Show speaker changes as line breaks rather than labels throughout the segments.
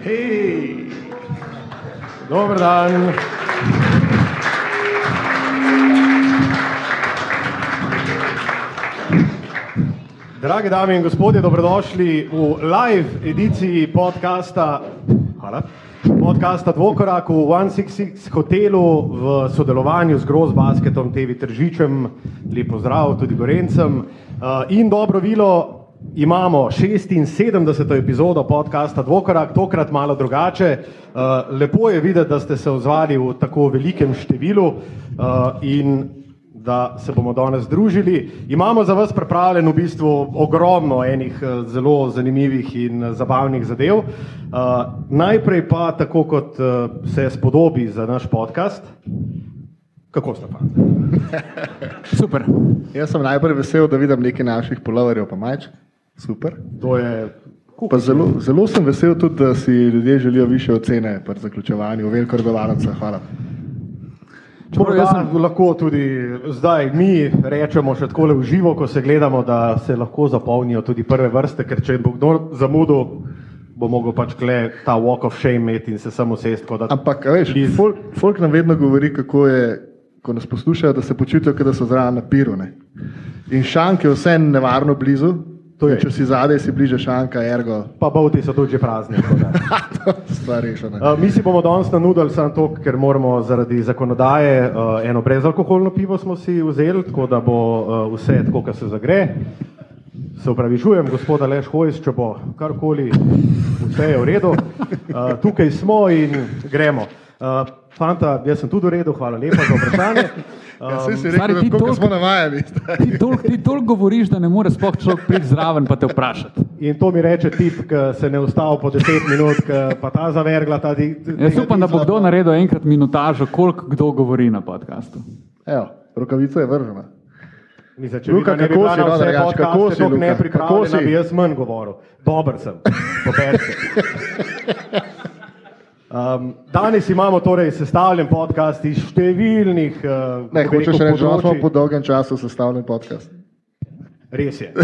Hej! Dober dan. Drage dame in gospodje, dobrodošli v live ediciji podcasta, hvala, podcasta Dvokorak v 166 hotelu v sodelovanju z Gross Basketom TV Tržičem. Lep pozdrav tudi Gorencem. Eh, In dobro vilo, imamo 76. epizodo podcasta Dvokorak, tokrat malo drugače. Eh, Lepo je videti, da ste se odzvali v tako velikem številu eh, in da se bomo danes družili. Imamo za vas pripravljen v bistvu ogromno enih eh, zelo zanimivih in eh, zabavnih zadev. Uh, najprej pa, tako kot uh, se spodobi za naš podcast, kako ste pa?
Super.
Jaz sem najprej vesel, da vidim nekaj naših polovarjev, pa majčk. Super.
To je
Pa zelo, zelo sem vesel tudi, da si ljudje želijo više ocene pri zaključevanju veliko regovalnica. Hvala.
Čeprav jaz
Morda lahko tudi zdaj mi rečemo še tako v živo, ko se gledamo, da se lahko zapolnijo tudi prve vrste, ker če bo kdo zamudil, bo mogel pač kle ta walk of shame imeti in se samo sest. tako da-
Ampak, a veš,
Iz-
folk, folk nam vedno govori, kako je, ko nas poslušajo, da se počutijo, kot da so zraven na piru. Ne? In šank je vse nevarno blizu.
To je.
In Če si zadaj, si bliže šanka, ergo,
Pa bovti so tudi že prazni. tako da.
stvar rešena.
Uh, Mi si bomo danes nanudili samo to, ker moramo zaradi zakonodaje uh, eno brezalkoholno pivo smo si vzeli, tako da bo uh, vse tako, kar se zagre. Se upravičujem, gospoda Leš Hojs, če bo karkoli, vse je v redu. Uh, tukaj smo in gremo. Uh, fanta, jaz sem tudi v redu, hvala lepa za vprašanje.
Ja, saj si
Um,
stari,
rekel,
ti
da tako,
toliko-
kot smo navajeni.
Ti toliko tol govoriš, da ne moreš sploh človek priti zraven pa te vprašati.
Eh, in to mi reče tip, ki se ne ustavi po 10 minut, ki pa ta zavergla. Ta di,
Jaz upam,
tega
da bo kdo
dizla, pa-
naredil enkrat minutažo, koliko kdo govori na podkastu.
Evo, rokavica je vržena.
Mislim, če
Luka,
Luka, ne bi
kako
bila
si,
na
no,
vse
drugače,
podcaste
kako si,
toliko
Luka?
nepripravljena,
Kako si?
bi jaz manj govoril. Dober sem, dober sem. Um, danes imamo torej sestavljen podcast iz številnih. Uh,
Ne, hočeš reči, da smo po dolgem času sestavljen podcast.
Res je.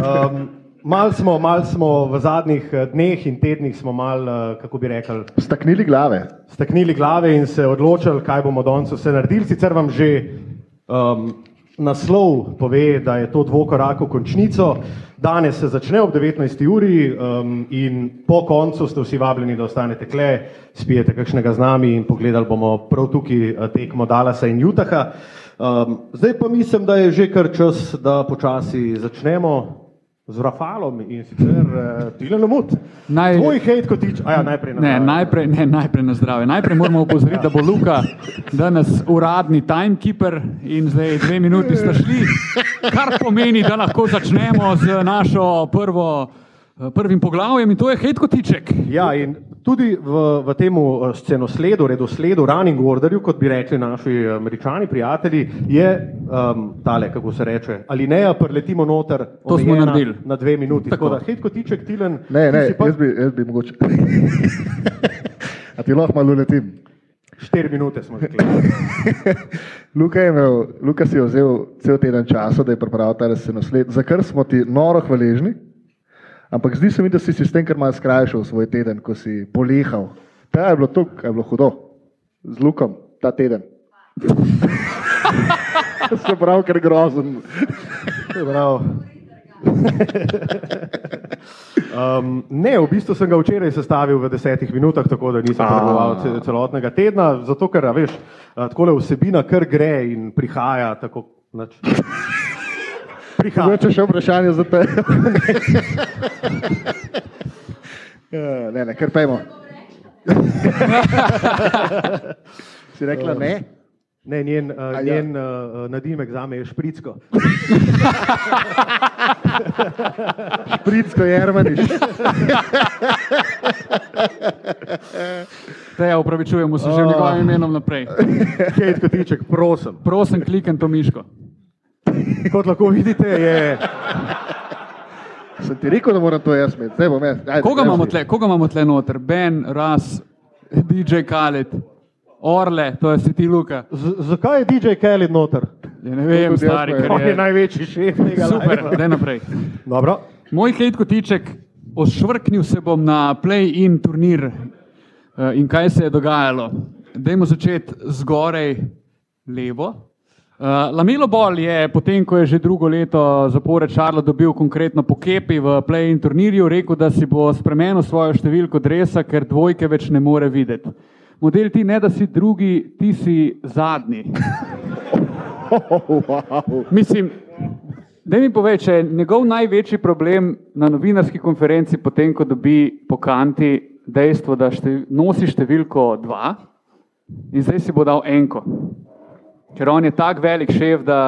Um, mal, smo, mal smo v zadnjih eh, dneh in tednih smo mal, eh, kako bi rekli,
Staknili glave.
staknili glave in se odločili, kaj bomo danes vse naredili. Sicer vam že um, naslov pove, da je to dvokorak v končnico. Danes se začne ob 19. uri um, in po koncu ste vsi vabljeni, da ostanete kle, spijete kakšnega z nami in pogledali bomo prav tukaj eh, tekmo Dalasa in Utaha. Um, zdaj pa mislim, da je že kar čas, da počasi začnemo. Z Rafalom in sicer uh, Tilan Mut.
Naj-
Tvoj hate kotič, a ja, najprej na
Ne,
zdravje.
najprej, ne, najprej na zdrave. Najprej moramo opozoriti, da bo Luka danes uradni timekeeper in zdaj dve minuti sta šli, kar pomeni, da lahko začnemo z našo prvo, prvim poglavjem in to je Hedkotiček.
Ja, in tudi v, v tem scenosledu, redosledu, running orderju, kot bi rekli naši eh, američani prijatelji, je um, tale, kako se reče, ali ne, preletimo noter
To smo
omejena
naredili.
na dve minuti. Tako,
Tako.
Tako da, hitko tiček, tilen.
Ne,
ti
ne,
si pa
jaz bi, jaz bi mogoče. A ti lahko malo letim.
Štiri minute smo rekli.
Luka, je imel, Luka si je vzel cel teden časa, da je pripravil ta resenosled, za kar smo ti noro hvaležni, ampak zdi se mi, da si si s tem kar malo skrajšal svoj teden, ko si polehal. Ta je bilo tuk, je bilo hudo, z Lukom ta teden. Se pravi, ker grozen.
Prav. Um, ne, v bistvu sem ga včeraj sestavil v desetih minutah, tako da nisem
A.
potreboval ce- celotnega tedna, zato ker, a veš, tako le vsebina kar gre in prihaja tako. Nač. Prihaja.
Mogoče še vprašanje za te. Ja, ne, ne, kar pejmo. si rekla ne?
Ne, njen, uh,
A ja.
njen uh, nadimek zame je špricko.
Špricko Jermaniš.
Te ja upravičujemo se že v njegovem imenu naprej.
Kate Kotiček, prosim.
Prosim, klikni to miško.
Kot lahko vidite, je
Sem ti rekel, da moram to jaz imeti. Zdaj bom jaz. Ajde,
Koga
daj,
imamo
si.
tle, koga imamo tle noter? Ben, Ras, DJ Khaled, Orle, to je si ti Luka.
z, zakaj je DJ Kelly noter?
Ja, ne vem,
Tudi jaz
stari,
ne vem.
On je
ker je.
največji šef tega.
Super,
lajva.
da naprej.
Dobro.
Moj hate kotiček Ošvrknil se bom na play-in turnir eh, in kaj se je dogajalo. Dajmo začeti zgoraj levo. Eh, Lamelo Ball je, potem ko je že drugo leto zapored Šarlo dobil konkretno po kepi v play-in turnirju, rekel, da si bo spremenil svojo številko dresa, ker dvojke več ne more videti. Model ti ne, da si drugi, ti si zadnji.
wow.
Mislim, da mi povej, če je njegov največji problem na novinarski konferenci, potem ko dobi po kanti dejstvo, da štev, nosi številko dva in zdaj si bo dal enko. Ker on je tako velik šef, da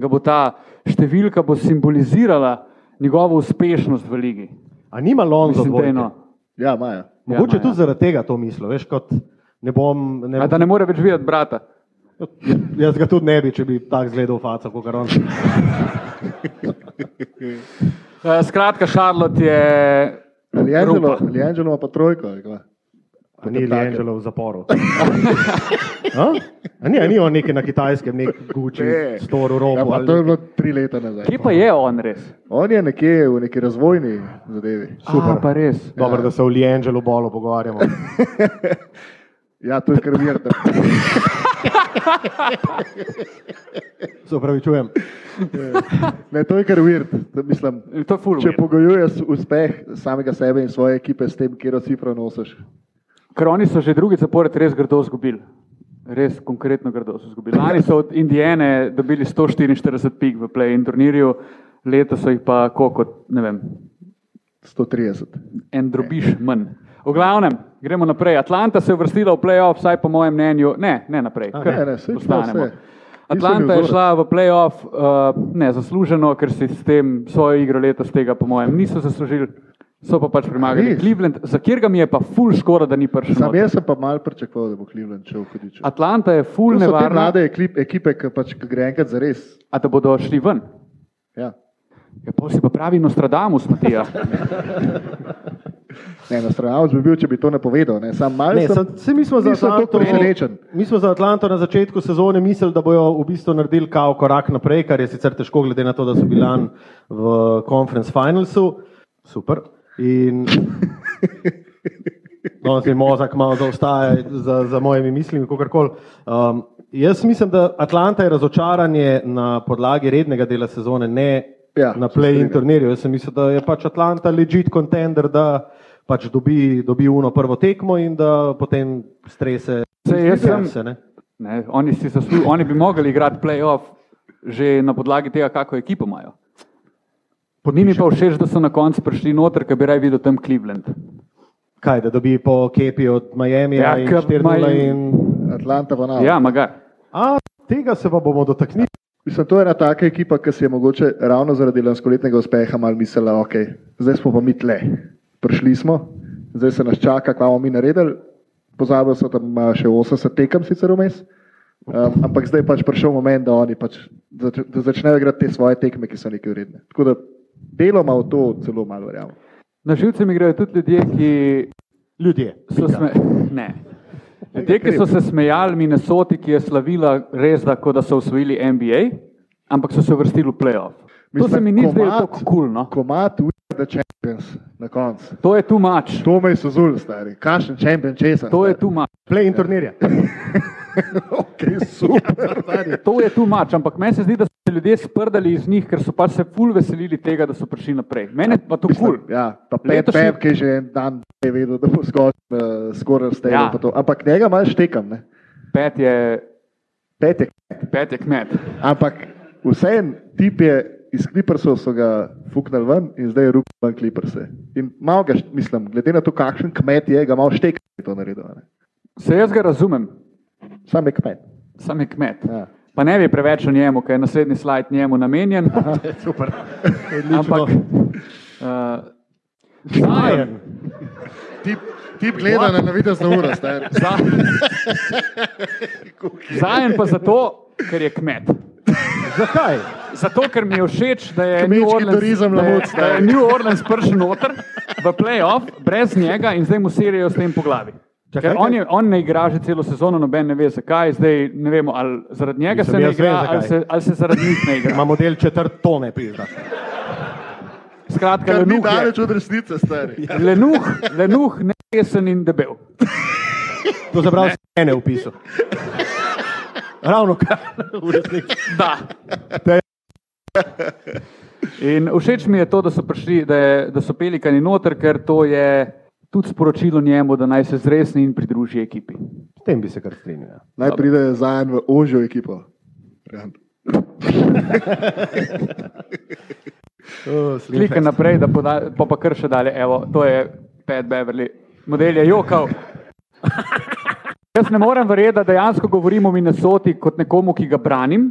ga bo ta številka bo simbolizirala njegovo uspešnost v ligi.
A nima Lonzo
Mislim, da je
dvojke?
no.
Ja, Maja.
Mogoče
Ja, no,
tudi
ja.
zaradi tega to mislo, veš, kot ne bom. Ne,
A Da ne more več videti brata.
jaz ga tudi ne bi, če bi tako gledal faca, kot ga on.
Eh, Skratka, Charlotte je.
Ali Angelo,
Rupa.
ali Angelo ima pa trojko. ali kva?
A Ni Angelo v zaporu. A? A ni, a ni on nekaj na kitajskem, nek Gucci,
Ne.
stor v
Ja,
robu.
pa
ali
to je
nekaj.
bilo tri leta nazaj.
Kje pa je on res?
On je nekje v neki razvojni zadevi.
Super.
A, pa res.
Ja. Dobro, da se o Liangelu bolo pogovarjamo.
Ja, to je krvir.
Se upravičujem.
Ne, to je krvir. Mislim,
To je fulano.
če pogojuješ uspeh samega sebe in svoje ekipe s tem, kje cifro nosiš.
Ker oni so že drugi zapored res grdo izgubili. Res konkretno grdo so izgubili. Lani so od Indijane dobili 144 pik v play-in turnirju, leto so jih pa koliko, ne vem,
130.
en drobiš manj. V glavnem, gremo naprej. Atlanta se je vrstila v play-off, vsaj po mojem mnenju. Ne, ne naprej.
A,
kar
ne, ne, saj to
ostanemo.
vse.
Atlanta
Niso mi
je
vzorec.
šla v play-off uh, ne zasluženo, ker si s tem svojo igro letos tega, po mojem, niso zaslužili. So pa pač premagali
Res?
Cleveland, za katerega mi je pa ful škoda, da ni prišel.
Sam
noter.
jaz sem pa mal pričakoval, da bo Cleveland šel hudič.
Atlanta je ful
To so te
nevarna,
mlade eklip, ekipe, ki pač ki gre enkrat za res.
a da bodo šli ven.
Ja.
Ja, pol si pa pravi Nostradamus, Matija.
Ne, nastrojavc bi bil, če bi to napovedal. Ne. Sam mal
Ne,
sem,
sem, se, mi, smo za
nisem tako
Atlanto,
presenečen.
mi smo za Atlanto na začetku sezone mislili, da bojo v bistvu naredili kao korak naprej, kar je sicer težko, glede na to, da so bili lani v Conference Finalsu. Super. In danes mi No, mozak malo zaostaja za, za mojimi mislimi, kakorkoli. Um, jaz mislim, da Atlanta je razočaranje na podlagi rednega dela sezone, ne
Ja,
ja, na
se
play-in
strinjam.
turnirju. Jaz sem mislil, da je pač Atlanta legit contender, da pač dobi, dobi uno prvo tekmo in da potem strese.
Saj jaz sem-
se, ne?
Ne, oni, si zaslu, oni bi mogli igrati playoff že na podlagi tega, kako ekipo imajo. Ni mi pa všeč, da so na koncu prišli noter, ker bi raje videl tam Cleveland.
Kaj, da dobi po kepi od Miami
Ja,
ja, in
ker
4-0
Miami-
in...
Atlanta pa nam.
Ja, magar.
A, tega se pa bomo dotaknili.
Mislim, to je ena taka ekipa, ki si je mogoče ravno zaradi lanskoletnega uspeha mal mislila, ok, zdaj smo pa mi tle, prišli smo, zdaj se nas čaka, kaj bomo mi naredili. Pozabili so tam a, še 80 tekem sicer vmes, um, ampak zdaj je pač prišel moment, da oni pač, da, da začnejo igrati te svoje tekme, ki so nekaj vredne. Tako da deloma v to celo malo verjamem.
Na živce mi grejo tudi ljudje, ki
Ljudje.
so,
pika.
sme... ne. ljudje, ki so se smejali Minnesoti, ki je slavila res, da, kot da so osvojili NBA, ampak so se vrstili v playoff. To se mi ni zdelo tako kulno. Cool, no.
Komat, we are the champions na koncu.
to je tu mač.
To me je sozul, stari. Kakšen šampion česa?
To je tu mač.
Play-in turnirja.
okay, Ja. super.
To je tu mač, ampak meni se zdi, da so se ljudje sprdali iz njih, ker so pač se ful veselili tega, da so prišli naprej. Mene pa to
Mislim,
kul.
Ja, ta pet,
Letošnji-
pet, ki je že en dan je vedel, da bo skočil, uh, skoraj ste.
Ja.
Ja. Ampak njega malo štekam, ne.
Pet je,
Pet je,
pet je kmet.
ampak vseeno tip je iz Clippersov so ga fuknili ven in zdaj je rup ven Clipperse. In malo ga, št- mislim, glede na to, kakšen kmet je, ga malo štekam, da je to naredil. a Ne.
Se jaz ga razumem,
Sam je kmet.
sam je kmet.
Ja.
Pa ne bi preveč o njemu, ker je naslednji slajd njemu namenjen.
Super.
no.
Ampak. Uh, Zion,
Tip, tip gleda na navidezno uro, stari.
Zion pa zato, ker je kmet.
Zakaj?
Zato, ker mi je všeč, da je
Kmečki
New Orleans,
turizem
da je,
lahko
da je
odstavi.
New Orleans pršil noter v playoff brez njega in zdaj mu serijo s tem po glavi.
Čakaj,
Ker on, je, on ne igra že celo sezono, noben ne ve zakaj, zdaj ne vemo, ali zaradi njega
Mislim,
se ne
jaz vem,
igra, ali
zakaj.
se, ali se zaradi njih ne igra.
Ima model četrt tone, pizda.
Skratka,
Kar ni
lenuh je, Ja.
daleč od resnice, stari.
lenuh, lenuh ne jesen in debel.
To se pravi, ene upisal. Ravno kar, v resnici.
Da.
Te-
In všeč mi je to, da so, prišli, da je, da so pelikani noter, ker to je tudi sporočilo njemu, da naj se zresni in pridruži ekipi.
S tem bi se kar strinjal. ja.
Naj pride za en v ožjo ekipo. Ja. Variant.
O, Slim
Klikaj
Fast.
naprej, da poda, pa, pa kar še dalje. Evo, to je Pat Beverly, model je jokal. Jaz ne morem verjeti, da dejansko govorim o Minnesoti kot nekomu, ki ga branim,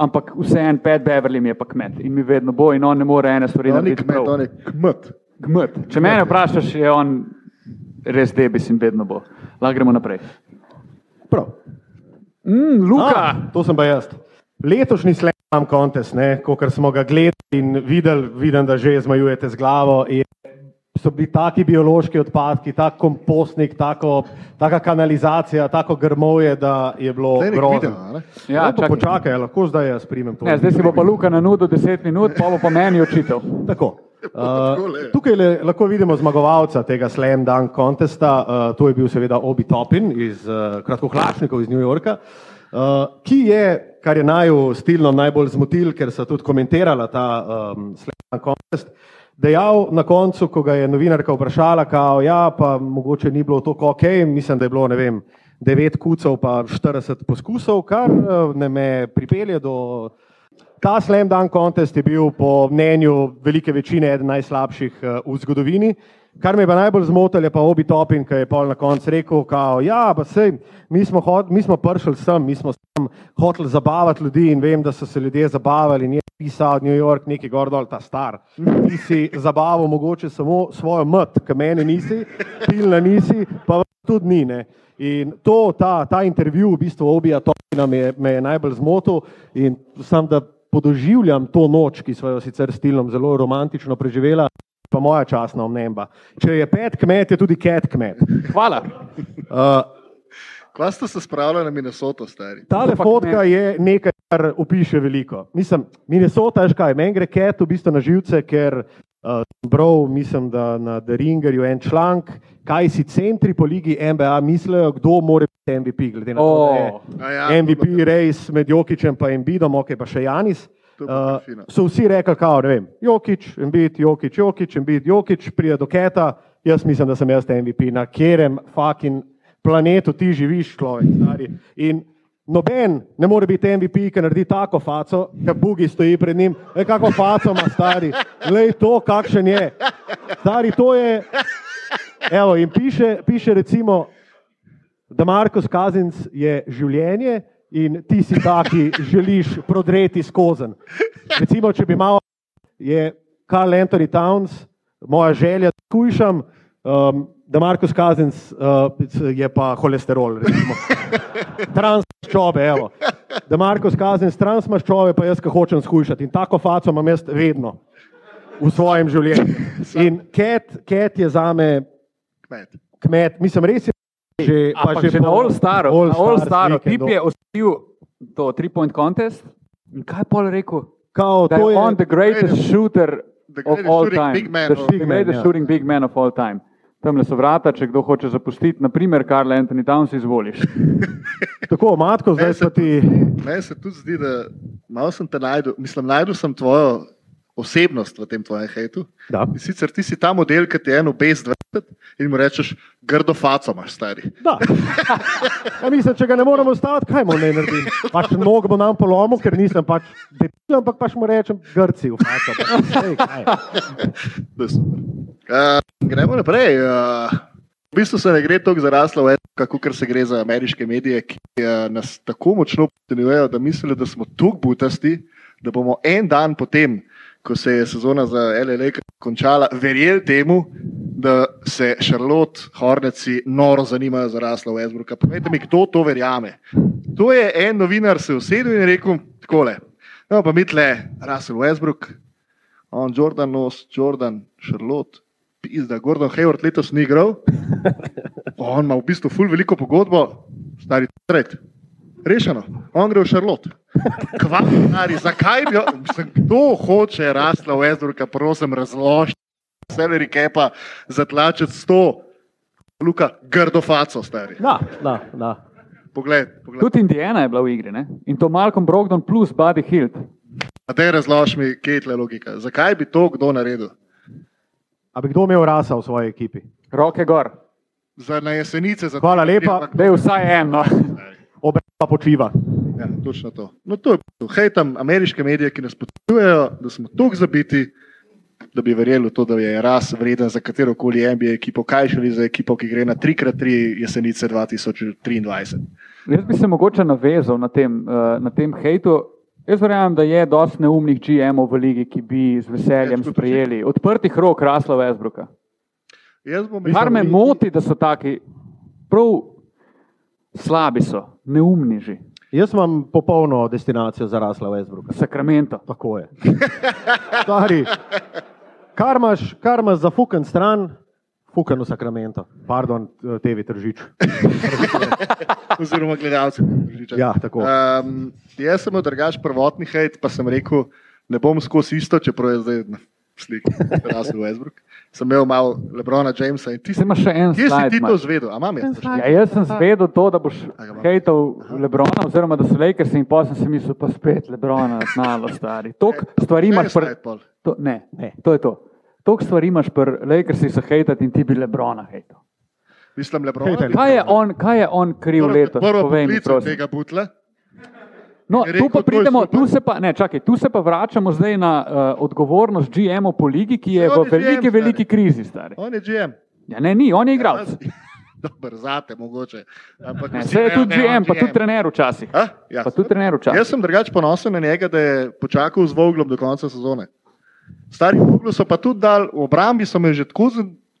ampak vseeno Pat Beverly mi je pa kmet in mi vedno bo in on ne more ene stvari
On je
narediti.
kmet,
prav.
on je kmet.
Gmrt. Če me vprašaš, je on res debis in vedno bo. Lahko gremo naprej.
Prav.
Mm, Luka,
Ah,
A, to sem pa jaz. Letošnji slam contest, kot smo ga gledali in videli, vidim, da že zmajujete z glavo. je- So bili taki biološki odpadki, tak kompostnik, tako, taka kanalizacija, tako grmovje, da je bilo
Zdaj nek video,
grozno.
a ne?
Ja,
no, pa
čakaj.
počakaj, a lahko zdaj jaz primem to.
ne, zdaj si bo pa Luka na nudu 10 minut, pa bo po meni očital.
Tako. Uh,
takole, ja.
tukaj le, lahko vidimo zmagovalca tega Slam Dunk kontesta, uh, to je bil seveda Obi Topin iz uh, Kratkohlašnikov iz New Yorka, uh, ki je, kar je naju stilno najbolj zmotil, ker so tudi komentirala ta um, Slam Dunk kontest, dejal na koncu, ko ga je novinarka vprašala, kao, ja, pa mogoče ni bilo to ok, mislim, da je bilo, ne vem, 9 kucov pa 40 poskusov, kar uh, ne me pripelje do Ta slam dunk kontest je bil po mnenju velike večine eden najslabših eh, v zgodovini. Kar me je pa najbolj zmotilo, je pa obi topin, ki je pol na koncu rekel, kao, ja, pa sej, mi smo, hod, mi smo prišli sem, mi smo sem hoteli zabavati ljudi in vem, da so se ljudje zabavali in je pisal New York, neki gor dol, ta star. Ti si zabaval mogoče samo svojo mrt, ki meni nisi, pilna nisi, pa tudi ni. Ne. In to, ta, ta intervju, v bistvu obija Topina me, je- me je najbolj zmotil in sam da podoživljam to noč, ki smo jo sicer s Tilom zelo romantično preživela, pa moja časna omemba. Če je pet kmet, je tudi ket kmet.
Hvala.
Uh,
Kva ste se spravljali na Minnesoto, stari?
Ta
Ampak
fotka
ne.
je nekaj, kar opiše veliko. Mislim, Minnesota je škaj, meni gre ket v bistvu na živce, ker uh, sem bral, mislim, da na The Ringerju en članek, kaj si centri po ligi NBA mislijo, kdo more biti MVP, glede na to, da
O.
A
je
ja,
ja,
to je
MVP
bilo-
res med Jokičem pa Embidom, ok, pa še Janis.
To je bilo kar
eh,
Uh,
fino.
so vsi rekli, kao, ne vem, Jokič, Embid, Jokič, Jokič, Embid, Jokič, pride do Keta, jaz mislim, da sem jaz MVP, na katerem fucking planetu ti živiš, človek, stari. In noben ne more biti MVP, ki naredi tako faco, ki Bugi stoji pred njim, e, kako faco ima stari, lej to, kakšen je. Stari, to je, evo, in piše, piše recimo, da Marko Kazenc je življenje in ti si ta, ki želiš prodreti skozen. Recimo, če bi imel, je Karl Anthony Towns, moja želja, da skušam, um, da Marko Kazenc uh, je pa holesterol, recimo. transmaščobe, evo. Da Marko Kazenc transmaščobe, pa jaz, ki hočem skušati. In tako faco imam jaz vedno v svojem življenju. In Cat, Cat je za me
Kmet.
kmet, mislim, res je. Že,
Pa že na
po
All Staru, na All Staru, tip
weekendu.
je osvojil to tri-point contest in kaj je pol rekel?
Kao,
Da
No, to
je
je
on the greatest shooter
The
of
greatest
all
shooting
time.
big man
The
of-
shooting- The
Big man,
greatest
ja.
shooting big man of all time. Tam le so vrata, če kdo hoče zapustiti, naprimer Karl Anthony Towns, izvoliš.
tako, matko, zdaj
Meni
smo
se,
ti.
tudi, meni se tudi zdi, da malo sem te najdel, mislim, najdel sem tvojo osebnost v tem tvojem hejtu.
Da.
In sicer ti si ta model, ki ti je eno bez 20 in mu rečeš, grdo faco imaš, stari.
Da. Ja, mislim, če ga ne moremo ustaviti, kaj mu ne naredim? Pač nog bo nam polomil, ker nisem pač debil, ampak pač mu rečem Grci. v faco, pač. Ej, kaj je.
To je super. Uh, gremo naprej. Uh, v bistvu se ne gre toliko za raslo, kako kar se gre za ameriške medije, ki uh, nas tako močno podcenjujejo, da mislijo, da smo tako butasti, da bomo en dan potem, ko se je sezona za LLE končala, verjeli temu, da se Charlotte Horneci noro zanimajo za raslo Westbrooka. Povejte mi, kdo to verjame. To je en novinar se usedel in je rekel takole. No, pa mi tle, Russell Westbrook, On Jordan nos, Jordan, Charlotte, pizda, Gordon Hayward letos ni igral. Pa On ima v bistvu ful veliko pogodbo, stari trend. Rešeno, on gre v Charlotte. Kvari, zakaj bi jo, mislim, kdo hoče rasla v Ezruka, prosim, razložite, seleri kepa, zatlačiti sto, Luka, grdo faco, stari.
Da, da, da.
Poglej, poglej.
Tudi Indijana je bila v igri, ne? in to Malcolm Brogdon plus Buddy Hilt.
Dej razlož mi, kje je tle logika. Zakaj bi to kdo naredil?
A bi kdo imel rasa v svoji ekipi?
Roke gor,
Za na jesenice, za
Hvala lepa.
da je vsaj no. eno.
Obramba počiva.
Ja, točno to. No, to je to. Hej, tam ameriške medije, ki nas podpirujejo, da smo tako zabiti, da bi verjeli v to, da je ras vreden za katero koli NBA ekipo, kaj šele za ekipo, ki gre na 3x3 jesenice 2023.
Jaz bi se mogoče navezal na tem, eh, na tem hejtu. Jaz verjamem, da je dosti neumnih GM-ov v ligi, ki bi z veseljem
Jaz tudi
sprejeli odprtih rok Rasla Vesbruka.
Jaz bom
Kar me
rekel,
moti, da so taki, prav slabi so, neumni že,
Jaz imam popolno destinacijo za rasla v Ezbruku.
sakramento.
Tako je. Stari, kar imaš, kar imaš za fuken stran, fuken v sakramento.
Pardon, TV tržič.
oziroma gledalci.
Ja, tako.
Um, jaz sem odrgaš prvotni hejt, pa sem rekel, ne bom skozi isto, čeprav je zdaj na sliki, Russell Westbrook. Sem imel malo Lebrona Jamesa in ti
Ti
si,
imaš še en
kje si
slajd,
ti to
Maš.
zvedel? A imam jaz?
Ja, jaz sem zvedel to, da boš
A ga imam?
hejtal Lebrona, oziroma da so Lakersi in potem sem si mislil, pa spet Lebrona, znalo stari. Tok stvari imaš pred...
pol.
To, ne, ne, to je to. Tok stvari imaš pri Lakersih za hejtati in ti bi Lebrona hejtal.
Mislim,
Hejtaj,
Lebrona.
Kaj je on, kaj je on kriv letos?
prvo
Povej mi,
poklical
prosim.
tega butla.
No,
je
tu
rekel,
pa
to je
pridemo,
super.
tu se pa, ne, čakaj, tu se pa vračamo zdaj na uh, odgovornost GM-ov po ligi, ki je
Saj
v
on je
veliki,
GM, stari.
veliki krizi, stari.
On je GM.
Ja, ne, ni, on je igralec.
Dobro, zate mogoče. Ampak
Ne,
vsi
se je
vejo,
tudi
da je on
GM, pa tudi trener včasih.
A? Ja,
Pa tudi trener včasih.
Jaz sem drugače ponosen na njega, da je počakal z Voglom do konca sezone. Stari Voglu so pa tudi dal, v obrambi so me že tako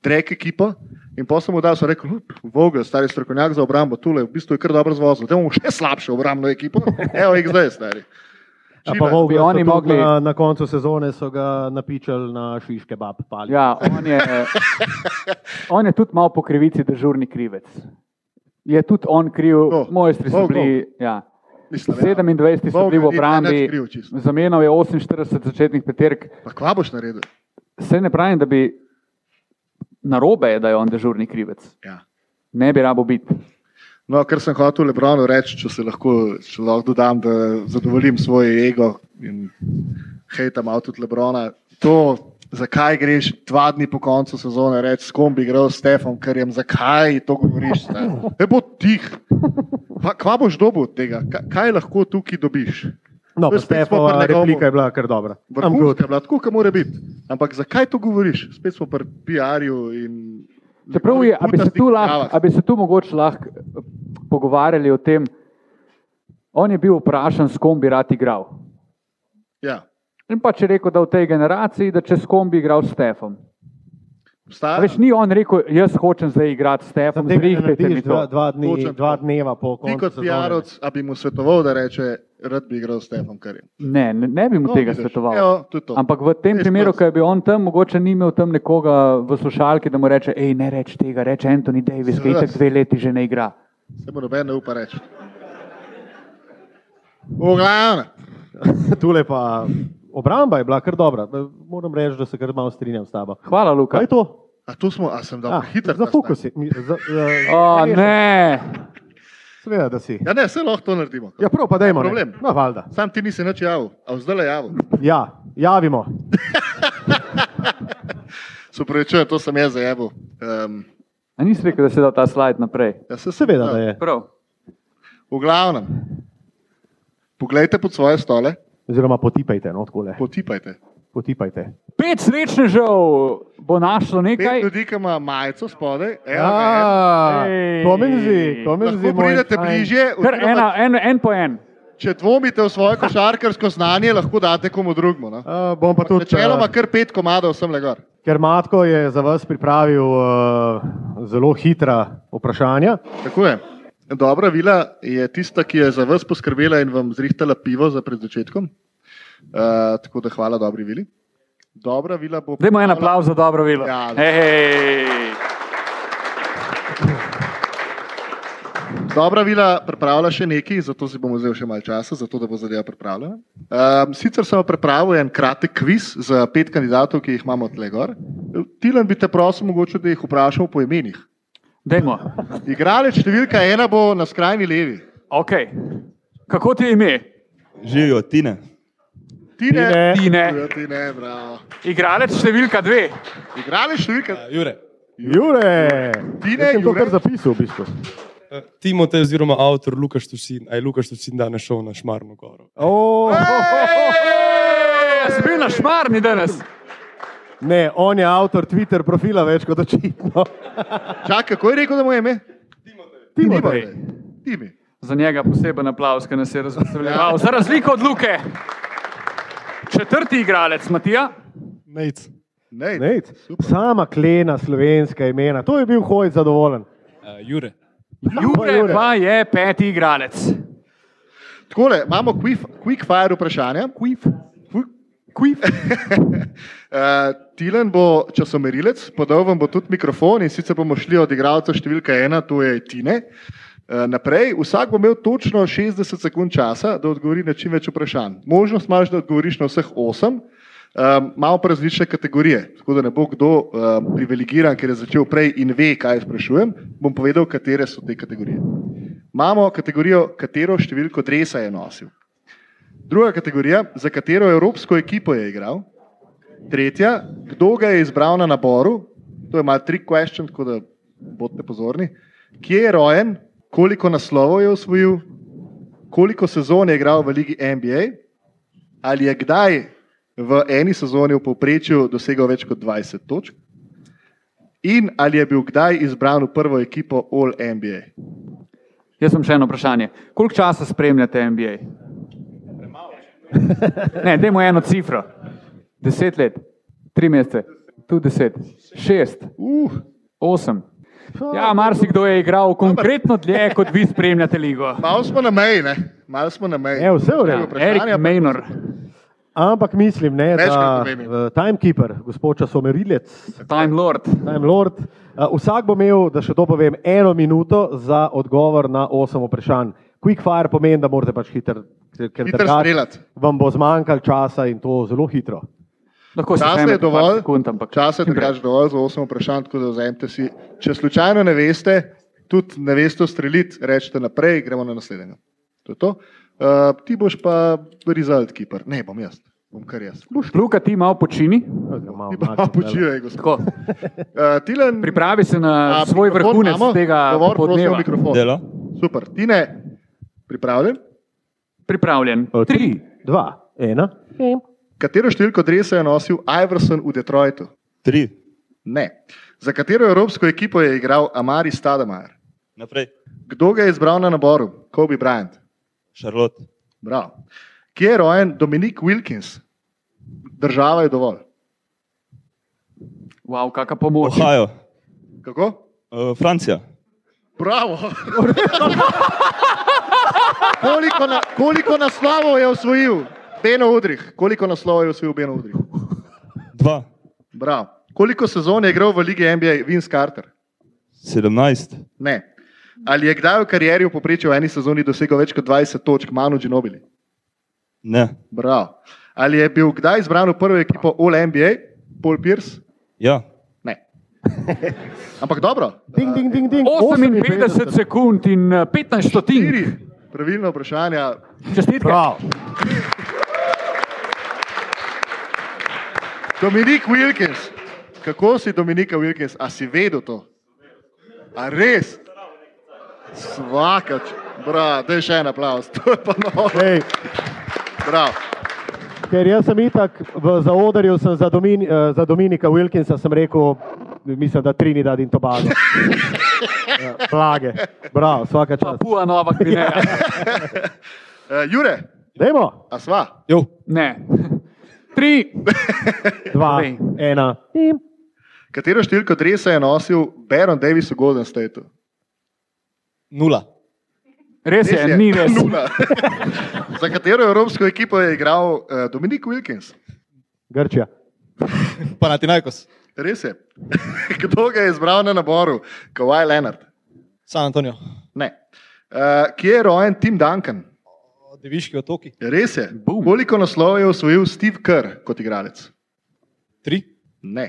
zrek ekipo in pa sem mu dal, so rekel, "Hm, Vogel, stari strokovnjak za obrambo, tule v bistvu je kar dobro zvozil, da imamo še slabšo obrambno ekipo. Evo jih zdaj, stari.
Ja, pa
Živa.
Vogel
Bi
so
oni
tudi
mogli-
Na, na koncu sezone so ga napičali na šiške bab. Pali.
Ja, on je, eh, on je tudi malo po krivici dežurni krivec. Je tudi on kriv,
To,
mojstri so
to,
bili. Ja.
Mislim, ja.
27 so
Vogel ni-
bili v
ni nič
obrambi,
kriv čisto.
zamenjal je 48 začetnih peterk.
Pa kva boš naredil?
Vse ne pravim, da bi narobe, je, da je on dežurni krivec.
Ja.
Ne bi rabo biti.
No, kar sem hotel Lebronu reči, če se lahko, če lahko dodam, da zadovoljim svoj ego in hejtam avto Lebrona. To, zakaj greš dva dni po koncu sezone reči, s kom bi igral s Stefom Krjem, zakaj to govoriš? Ne, ne bo tih. Pa, kva boš dobil od tega? Ka- Kaj lahko tukaj dobiš?
No,
To
pa
je spet smo pri
Stefova
njegovu-
replika je bila kar dobra. I'm good.
Vrhunska je bila tako, kot mora biti. Ampak zakaj to govoriš? Spet smo pri PR-ju in.
Čeprav je, a bi se tu, lah,
Pravah.
a bi se tu mogoče lahko eh, pogovarjali o tem, on je bil vprašan, s kom bi rad igral.
Ja.
In pa če rekel, da v tej generaciji, da če s kom bi igral s Stefom. A
Obstaja-
Veš, ni on rekel, jaz hočem zdaj igrati s Stefom,
Tega ne
zrihtite mi
narediš
to.
dva, dva, dni,
Točen
dva
to.
dneva po
Ti
koncu
kot
sezone.
PR-ovc, a bi mu svetoval, da reče, rad bi igral s Stefom Karim. No,
Ne, ne, ne bi mu tega svetoval. Ampak v tem
Veš,
primeru,
to-
ko je bil on tam, mogoče ni imel tam nekoga v slušalki, da mu reče: hej, ne reč tega, reče Anthony Davis, ki
Seveda.
itek dve leti že ne igra.
Se mu noben ne upa reči. V glavnem,
Tule pa obramba je bila kar dobra. Moram reči, da se kar malo strinjam s tabo.
Hvala, Luka.
Kaj je to?
a tu smo, a sem dal
Ah,
hitro.
Za fokus si. Mi- za- za-
O, ne.
Seveda, da si.
Ja, ne, vse lahko to naredimo.
Ja, prav, pa dajmo. ne.
Problem.
No, valjda.
Sam ti nisi nič javil, a zdaj le javil.
Ja, javimo.
Se upravičujem, to sem jaz zajebil. Um,
A nisi rekel, da si dal ta slajd naprej.
ja, se,
Seveda, da je.
Prav.
V glavnem, poglejte pod svoje stole,
Oziroma, potipajte, no, takole.
potipajte.
Potipajte.
Pet srečnežev bo našlo
Pet
nekaj.
ljudi, ki ima majico spodaj, eno, ga
Ja,
Ej.
komenzi,
en.
komenzi.
eh. lahko pridete bližje,
Kar
oziroma
ena, en, en po en.
Če dvomite v svoje košarkarsko znanje, lahko date komu drugemu. No?
Uh, bom pa tudi,
Načeloma
uh,
kar pet komadov sem le gor.
ker Matko je za vas pripravil uh, zelo hitra vprašanja.
Tako je. Dobra vila je tista, ki je za vas poskrbela in vam zrihtala pivo za pred začetkom. Uh, tako da hvala dobri vili. Dobra vila bo.
Dajmo en aplauz za dobro vilo.
Ja.
Hej.
Dobra, Vila pripravlja še nekaj, zato si bomo vzel še malo časa, zato da bo zadeva pripravljena. Um, sicer sem pripravil en kratek kviz za pet kandidatov, ki jih imamo tle gor. Tilan bi te prosil, mogoče, da jih vprašamo po imenih.
Dajmo.
Igralec številka ena bo na skrajni levi.
Okay. Kako ti je ime?
Živijo, Tina.
Tine, Ja,
Tine.
Tine, bravo.
Igralec številka dve.
Igralec številka
Ja, Jure.
Jure,
Tine,
Jaz sem to
Jure.
kar zapisal v bistvu.
eh, Timotej, oziroma avtor Lukaš Tusin, aj Lukaš Tusin danes šel na Šmarno goro.
Oh,
Ja, si bil na šmarni danes.
ne, on je avtor Twitter profila, več kot očitno.
Čakaj, kako je rekel, da mu je ime? Timotej. Timi.
Za njega poseben aplaus, ki nas je razveseljeval. Za razliko od Luke. Četrti igralec, Matija.
Nejc.
Nej,
Nate, Sama klena slovenska imena, to je bil hoj zadovoljen.
Uh, Jure.
Jure Ja, pa je peti igralec.
Takole, imamo quif- quick fire vprašanja. Quif. Quif. Eh, Tilen bo časomerilec, podal vam bo tudi mikrofon in sicer bomo šli od igralca številka ena, to je Tine. eh, Naprej, vsak bo imel točno 60 sekund časa, da odgovori na čim več vprašanj. Možnost imaš, da odgovoriš na vseh osem, um, imamo pa različne kategorije, tako da ne bo kdo um, privilegiran, ker je začel prej in ve, kaj sprašujem. Bom povedal, katere so te kategorije. Imamo kategorijo, katero številko dresa je nosil. Druga kategorija, za katero evropsko ekipo je igral. Tretja, kdo ga je izbral na naboru, to je malo tri question, tako da bodite pozorni. Kje je rojen, koliko naslovov je osvojil, koliko sezon je igral v ligi NBA, ali je kdaj v eni sezoni v povprečju dosegal več kot 20 točk, in ali je bil kdaj izbran v prvo ekipo All NBA.
Jaz sem še eno vprašanje. Koliko časa spremljate NBA? Ne, dajmo eno cifro. Deset let, tri mesece, tu deset, šest,
Uh,
osem. Ja, marsikdo je igral konkretno dlje, kot vi spremljate ligo.
malo smo na meji, ne? Malo smo na meji.
Je vse v redu.
Erik Mejnor.
Ampak mislim, ne,
Večkrat
da
omenjen.
eh, timekeeper, gospod časomerilec,
Time Lord.
Time Lord. eh, Vsak bo imel, da še to povem, eno minuto za odgovor na osem vprašanj. Quick fire pomeni, da morate pač hitro, ker
Hitro
drugače
streljati.
vam bo zmanjkalo časa in to zelo hitro.
Lahko se
Časa
vzamete
je dovolj,
par sekund, ampak
časa je
čim prej.
drugače dovolj za 8 vprašanj, tako da vzemite si. Če slučajno ne veste, tudi ne veste streljiti, rečete naprej, gremo na naslednjega. To je to. Uh, ti boš pa result keeper. Ne, bom jaz, bom kar jaz.
Luka, ti malo počini.
Ti pa počivaj, gospod.
Tako,
Uh, Tilen,
pripravi se na
a,
A, svoj
mikrofon
vrhunec
imamo?
tega
Govor, prosim, v
podneva.
mikrofon.
Delo.
Super. Tine, pripravljen?
Pripravljen.
O, Eh, tri.
Tri.
Dva, ena.
Katero številko dresa je nosil Iverson v Detroitu?
Tri.
Ne. Za katero evropsko ekipo je igral Amari Stadamar?
Naprej.
Kdo ga je izbral na naboru? Kobe Bryant.
Charlotte.
Bravo. Kje je rojen Dominik Wilkins? Država je dovolj.
Wow, kakšna pomoč.
Ohio.
Kako?
Uh, Francija.
Bravo. koliko, na, koliko naslovov je osvojil Beno Udrih? Koliko naslovov je osvojil Beno Udrih?
Dva.
Bravo. Koliko sezon je igral v Ligi NBA Vince Carter?
Sedemnajst.
Ne. Ali je kdaj v karieri v poprečju v eni sezoni dosegel več kot 20 točk Manu Ginobili?
Ne.
Bravo. Ali je bil kdaj izbran v prvo ekipo All NBA, Paul Pierce?
Ja.
Ne. Ampak dobro,
Ding, ding, ding, ding.
58 sekund in eh, 15 stotink.
štiri pravilna vprašanja.
Čestitke.
Prav.
Dominik Wilkins, kako si Dominika Wilkins, a si vedel to? A res? Svakač, bra, da je še en aplaus, to je pa novo.
Ej,
Bravo.
ker jaz sem itak v zaodarju sem za, Domin, eh, za Dominika Wilkinsa sem rekel, mislim, da Trinidad in Tobago. Ja, Blage. Bravo, vsaka čast.
Papua Nova Gvineja.
Uh, Jure,
Dajmo.
a sva?
Jo.
Ne. Tri.
Dva,
Povej.
ena.
Katero številko dresa je nosil Baron Davis v Golden Stateu?
Nula.
Res je, ni res.
Nula. Za katero evropsko ekipo je igral uh, Dominik Wilkins?
Grčija.
Panatinajkos.
Res je. Kdo ga je izbral na naboru? Kowaj Leonard?
San Antonijo.
Ne. Eh, Uh, kje je rojen Tim Duncan?
Deviški otoki.
Res je.
Bum.
Koliko naslovov je osvojil Steve Kerr kot igralec?
Tri.
Ne.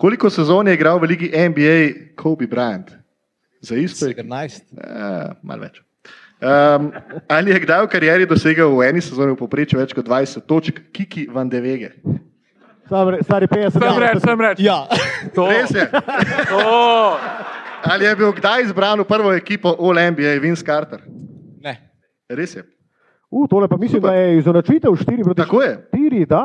Koliko sezon je igral v ligi NBA Kobe Bryant? Za isto je.
17.
Uh, malo več. Um, ali je kdaj v karieri dosegel v eni sezoni v povprečju več kot 20 točk, Kiki van de Vege?
Sam re- Stari 50
Sem reč,
let.
sem reč.
Ja,
to,
Res je.
to.
Ali je bil kdaj izbran v prvo ekipo All-NBA Vince Carter?
ne.
Res je.
U, tole pa mislim, da je izenačitev 4 proti
Tako je.
4, da.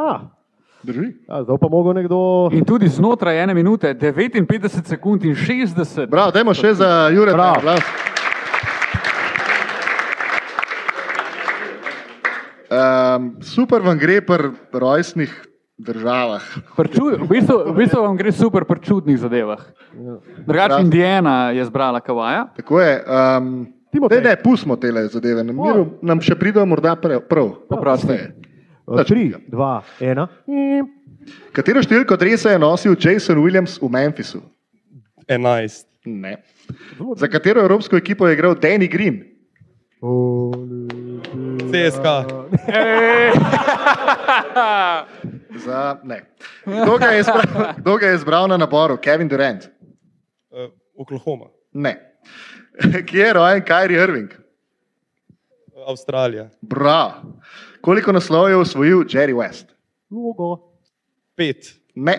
Drži.
Ja, zdaj pa mogo nekdo. e,
In tudi znotraj ene minute, 59 sekund in 60.
Bravo, dajmo še za Jurek.
Bravo.
Um, super vam gre pri rojstnih državah.
Pri ču- V bistvu, v bistvu vam gre super pri čudnih zadevah. Drugače,
Krasno.
Indijana je zbrala Kavaja.
Tako je. Um,
Timotej.
ne, ne, pustimo te zadeve. Na miru nam še pridejo morda pre- prav.
Oprosti.
Kasneje.
3, 2, 1.
Katero številko dresa je nosil Jason Williams v Memphisu?
Enajst.
Ne. Za katero evropsko ekipo je igral Danny Green?
CSK.
Za, ne. Kdo ga je izbral- Kdo ga je izbral na naboru? Kevin Durant?
Uh, Oklahoma.
Ne. Kje je rojen Kyrie Irving?
Avstralija.
Bra. Koliko naslovov je osvojil Jerry West?
Logo.
Pet.
Ne,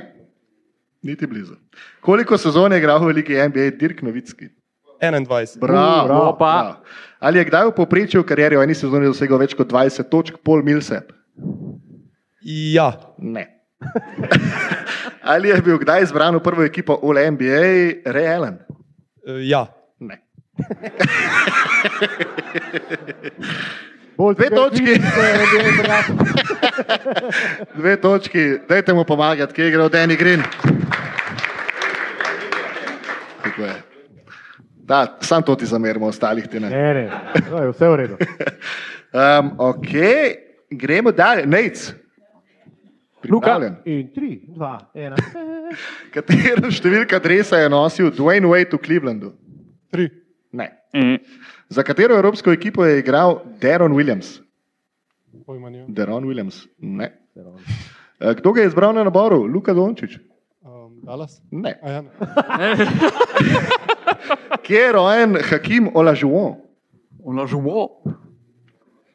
niti blizu. Koliko sezon je igral v Ligi NBA Dirk Novitski?
21.
Bravo,
bravo.
bravo. Ali je kdaj v povprečju v karieri v eni sezoni dosegel več kot 20 točk, pol milsep?
Ja.
Ne. Ali je bil kdaj izbran v prvo ekipo All-NBA realen?
Uh, ja.
Ne.
Bolj
Dve točki. Dve točki, dajte mu pomagati, kje je igral Dani Green. Tako je. Da, sam to ti zamerimo, ostalih ti ne.
Ne, ne, to je vse v redu.
Um, ok, gremo dalje. Nec. Pripravljen.
In 3, 2, 1.
Katero številka dresa je nosil Dwayne Wade v Clevelandu?
Tri.
Ne.
Eh,
Za katero evropsko ekipo je igral Deron Williams?
Pojma nimam.
Deron Williams. Ne. Eh, Kdo ga je izbral na naboru? Luka Dončić?
Um, Dallas.
Ne.
A ja, ne.
Kje je rojen Hakim Olajuwon?
Vlažumo.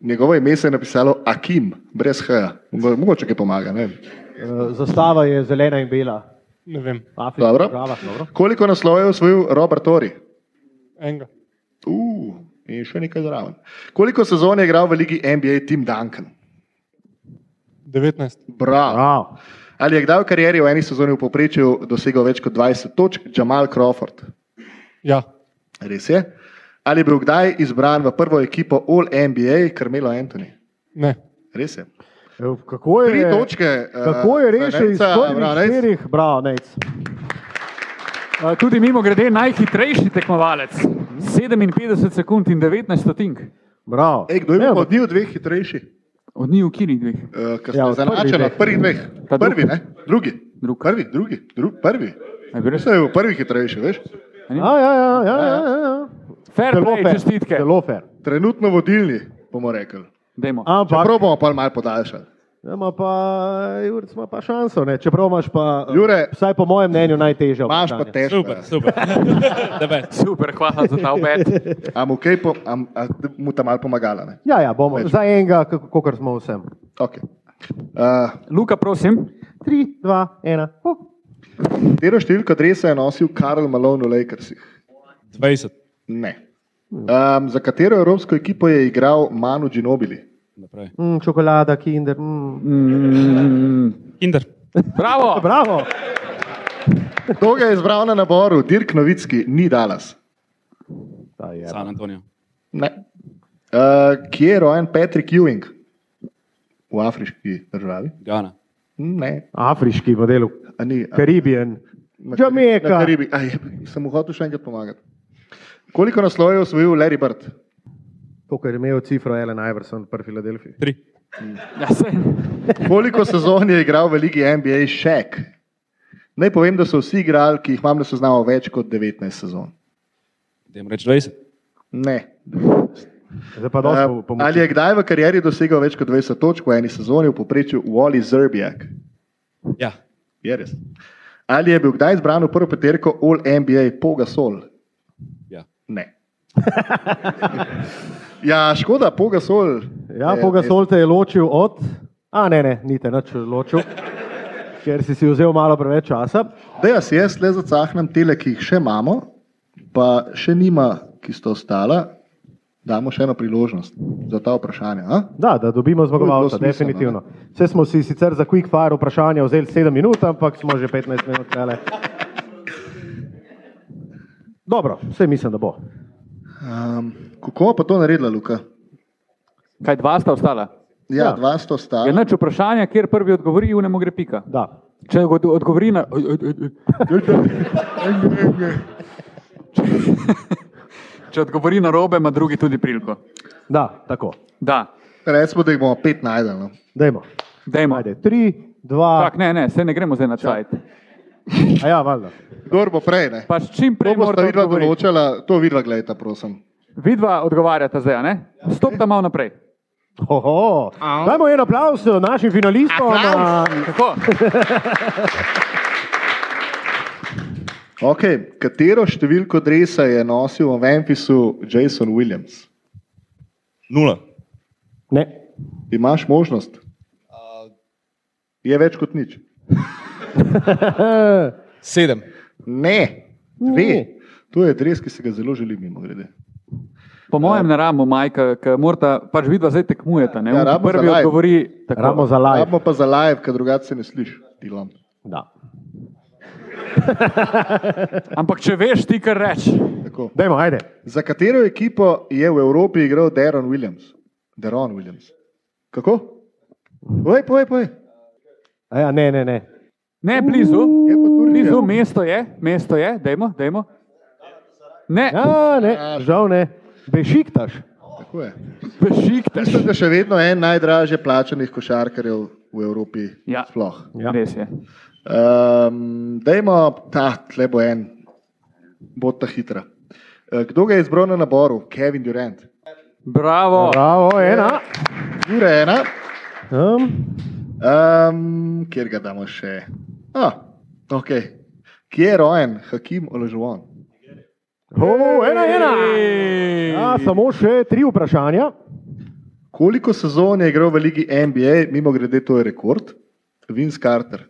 Njegovo ime se je napisalo Akim, brez H. Mo- Mogoče kaj pomaga. Ne?
E, Zastava je zelena in bela.
ne vem.
Afrika,
Dobro.
Prava, dobro.
Koliko naslovov je osvojil Robert Tori?
Enega.
Uh, in še nekaj zraven. Koliko sezon je igral v ligi NBA Tim Duncan?
19.
Bravo.
Prav.
Ali je kdaj v karieri v eni sezoni v povprečju dosegel več kot 20 točk Jamal Crawford?
Ja.
Res je. Ali je bil kdaj izbran v prvo ekipo All-NBA Carmelo Anthony?
Ne.
Res je.
Ev, E, Kako
Tri
je,
točke. eh,
kako je rešil iz
Ferenca,
prvih
bravo, res.
štirih? Bravo, Nejc.
Eh, Tudi mimo grede najhitrejši tekmovalec. 57 sekund in 19 stotink.
Bravo.
Ej, kdo je
Ne,
bil od njih dveh hitrejši?
Od njih v Kini dveh.
Eh, ker
Ja,
ste
od prvih
zanačeni od
dveh.
prvih dveh.
Ta drugi.
Prvi, ne? Drugi.
Drugi.
Prvi, drugi, drug, prvi.
A je bil res?
Mislim, da je bil prvi hitrejši, veš? Hm?
Ja, ja, ja, ja, ja, ja, ja.
Fair
Zelo
play,
fair,
čestitke.
Zelo fair.
Trenutno vodilni, bomo rekli.
Dajmo.
Ampak,
Čeprav bomo pa malo podaljšali.
Ja, ima pa, Jurc, ima pa šanso, ne? čeprav imaš pa, eh,
Jure.
vsaj po mojem mnenju, najtežjo.
Imaš pa
vprašanje.
težko.
Super, super. Da več.
Super, hvala za ta obet.
A mu, kaj po, a, a mu ta malo pomagala? Ne?
Ja, ja, bomo.
Več.
Za enega, kako kar smo vsem.
Okay. Uh,
Luka, prosim.
3, 2, 1. Uh.
Tero številko dresa je nosil Karl Malone v Lakersih?
20.
Ne. Um, za katero evropsko ekipo je igral Manu Ginobili?
Naprej.
Mm, čokolada, kinder. Mm.
No.
Kinder.
Bravo.
Bravo.
Kdo ga je izbral na naboru? Dirk Novitski, ni Dallas.
San Antonijo.
Ne. Uh, kje je rojen Patrick Ewing? V afriški državi?
Gana.
Ne,
Afriški model,
a ni. a-
Karibijan.
na Kari-
Jamaica.
na Karibi. Aj, Sem mu hotel še enkrat pomagati. Koliko naslovov je osvojil Larry Bird?
To, kar je imel cifro Ellen Iverson pri Filadelfiji.
Tri.
Ja, sej.
Koliko sezon je igral v ligi NBA Shaq? Naj povem, da so vsi igrali, ki jih imam na seznamu, več kot 19 sezon.
Idem reči 20.
Ne.
Zdaj pa
Eh,
dobro pomoč.
ali je kdaj v karieri dosegal več kot 20 točk v eni sezoni v poprečju Wally Zerbjak?
Ja.
Je res. Ali je bil kdaj izbran v prvo peterko All NBA Poga Sol?
Ja.
Ne. ja, škoda, Eh, Poga Sol.
Ja, Pogasol te je ločil od. A ne, ne, ni te nič ločil, ker si si vzel malo preveč časa.
eh, Da, jaz, jaz le zacahnem tele, ki jih še imamo, pa še nima, ki sta ostala. Damo še eno priložnost za ta vprašanja. a?
Da, da dobimo zmagovalca,
smiselno,
definitivno. Vse smo si sicer za quick fire vprašanje vzeli 7 minut, ampak smo že 15 minut tele. Dobro, vse mislim, da bo.
Um, kako pa to naredila, Luka?
Kaj dva sta ostala?
Ja,
Ja.
ja. dva sta
Je
ostala.
nič vprašanja, kjer prvi odgovori, unemu gre pika.
Da.
Če od- odgovori na. Če odgovori na robe, ima drugi tudi priliko.
Da, tako.
Da,
Recimo, da jih bomo pet najdel. no.
Dajmo.
dajmo.
Ajde, 3, 2,
Tak, ne, ne, se ne gremo zdaj na cajt.
a ja, valjda.
Kdor bo prej, ne?
Pač čim
To
prej
bo sta
morate
vidva
odgovoriti.
določala, to vidva gledata, prosim.
Vidva odgovarjata zdaj, a ne? Stopta malo naprej.
Oho. Dajmo en aplaus našim finalistom. a-
Kako?
Okay. Katero številko dresa je nosil v Memphisu Jason Williams?
Nula.
Ne.
Imaš možnost? Je več kot nič.
Sedem.
Ne,
Ne.
dve. To je dres, ki se ga zelo želim, mimo grede.
Po mojem ne ramo, Majka, ker morata, pač vidva zdaj tekmujeta. Ne?
Ja,
Ja,
rabimo
prvi
za live.
odgovori tako.
Ramo za live.
Rabimo pa za live, ker drugače se ne sliši. Dilan.
Da.
Ampak če veš, ti kar reči.
Tako.
Dajmo, ajde.
Za katero ekipo je v Evropi igral Deron Williams? Deron Williams. Kako? Povej, povej, povej.
A ja, ne, ne, ne.
Ne blizu,
Je pa Turčija.
blizu, mesto je, mesto je, dajmo, dajmo. Ne,
Ja, ne, žal ne. Bešiktaš.
Tako je.
bešikte.
Mislim, da je še vedno en najdražje plačanih košarkarjev v Evropi.
Ja.
Sploh.
Ja.
Res je.
Um, dajmo, ta tle bo en, bo ta hitra. Eh, Kdo ga je izbral na naboru? Kevin Durant.
Bravo.
Ja, Bravo, ena.
Jure ena,
Um,
um, kjer ga damo še. Ah, okay. Kje je rojen, Hakim Olažuvan?
oh, ena, ena.
Ej.
Ja, samo še tri vprašanja.
Koliko sezon je igral v ligi NBA, mimo grede, to je rekord? Vince Carter.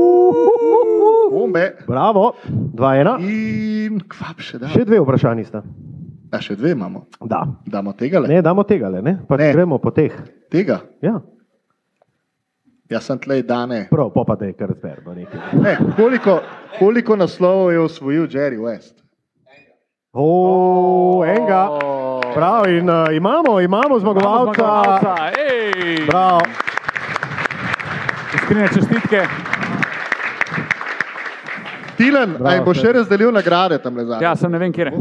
Uh,
Bombe.
bravo, dva, ena.
In kvap še da.
Še dve vprašanji sta.
A še dve imamo.
Da.
Damo tega le.
Ne, damo tega le, ne? Pač
Ne.
gremo po teh.
Tega.
Ja,
Jaz sem tlej dane.
prav, pa pa da je kar zberba nekaj.
Ne, koliko, koliko naslovov je osvojil Jerry West?
O, enega. Prav, in uh, imamo, imamo
Imamo
zmagovalca.
zmagovalca, ej.
Prav.
Iskrene čestitke.
Tilan,
Bravo,
ali bo še
Fred.
razdelil nagrade tam le zadnje?
Ja, sem ne vem, kje je.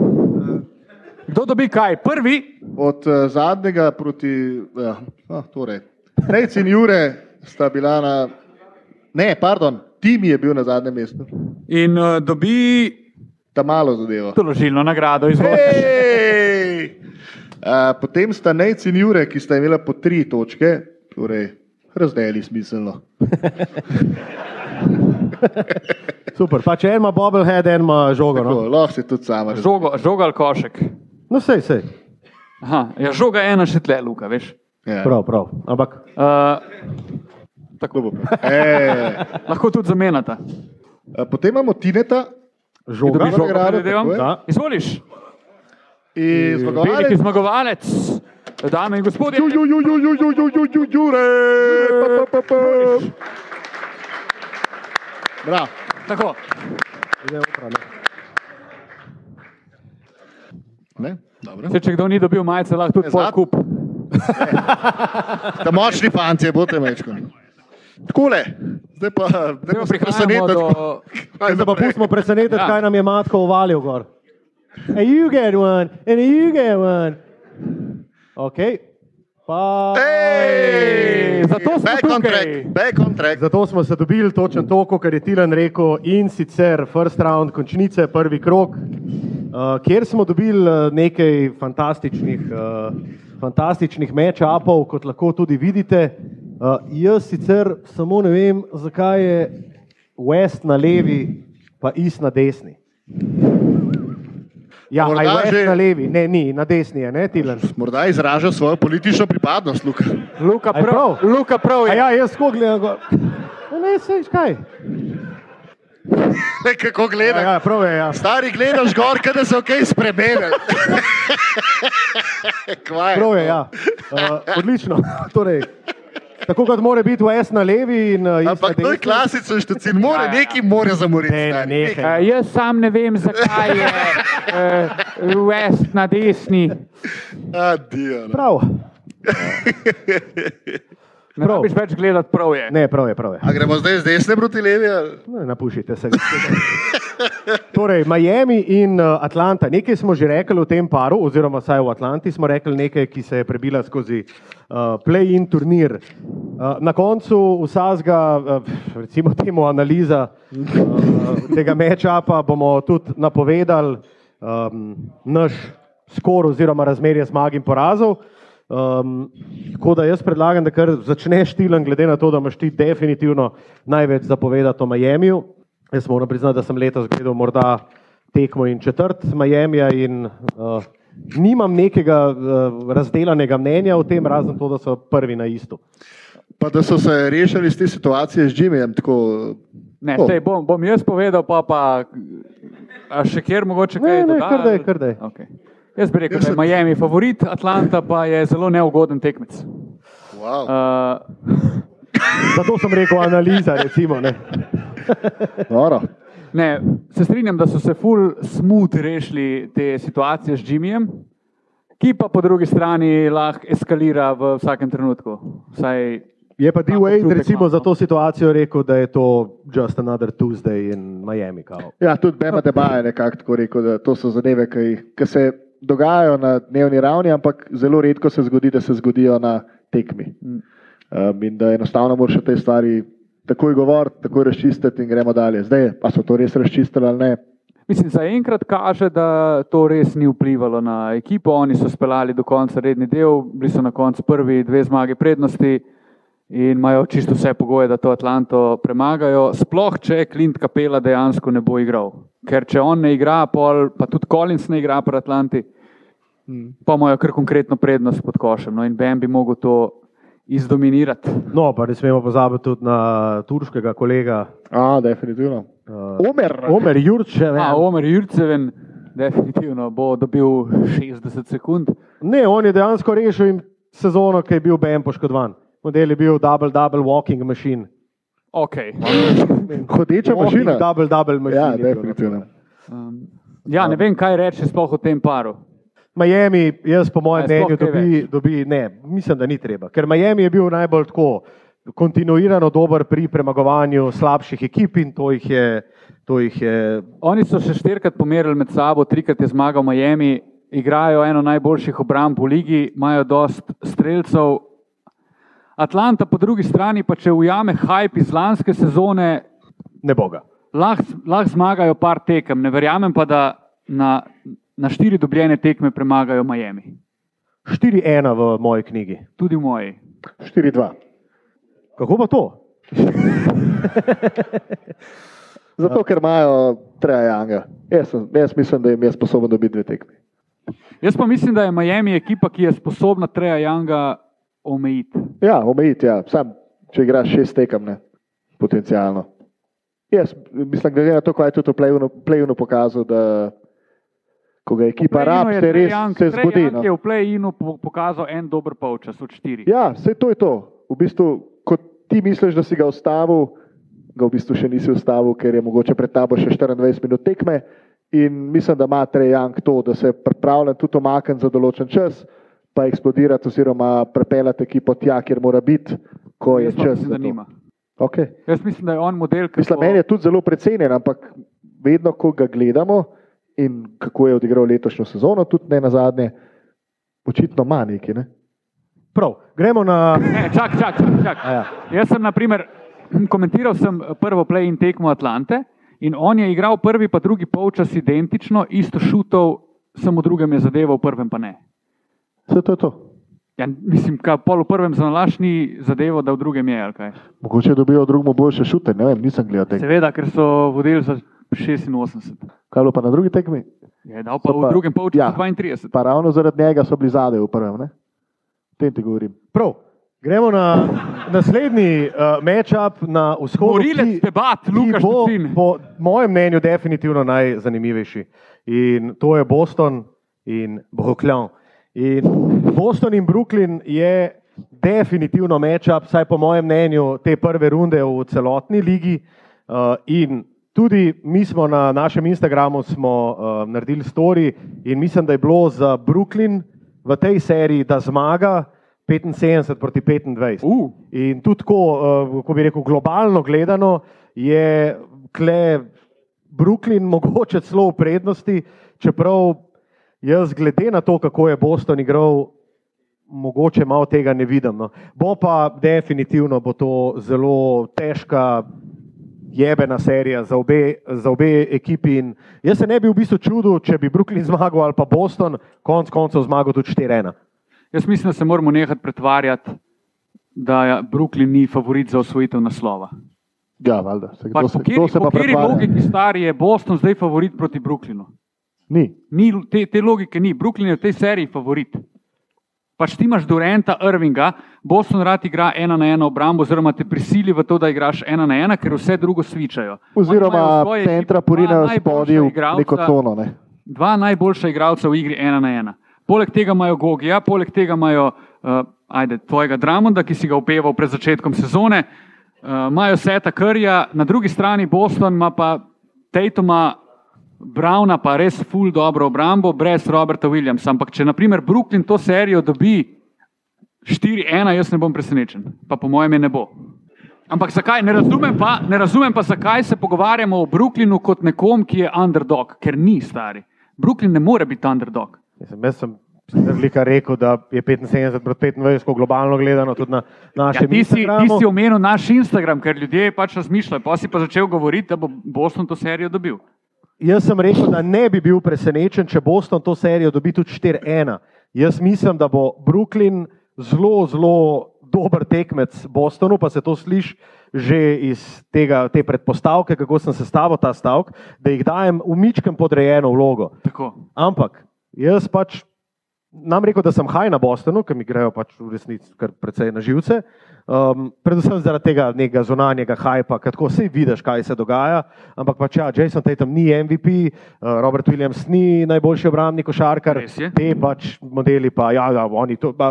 Kdo dobi kaj? Prvi,
Od uh, zadnjega proti. Uh, ah, torej. Nec in Jure sta bila na. Ne, pardon, Tim je bil na zadnjem mestu.
in uh, dobi
Ta malo zadeva.
doložilno nagrado. Izvolite.
Hej! Uh, potem sta Nec in Jure, ki sta imela po tri točke, torej razdeli smiselno.
Super, pa če en ima bobblehead, en ima žogo. No,
Tako, lahko si tudi sama. razdelila.
Žogo, žoga ali košek.
no sej, sej.
Aha, ja, žoga je ena še tle, Luka, veš.
Ja.
Prav, prav. Ampak
Uh,
Kdo bo pa? E,
lahko tudi zamenjata.
eh, potem imamo Tineta
Kdo
žoga.
dobi žogo,
nagrado,
predvidevam?
tako je.
Da.
Izvoliš,
in
veliki
zmagovalec.
zmagovalec, dame in gospodje.
Ju, ju, ju, ju, ju, ju, ju, ju, Jure! Pa, pa, pa, pa. Bravo.
Tako,
Ne? Dobro.
Zdaj, če kdo ni dobil majice, lahko tudi
Ne, zlat-
pol kup.
Ta močni fanti, bote mečko. Takole, zdaj pa ne
Zdaj pa
bomo se
prihajamo
presenetili.
do...
Zdaj pa pustimo presenetiti,
Ja.
ja. kaj nam je matka uvalil gor. And you get one, and you get one. Ok, pa.
Ej,
Zato smo
back on
tukaj.
track, back on track.
Zato smo se dobili točno to, kar je Tilan rekel, in sicer first round končnice, prvi krok. Uh, kjer smo dobili eh, nekaj fantastičnih, uh, fantastičnih match-upov, kot lahko tudi vidite. Uh, jaz sicer samo ne vem, zakaj je West na levi, pa Is na desni. Ja,
Morda
ali je West
že-
na levi, ne, ni, na desni je, ne, Tilan.
Morda izraža svojo politično pripadnost, Luka.
Luka prav, prav? Luka prav je. A ja, jaz ko gledam, go... no, ne, sej, kaj.
Glej, Kako
Ja,
gledaš?
ja, prav je, ja.
Stari gledaš gor, kada se ok spremeni. Kvaj.
Prav je, ja. Uh, odlično. Torej, tako kot mora biti West na levi in uh,
Ampak to je klasičen štacil, mora neki mora zamoriti.
Ja, Ne,
stari,
nehaj.
nekaj.
Uh, jaz sam ne vem, zakaj je uh, West na desni.
Adijo, no.
Prav.
Ne
Prav.
rabiš več gledati, prav je.
Ne, prav je, prav je.
A gremo zdaj z desne proti levi? ali?
Ne, napušite se. Torej, Miami in uh, Atlanta. Nekaj smo že rekli o tem paru, oziroma vsaj v Atlanti smo rekli nekaj, ki se je prebila skozi uh, play-in turnir. Uh, na koncu vsazga, uh, recimo temu analiza uh, tega meča, pa bomo tudi napovedali um, naš skor oziroma razmerje zmag in porazov. Um, tako da jaz predlagam, da kar začneš tilen, glede na to, da imaš ti definitivno največ zapovedati o Miamiju. Jaz moram priznati, da sem letos gledal morda tekmo in četrt Miamija in uh, nimam nekega uh, razdelanega mnenja o tem, razen to, da so prvi na istu.
Pa da so se rešili iz te situacije z Jimmyjem. Tako,
Ne,
Oh.
sej, bom, bom jaz povedal, pa, pa a še kjer mogoče kaj
Ne, ne,
doda,
kar daj,
ali-
kar daj.
Okay. Jaz bi rekel,
Jaz
da je
sem-
Miami favorit, Atlanta pa je zelo neugoden tekmec.
wow.
Uh,
Zato sem rekel analiza. Recimo, ne.
Noro.
ne, se strinjam, da so se full smooth rešili te situacije z Jimmyjem, ki pa po drugi strani lahko eskalira v vsakem trenutku. Vsaj,
Je pa D-Wade
občutek
recimo,
imam,
za
no.
to situacijo rekel, da je to just another Tuesday in Miami. Kao.
Ja, tudi Bema Deba je nekako tako rekel, da to so zadeve, ki, jih, ki se dogajajo na dnevni ravni, ampak zelo redko se zgodi, da se zgodijo na tekmi. Um, in da enostavno moraš o tej stvari takoj govoriti, takoj razčistiti in gremo dalje. Zdaj, pa so to res razčistili ali ne,
mislim, zaenkrat kaže, da to res ni vplivalo na ekipo. Oni so speljali do konca redni del, bili so na koncu prvi dve zmage prednosti. In imajo čisto vse pogoje, da to Atlanto premagajo, sploh če Klint Kapela dejansko ne bo igral. Ker če on ne igra, pol, pa tudi Collins ne igra pri Atlanti, pa imajo kar konkretno prednost pod košem. No, in Ben bi mogel to izdominirati.
No, pa ne smemo pozabiti tudi na turškega kolega.
A, definitivno.
Uh,
Omer.
Omer Jurčev.
A, Omer Jurceven definitivno bo dobil 60 sekund.
Ne, on je dejansko rešil jim sezono, ki je bil BM poškodovan. Model je bil double, double walking machine.
Okay.
Hodeča
Walking
mašina.
Double, double machine.
Ja,
je no. bilo.
definitivno.
Um, ja, ne vem, kaj reče sploh o tem paru.
Miami, jaz po mojem
A je sploh
mnenju,
kaj
dobi, dobi, ne, mislim, da ni treba. Ker Miami je bil najbolj tako kontinuirano dober pri premagovanju slabših ekip in to jih je, to jih je
Oni so se štirikrat pomerili med sabo, trikrat je zmagal Miami, igrajo eno najboljših obramb v ligi, imajo dost streljcev. Atlanta po drugi strani pa če ujame hype iz lanske sezone,
neboga.
lahko lah zmagajo par tekem. Ne verjamem pa, da na, na štiri dobljene tekme premagajo Miami.
4-1 v moji knjigi.
Tudi v moji.
ja.
4-2.
Kako pa to?
Zato, ker imajo trajanga. Jaz, sem- jaz mislim, da jim je sposoben dobiti dve tekmi.
Jaz pa mislim, da je Miami ekipa, ki je sposobna Treja Janga omejiti.
Ja, omejiti, ja. Sam, če igraš šest tekem, ne, potencialno. Jaz mislim, glede na to, kaj je tudi v play-unu- play-unu pokazal, da ko ga ekipa rab, se res se zgodi.
Je
No.
v play-inu po- pokazal en dober polčas od štirih.
Ja, vse to je to. V bistvu, ko ti misliš, da si ga ustavil, ga v bistvu še nisi ustavil, ker je mogoče pred tabo še 24 minut tekme. In mislim, da ima Trejang to, da se je pripravljen tudi omakniti za določen čas, pa eksplodirati oziroma prepeljati ekipo tja, kjer mora biti, ko je
Jaz pa
čas.
mislim,
za
da
to.
nima.
Okay.
Jaz mislim, da je on model, ki
Mislim, meni je tudi zelo precenjen, ampak vedno, ko ga gledamo in kako je odigral letošnjo sezono, tudi ne na zadnje, očitno ima nekaj. Ne?
Prav, gremo na.
Ne, čak, čak, čak, čak.
A ja.
Jaz sem, na primer, komentiral sem prvo play-in eh, tekmo Atlante In on je igral prvi in drugi polčas identično, isto šutov, samo v drugem je zadeval, v prvem pa ne.
Vse to je to.
Ja, mislim, da pol v prvem zanalaš ni zadevo, da v drugem je. ali kaj?
Mogoče dobijo drugemu boljše šute, ne vem, nisem gledal tega.
Seveda, ker so vodili za 86.
Kaj je bilo pa na drugi tekmi?
Je dal pa
So pa-
v drugem polčasu
ja.
ja. 32.
Pa ravno zaradi njega so bili zadaj v prvem, ne? O tem ti govorim.
Prav. Gremo na naslednji uh, matchup na vzhodu.
Morilec debat, Lukaš
bo,
Tucin.
po mojem mnenju, definitivno najzanimivejši. In to je Boston in Brooklyn. In Boston in Brooklyn je definitivno matchup, vsaj po mojem mnenju, te prve runde v celotni ligi. Uh, in tudi mi smo na našem Instagramu smo, uh, naredili story in mislim, da je bilo za Brooklyn v tej seriji, da zmaga 75 proti 25.
Uh,
In tudi tako, eh, ko bi rekel, globalno gledano, je kle Brooklyn mogoče celo v prednosti, čeprav jaz, glede na to, kako je Boston igral, mogoče malo tega ne vidim. No. Bo pa definitivno bo to zelo težka. Jebena serija za obe, za obe ekipi. In jaz se ne bi v bistvu čudil, če bi Brooklyn zmagal ali pa Boston, konc koncev zmagal tudi 4-1.
jaz mislim, da se moramo nehati pretvarjati, da ja, Brooklyn ni favorit za osvojitev naslova.
Ja, valjda. Se, kdo,
Pač,
se,
po kateri,
kdo se
po
pa
kateri
pretvarja?
logiki stari je Boston zdaj favorit proti Brooklynu?
Ni.
Ni, te, te logike ni. Brooklyn je v tej seriji favorit. Pač ti imaš Dorenta, Irvinga, Boston rad igra ena na ena obrambo, oziroma te prisili v to, da igraš ena na ena, ker vse drugo svičajo. Oni imajo v
Oziroma,
svoji ekipi
centra
dva
porinajo
najboljša
spodaj v
igralca-
neko cono. Ne?
Dva najboljša igralca v igri ena na ena. Poleg tega imajo Gogija, poleg tega imajo uh, ajde, tvojega Dramonda, ki si ga upeval pred začetkom sezone, uh, imajo Seta Krja, na drugi strani Boston ima pa Tatuma, Browna pa res full dobro obrambo, brez Roberta Williamsa. Ampak če naprimer Brooklyn to serijo dobi 4-1, jaz ne bom presenečen, pa po mojem je ne bo. Ampak zakaj, ne razumem, pa, ne razumem pa, zakaj se pogovarjamo o Brooklynu kot nekom, ki je underdog, ker ni stari. Brooklyn ne more biti underdog.
Mislim, jaz sem razlika rekel, da je 75 proti 25, ko globalno gledano, tudi na
Ja,
našem
ti, si, ti
Instagramu.
si omenil naš Instagram, ker ljudje pač razmišljajo. Pa si pa začel govoriti, da bo Boston to serijo dobil.
Jaz sem rekel, da ne bi bil presenečen, če Boston to serijo dobi tudi 4-1. Jaz mislim, da bo Brooklyn zelo, zelo dober tekmec Bostonu, pa se to sliši že iz tega, te predpostavke, kako sem sestavil ta stavek, da jih dajem umičkem podrejeno vlogo.
Tako.
Ampak jaz pač nam rekel, da sem haj na Bostonu, ker mi grejo pač v resnici kar precej na živce. Um, predvsem zaradi tega nekega zunanjega hajpa, ker tako vsi vidiš, kaj se dogaja. Ampak pač ja, Jason Tatum ni MVP, uh, Robert Williams ni najboljši obrambnik, košarkar,
Res je.
te pač modeli pa, ja, ja oni to. Pa,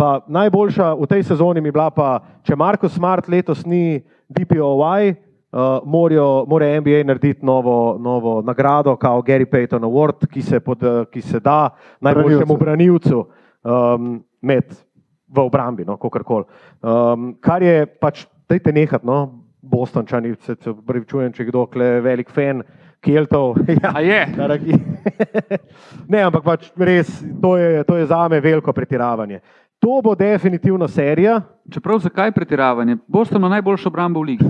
pa najboljša v tej sezoni mi je bila pa, če Marko Smart letos ni DPOY, Uh, morajo, mora NBA narediti novo, novo nagrado, kot Gary Payton Award, ki se, pod, eh, ki se da najboljšemu branilcu um, med v obrambi, no, kako koli. Um, kar je pač, dajte nehati, no, Bostončani, se se opravičujem, če je kdo je velik fan Keltov. ja,
A je?
Dragi. ne, ampak pač res, to je, to je za me veliko pretiravanje. To bo definitivno serija.
Čeprav zakaj pretiravanje? Boston ima najboljšo obrambo v ligi.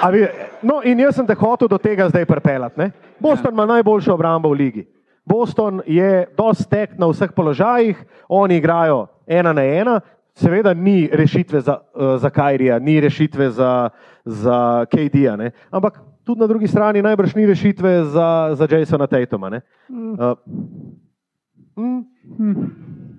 A Vi, no, in jaz sem te hotel do tega zdaj pripeljati. ne. Boston ima najboljšo obrambo v ligi. Boston je dosti tek na vseh položajih, oni igrajo ena na ena. Seveda ni rešitve za, eh, za Kajrija, ni rešitve za, za KD-ja, ne. ampak tudi na drugi strani najbrž ni rešitve za, za Jasona Tatuma. ne.
Mm.
Eh, mm.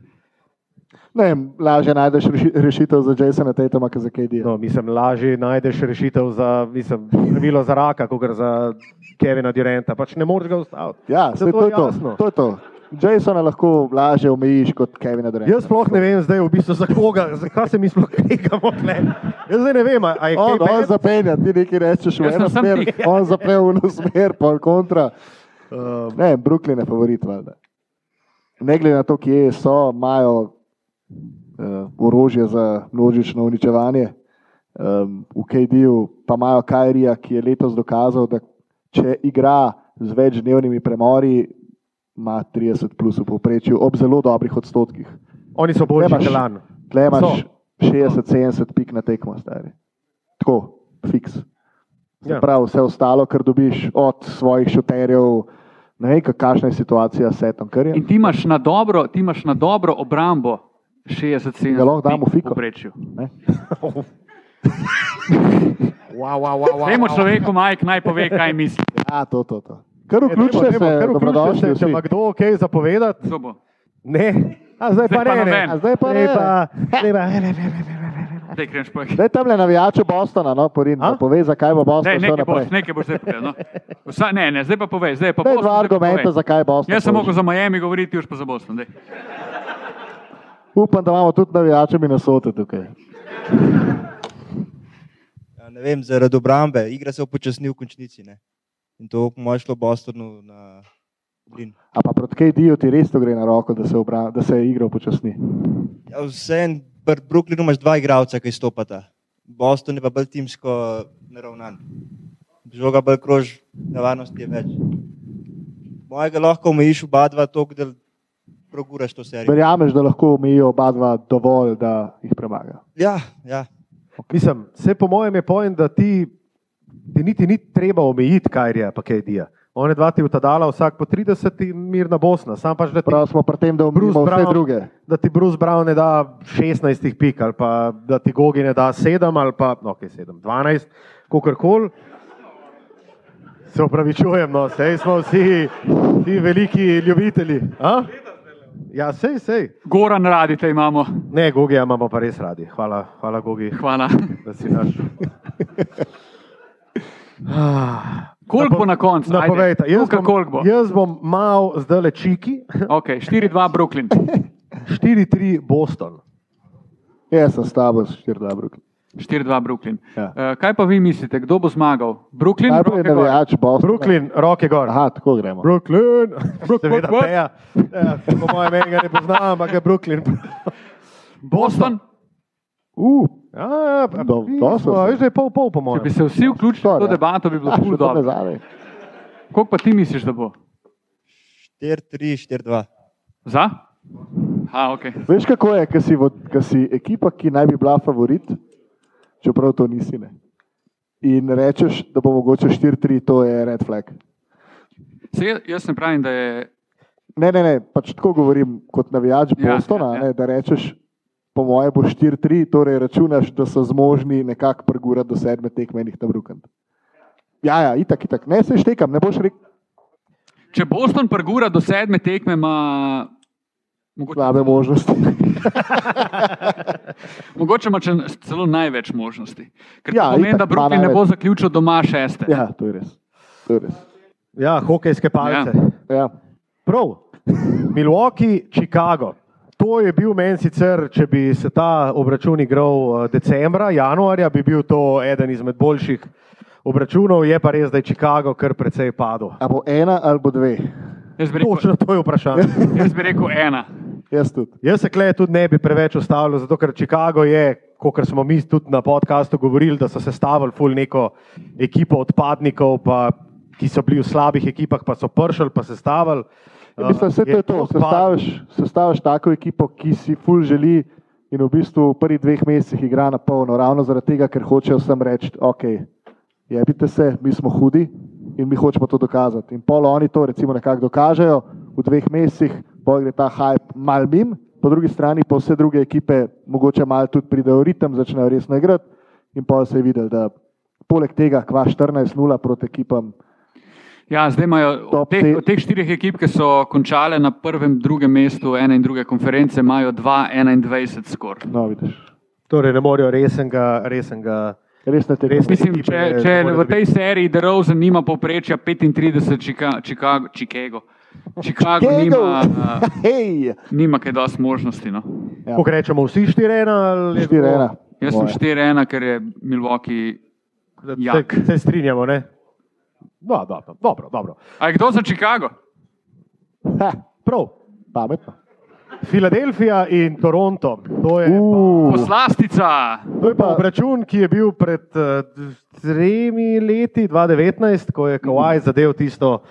Ne, vem, lažje najdeš reši- rešitev za Jasona Tatuma, kot za KD.
No, mislim, lažje najdeš rešitev za mislim, zdravilo za raka, kot za Kevina Durenta. Pač ne moreš ga ustaviti.
Ja,
Saj
saj to je to.
jasno.
to, je to. Jasona lahko lažje omejiš kot Kevina Duranta.
Jaz sploh ne vem, zdaj v bistvu za koga, zakaj se mi sploh kregamo. tle. Jaz zdaj ne vem, ali je kaj
On,
no,
on
bad?
zapenja, ti nekaj rečeš v
Jaz sem
eno
sam
smer,
tiho.
on zapne v eno smer, pa kontra.
Um,
Ne, Brooklyn je favorit, valjda. Ne glede na to, kje so, imajo uh, orožje za množično uničevanje. Um, v KD-ju pa imajo Kajrija, ki je letos dokazal, da če igra z večdnevnimi premori, ima 30 plus v povprečju ob zelo dobrih odstotkih.
Oni so boljši
Nemaš.
kot lani.
Tle imaš
So.
60-70 pik na tekmo, stari. Tako, fiks.
Ja.
Ja. Prav, vse ostalo, kar dobiš od svojih šuterjev, ne vem, kak- kakšna je situacija s Setom Krjem.
In ti imaš na dobro, ti imaš na dobro obrambo 60 centimetrov.
Ga lahko damo fiko.
Poprečju.
Ne?
Wow, wow, wow, wow,
Vemo človeku, Majk, naj pove, kaj misli.
Ja, to, to, to. Kar
E, dajmo,
vključite
dajmo,
se,
kar vključite
dobrodošli
se, Če
vsi.
ima kdo kaj zapovedati,
To bo.
ne.
A zdaj
Zdaj
pa
pa
ne, ne.
noben.
A zdaj pa
Zdaj
ne.
pa- zdaj pa- ne, ne, ne, ne, ne, ne, ne.
Daj, grem špek.
Zdaj tam le navijače Bostona, no, Porin,
A?
pa pove, zakaj bo Boston
Daj,
šel
nekaj boš,
naprej.
nekaj boš zdaj povedal. No. Vsa, ne, ne, zdaj pa povej, zdaj pa
Daj
Boston,
dva
zdaj pa
argumenta,
povej.
zakaj Boston.
Jaz sem
šel.
mogel za Miami govoriti, už pa za Boston. Daj.
Upam, da imamo tudi navijače Minnesota tukaj.
Ja, ne vem, zaradi obrambe. Igra se je upočasnila v končnici. Ne? In to je šlo Bostonu na plin.
A pa proti KD-ju ti res to gre na roko, da se, obra, da se igra upočasni.
Ja, Vseeno, pri Brooklynu imaš dva igralca, ki stopata. Boston je pa bolj timsko naravnan. Žoga bolj krož, nevarnosti je več. Mojega lahko omejiš oba dva tok, da proguraš to serijo.
Verjameš, da lahko omejijo oba dva dovolj, da jih premagajo.
Ja, ja.
Mislim, vse po mojem je pojem, da ti, ti niti ni treba omejiti, kaj je, pa kaj je. One dva ti utadala, vsak po 30 in mirna Bosna. Sam pač, da ti,
Prav smo pri tem, da
Bruce
umrimo vse
Brown.
druge.
da ti Bruce Brown ne da 16 pik ali pa da ti Gogi ne da 7 ali pa, no, kaj 7, 12, kakorkoli. Se upravičujem, no, sej smo vsi, vsi veliki ljubitelji. A? Ja, sej, sej.
Goran radite imamo.
Ne, Gogi, ja, imamo pa res radi. Hvala, hvala Gogi,
Hvala.
da si naš.
Koliko bo na
No,
koncu? Ajde.
Napovejte, jaz,
Luka, koliko bo?
bom- jaz bom mal zdaj le čiki,
Okay, 4-2 Brooklyn.
4-3 Boston.
Jaz sem s tabo, štir dobrog.
4-2 Brooklyn.
Ja.
Eh, Kaj pa vi mislite, kdo bo zmagal? Brooklyn?
Najprej
Roke gor.
navijač Bostona.
Brooklyn, roke gor.
Aha, tako gremo.
Brooklyn, Seveda,
what?
Teja. Ja, po mojem mnenju ne poznam, ampak je Brooklyn.
Boston?
Uh,
Ja, ja, pa-
Do-
er
dosto
smo,
se.
Veš, da je pol pol, po
Če
mojem.
bi se vsi vključili v to
Skoraj.
debato, bi bilo
ja,
ful
še to ne
dobro.
zadej.
Koliko pa ti misliš, da bo?
4-3, 4-2.
Za? A, okay.
Veš kako je, ker si, vod- ko si ekipa, ki naj bi bila favorit, čeprav to nisi. Ne. In rečeš, da bo mogoče 4-3, to je red flag.
Se, jaz, jaz ne pravim, da je.
Ne, ne, ne, pač tako govorim kot navijač
Ja,
Bostona,
ja, ja.
Ne, da rečeš, po moje bo 4-3, torej računaš, da so zmožni nekako pregurati do sedme tekme in jih tam rukant. Ja, ja, itak, itak, ne se štekam, ne boš rekel
Če Boston prgura do sedme tekme, ima. Mogoče,
slabe možnosti.
mogoče ima če- celo največ možnosti. Ker
Ja,
ja, pomeni,
itak
da
ima
Brooklyn ne bo
največ.
zaključil doma šeste.
Ja, to je res. To je res.
Ja, hokejske palce.
Ja.
Ja.
Prav, Milwaukee, Chicago. To je bil meni sicer, če bi se ta obračun igral eh, decembra, januarja, bi bil to eden izmed boljših obračunov. Je pa res, da je Chicago kar precej padel.
A bo ena ali bo dve?
Jaz, bi rekel,
Točno to je vprašanje.
jaz bi rekel ena.
Jaz tudi.
Jaz se kleje tudi ne bi preveč ustavljal, zato ker Chicago je, kot smo mi tudi na podkastu govorili, da so se stavili ful neko ekipo odpadnikov, pa, ki so bili v slabih ekipah, pa so pršali, pa Eh, se stavili.
Ja, Mislim, vse to je to. Sestaviš, sestaviš tako ekipo, ki si ful želi in v bistvu v prvih dveh mesecih igra na polno, ravno zaradi tega, ker hočejo vsem reči, ok, jebite se, mi smo hudi in mi hočemo to dokazati. In polo oni to recimo nekako dokažejo v dveh mesecih, pol gre ta hype mal mim, po drugi strani pa vse druge ekipe mogoče mal tudi pridejo v ritem, začnejo resno igrati in pol se je videl, da poleg tega kva 14-0 proti ekipam
Ja, zdaj imajo od
Top
teh,
te-
od teh štirih ekip, ki so končale na prvem, drugem mestu ene in druge konference, imajo 2-21 skor.
novidež.
Torej, ne morejo resenega, resenega.
Res ne tega.
Res
Mislim,
Ekipe
če,
ne
če
more
v tej seriji DeRozan nima povprečja 35, Chica- Chicago, Chicago, Chicago nima, eh,
Hej!
nima kaj dosti možnosti. No.
Ja.
Ko rečemo vsi 4-1,
4-1.
Jaz sem 4-1, ker je Milwaukee.
Ja.
Jak.
Se, se strinjamo, ne? No, dobro, dobro, dobro.
A je kdo za Chicago?
Ha,
Prav.
pametno.
Filadelfija in Toronto. To je
Uh,
Poslastica!
To je pa račun, ki je bil pred eh, tremi leti, 2019, ko je Kowaj zadev tisto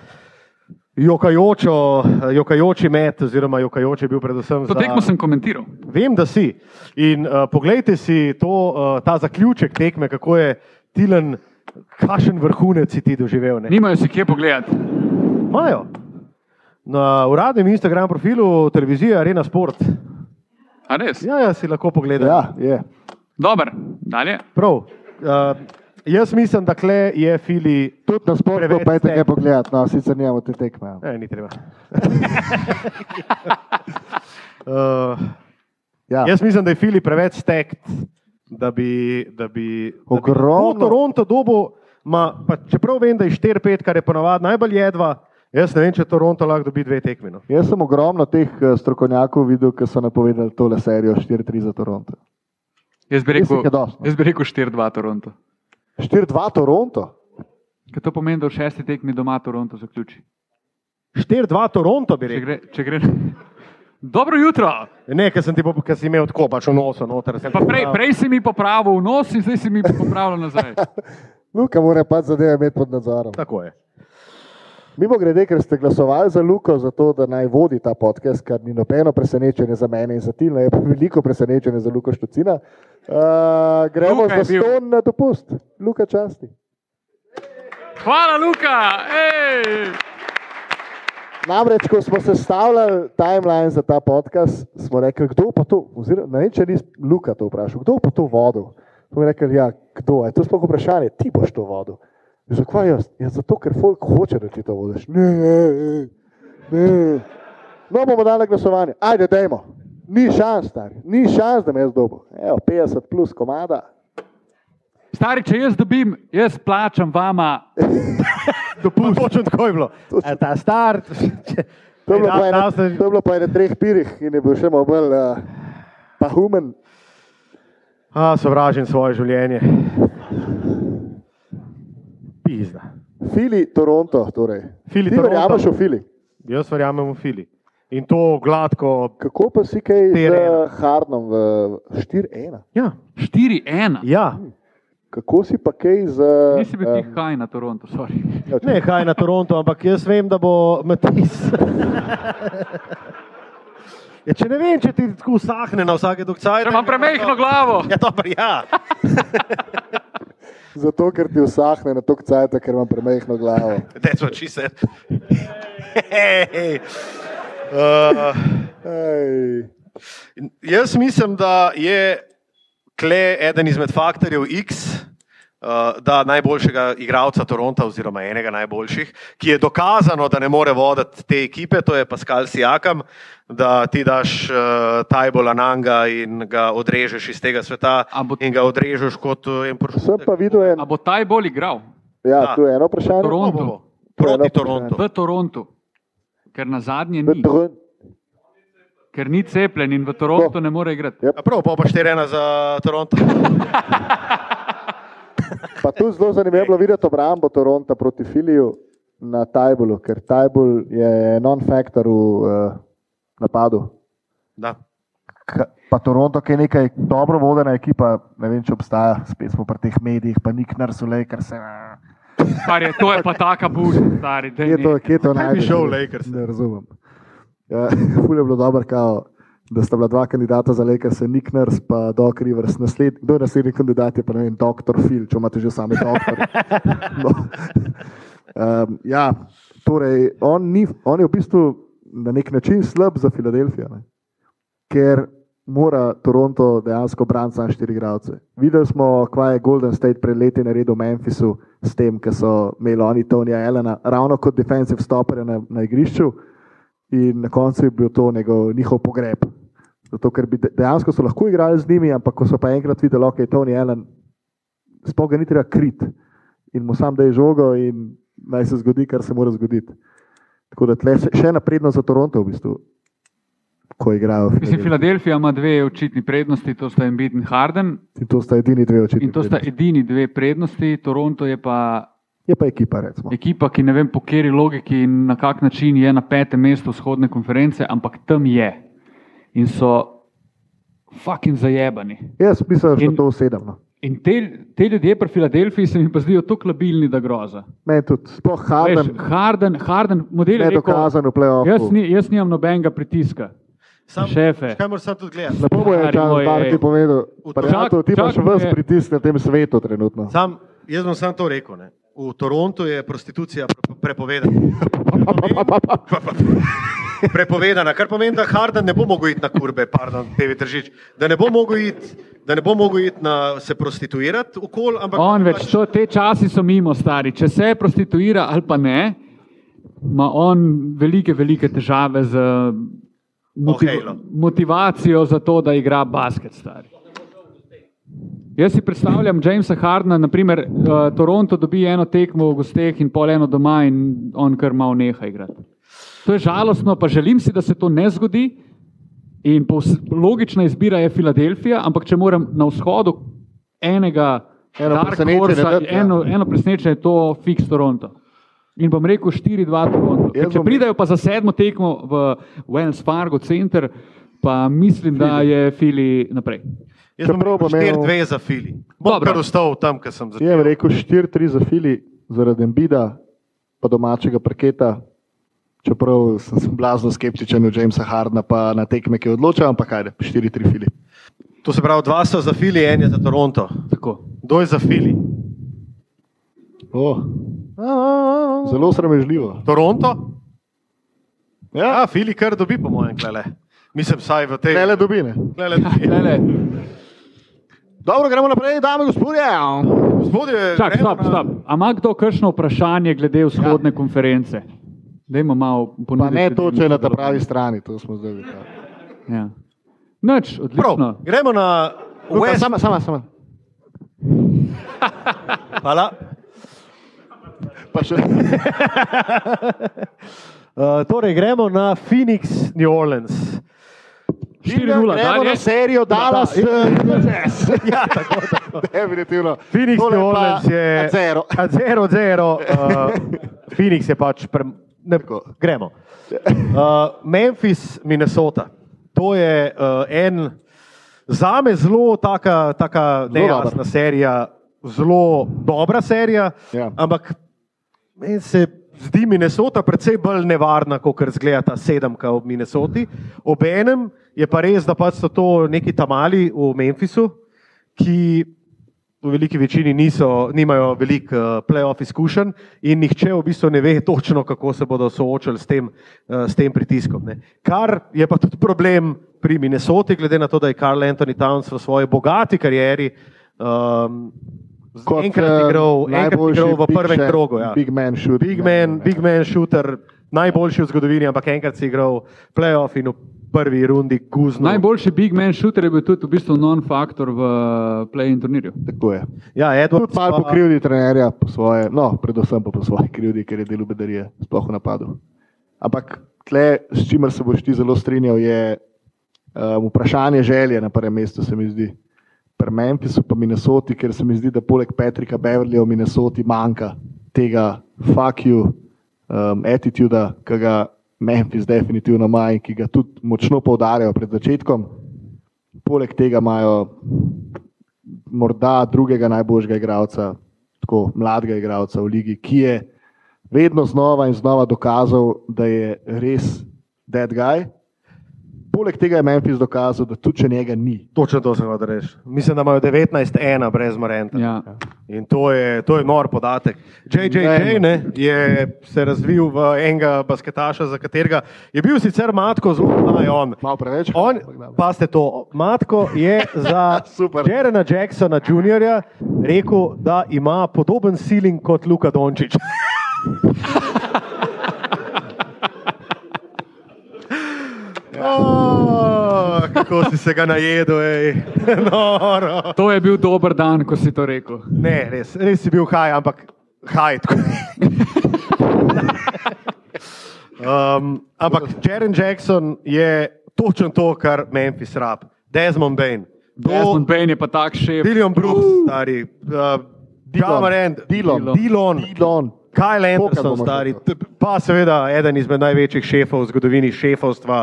jokajočo, jokajoči met, oziroma jokajoči je bil predvsem
To tekmo
za.
sem komentiral.
Vem, da si. eh, In uh, poglejte si to, uh, ta zaključek tekme, kako je Tilen Kakšen vrhunec si ti doživel? Ne?
Nimajo si kje pogledati.
Imajo. Na uradnem Instagram profilu televizije Arena Sport.
A res?
Ja, ja si lahko pogledaš.
Ja, je.
Dober, dalje.
Prav. Uh, jaz mislim, da kle je Fili.
Tudi na sportu
Preveč E,
pojdi
ste.
kaj pogledati, no, sicer nimamo te tekme. ja.
Ne, ni treba. uh,
Ja.
jaz mislim, da je Fili preveč stekt, da bi. Da bi da bi
Ogromno.
po Toronto dobo, ma, pa čeprav vem, da je 4-5, kar je ponavadi najbolj jedva, jaz ne vem, če Toronto lahko dobi dve no. tekmino.
Jaz sem ogromno teh eh, strokovnjakov videl, ki so napovedali tole serijo 4-3 za Toronto.
Jaz bi
Mislim,
rekel,
da je dosti, no.
jaz bi rekel 4-2 Toronto.
4-2 Toronto.
Ker to pomeni, da v šesti tekmi doma Toronto zaključi.
4-2 Toronto bi
Če
rekel.
gre, če gre... Dobro jutro.
Ne, ker sem ti po- ker si imel tako, pač v nosu noter. sem
Ja, pa
ti
prej,
dal.
prej si mi popravil v nos in zdaj si mi popravil
E.
nazaj.
Luka mora pač zadeve imeti pod nadzorom.
Tako je.
Mimo grede, ker ste glasovali za Luko, zato da naj vodi ta podcast, kar ni nobeno presenečenje za mene in za Tilna, je pa veliko presenečenje za Luko Štucina. Uh, gremo
Luka je
za
bil-
ston na dopust, Luka časti.
Hvala, Luka! Ej!
Namreč, ko smo sestavljali timeline za ta podcast, smo rekli, kdo pa to, oziroma ne vem, če ni Luka to vprašal, kdo pa to vodil. Smo rekli, ja, kdo je, to je sploh vprašanje, ti boš to vodil. In Zakaj jaz? Ja, zato, ker folk hoče, da ti to vodiš. Ne, ne, ne, ne. No, bomo dali na glasovanje, ajde, dajmo. Ni šans, stari. ni šans, da me jaz dobil. Evo, 50 plus komada.
Stari, če jaz dobim, jaz plačam vama.
Dopust. Točno tako je bilo. E, ta start. Ja,
To je bilo po
Dal
enem-
sem-
to je bilo po enem treh pirih in je bil še malo bolj uh, pahumen.
A, sovražim svoje življenje. Pizda.
Fili, Toronto. Torej.
Fili,
Ti
Toronto.
verjameš v Fili.
Jaz verjamem v Fili. In to gladko.
Kako pa si kaj z
4:1.
Hardnom v 4-1?
Ja,
4-1.
ja.
Kako si pa kaj z. eh,
Nisi bil
em,
um, kaj na Toronto, sorry.
ne haj na Toronto, ampak jaz vem, da bo Matis. Ja, če ne vem, če ti tako usahne na vsake dokcaj.
Če imam premehko glavo.
Ja, dobro, ja.
Zato, ker ti usahne na tok cajt, ker imam premehno glavo.
That's what she said. Hey. Uh,
Ej.
Jaz mislim, da je Kle eden izmed faktorjev X, eh, da najboljšega igralca Toronta, oziroma enega najboljših, ki je dokazano, da ne more voditi te ekipe, to je Pascal Sijakam, da ti daš eh, Tajbola Nanga in ga odrežeš iz tega sveta
A bo-
in ga odrežeš kot eh, en
Sem
pršutek.
pa videl en.
A bo taj bolj igral
Ja,
da.
tu je eno vprašanje.
Toronto.
Bo, bo.
Ja,
Proti Torontu.
v Torontu? Ker na zadnje
V
ni,
Toron-
ker ni cepljen in v Torontu ne more igrati.
Ja.
Ja, Prav, pol pa šterena za Toronto.
Pa tu zelo zanimivo je bilo videti obrambo Toronta proti Filiju na Tajbulu, ker Tajbul je non-factor v uh, napadu.
Da.
Ka- Pa Toronto, ki je nekaj dobro vodena ekipa, ne vem, če obstaja, spet smo pri teh medijih, pa nik narsulej, ker se.
Kar je, to je pa taka buša, stari. daj no.
Kje to,
nehaj.
kje to
Kaj bi
najdeš?
šel v Lakers?
Ne razumem. Ja, Ful je bilo dobro, kao, da sta bila dva kandidata za Lakers, nik nars pa Doc Rivers. Nasled, kdo je naslednji kandidat, je pa ne vem, doktor Phil, če imate že same doktor. No. Um, ja, torej, on, ni, on je v bistvu na nek način slab za Filadelfijo. Ne? ker mora Toronto dejansko braniti samo štiri igralce. Videli smo, kaj je Golden State pred leti naredil v Memphisu s tem, ker so imeli oni Tonija Elena, ravno kot defensive stoperja na, na igrišču in na koncu je bil to njegov, njihov pogreb. Zato, ker bi de- dejansko so lahko igrali z njimi, ampak ko so pa enkrat videli, da je Tony Allen, sploh ga ni treba krit in mu sam da je žogo in naj se zgodi, kar se mora zgoditi. Tako da tle še še napredno za Toronto v bistvu, ko igrajo. v
Mislim,
Philadelphiji.
Filadelfija ima dve očitni prednosti, to sta Embiid in Harden,
In to sta edini dve očitni.
in to sta
prednosti.
edini dve prednosti. Toronto je pa
Je pa ekipa, recimo.
ekipa, ki ne vem po kateri logiki in na kak način je na petem mestu vzhodne konference, ampak tam je in so fucking zajebani.
Jaz mislim, da
In-
je to no. sedemno.
In te, te ljudje pri Filadelfiji se mi pa zdijo tako labilni, da groza.
Meni tudi, sploh
Veš,
Harden,
Harden, Harden, model je
ne
rekel,
dokazan v play-offu.
jaz, ni, jaz nimam nobenega pritiska.
Sam,
Šefe.
Kaj moraš sam tudi gledati?
Lepo mu je
Stari
Charles
moj,
Barkley
ej.
povedal, prijatelj, ti
čak
imaš
mu
ves
je-
pritisk na tem svetu trenutno.
Sam,
Jaz bom samo to rekel. Ne. V Torontu je prostitucija pre- prepovedana. Prepovedana, kar pomeni, da Harden ne bo mogel iti na kurbe, pardon, TV Tržič, da ne bo mogel iti, da ne bo mogel iti na se prostituirati okol, ampak
On več,
pač-
to, te časi so mimo, stari. Če se prostituira ali pa ne, ima on velike, velike težave z eh, motiv
Ohejlo.
motivacijo za to, da igra basket, stari. Jaz si predstavljam Jamesa Hardna, naprimer, uh, Toronto dobi eno tekmo v gosteh in pol eno doma in on kar malo neha igrati. To je žalostno, pa želim si, da se to ne zgodi. In povs- logična izbira je Filadelfija, ampak če moram na vzhodu enega,
Eno
dark
presenečenje
horsea,
dati, ja.
eno, eno presenečenje je to fiks Toronto. In bom rekel 4-2 Toronto. Ker
Jaz
Če
bom-
pridajo pa za sedmo tekmo v Wells Fargo center, pa mislim, da je Fili naprej.
Jaz sem
Čeprav
rekel
bom imel-
4-2 za Fili. Bom
Dobro.
kar ostal tam, kjer sem začel.
Je rekel 4-3 za Fili, zaradi Embida, pa domačega parketa. Čeprav sem sem blazno skeptičen v Jamesa Hardna, pa na tekme, ki odloča, ampak ajde, 4-3 Fili.
To se pravi, dva sta za Fili, en je za Toronto.
Tako.
Kdo je za Fili?
Oh. Zelo sramežljivo.
Toronto?
Ja,
Ja, Fili kar dobi, po mojem, klele. Mislim, saj v tej.
ne le dobine.
Klele
Ja,
dobi.
Lele,
Dobro, gremo naprej, dame in gospodje.
Gospodje,
čak,
gremo
stop,
na-
stop. A ima kdo kakšno vprašanje glede vzhodne ja. konference? Dajmo malo
Pa
ponuditi.
ne to,
ljudem
če je na ta
sodelovanje.
pravi strani, to smo zdaj videli.
Ja. Noč, odlično.
Prav, gremo na
Luka,
West.
Sama, sama, sama.
Hvala.
Pa še
Uh, torej, gremo na Phoenix, New Orleans.
4-0,
gremo na
dalje.
serijo Dallas. eh,
Ja, tako, tako.
Ja, Definitivno.
Phoenix,
Tole
New
pa
Orleans je.
Zero.
A Zero, zero. Uh, Phoenix je pač. Pre... Ne,
Tako.
gremo. Uh, Memphis, Minnesota. To je uh, en, za me zelo taka, taka
Zelo
nejasna
dobra.
serija, zelo dobra serija,
Ja.
ampak meni se zdi Minnesota precej bolj nevarna, kot zgleda ta sedemka v Minnesoti. Obenem je pa res, da pač so to neki tamali v Memphisu, ki v veliki večini niso, nimajo veliko uh, playoff izkušenj in nihče v bistvu ne ve točno, kako se bodo soočili s tem, uh, s tem pritiskom. Ne. Kar je pa tudi problem pri Minnesoti, glede na to, da je Karl Anthony Towns v svoji bogati karieri um, z-
Kot,
enkrat
eh,
igral, enkrat
najboljši
igral v
big
prvem
shot-
krogu. Ja.
big man shooter.
Big man, big man shooter, najboljši v zgodovini, ampak enkrat si igral playoff in v prvi rundi guzno.
Najboljši big man shooter je bil tudi v bistvu non-faktor v eh, play-in turnirju.
Tako je.
Ja, Edwards
Tudi malo
pa-
po krivdi trenerja, po svoje, no, predvsem pa po svoji krivdi, ker je delo bedarije, sploh v napadu. Ampak tle, s čimer se boš ti zelo strinjal, je um, vprašanje želje na prvem mestu, se mi zdi. Pri Memphisu pa Minnesoti, ker se mi zdi, da poleg Patrika Beverlyja v Minnesoti manjka tega fuck you um, attituda, ki ga Memphis definitivno ima in ki ga tudi močno poudarjajo pred začetkom. Poleg tega imajo morda drugega najboljšega igralca, tako mladega igralca v ligi, ki je vedno znova in znova dokazal, da je res dead guy. Poleg tega je Memphis dokazal, da tudi če njega ni.
Točno to sem hotel reči. Mislim, da imajo 19-1 brez Morenta.
Ja.
In to je, to je nor podatek. JJJ ne, je se razvil v enega basketaša, za katerega je bil sicer matko zelo znajen.
Malo preveč.
On,
ampak dobro.
pazite to, matko je za
Super.
Jerena Jacksona Jr. rekel, da ima podoben siling kot Luka Dončić.
Ja. Oh, kako si se ga najedel, ej. No, Noro.
To je bil dober dan, ko si to rekel.
Ne, res, res si bil haj, ampak haj. tako. um, ampak Jaren Jackson je točno to, kar Memphis rab. Desmond Bain,
Desmond Bain je pa tak šef.
William Brooks, stari, uh, Dilon,
Dillon.
Dilon,
Dillon.
Kyle
Pokal
Anderson,
bomo
stari,
še
t- pa seveda eden izmed največjih šefov v zgodovini šefovstva,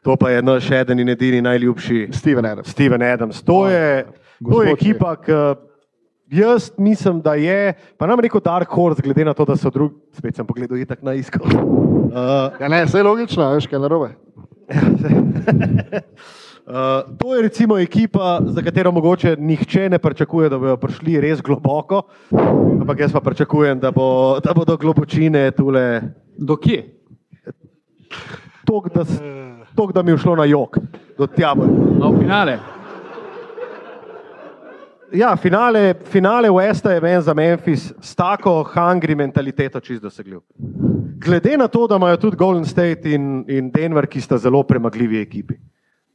to pa je naš eden in edini najljubši
Steven Adams.
Steven Adams. To je, to
Gospod
je
šef.
ekipa, ki jaz mislim, da je, pa nam rekel Dark Horse, glede na to, da so drugi, spet sem pogledal, itak na Uh, iskal.
Ja, ne, vse je logično, veš kaj je narobe.
Uh, Ja, to je recimo ekipa, za katero mogoče nihče ne pričakuje, da bodo prišli res globoko, ampak jaz pa pričakujem, da, bo, da bodo globočine tule
Do kje?
tok, da, s- tok, da mi je šlo na jog, do tja bo.
Na v finale.
Ja, finale, finale Westa je meni za Memphis s tako hangri mentaliteto čist dosegljiv. Glede na to, da imajo tudi Golden State in, in Denver, ki sta zelo premagljivi ekipi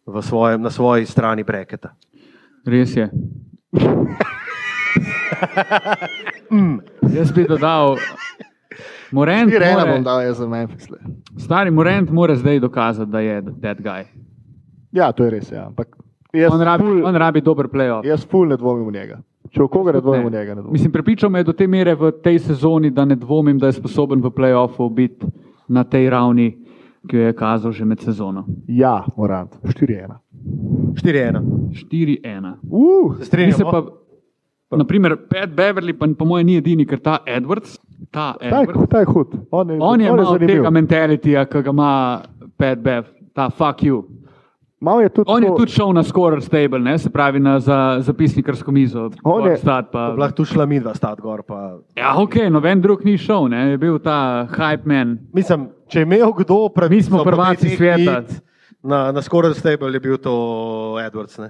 v svojem, na svoji strani breketa.
Res je.
Mm.
Jaz bi dodal, Morent,
Štiri ena bom
more,
dal ja. jaz za Memphis. le.
stari Morent mora zdaj dokazati, da je dead guy.
Ja, to je res, ja. ampak jaz
On rabi,
ful-
on rabi dober playoff.
Jaz ful ne dvomim v njega. Če v koga ne dvomim v njega, ne dvomim.
Mislim, prepričal me je do te mere v tej sezoni, da ne dvomim, da je sposoben v playoffu biti na tej ravni, ki jo je kazal že med sezono.
Ja, Morant, 4-1.
4-1.
4-1.
Uh,
Se
Mi se
strinjamo?
Pa, naprimer, Pat Beverly, pa po mojem, ni edini, ker ta Edwards, ta
ta, je,
Edwards
ta je hud. On je,
on je
on je
imel
zanimiv.
tega mentalitija, ki ga ima Pat Bev, ta fuck you.
Mal je tudi,
On je
tako-
tudi šel na scorer stable, ne? se pravi na za, zapisnikarsko mizo.
On je-
Stat, pa,
Lahko tu šla midva stat gor. Pa.
ja, ok, noben drug ni šel, ne? je bil ta hype man.
Mislim, če je imel kdo pravico,
Mi smo
potem
prvaki
nek
sveta.
mit Na, na skoraj stable je bil to Edwards. Ne?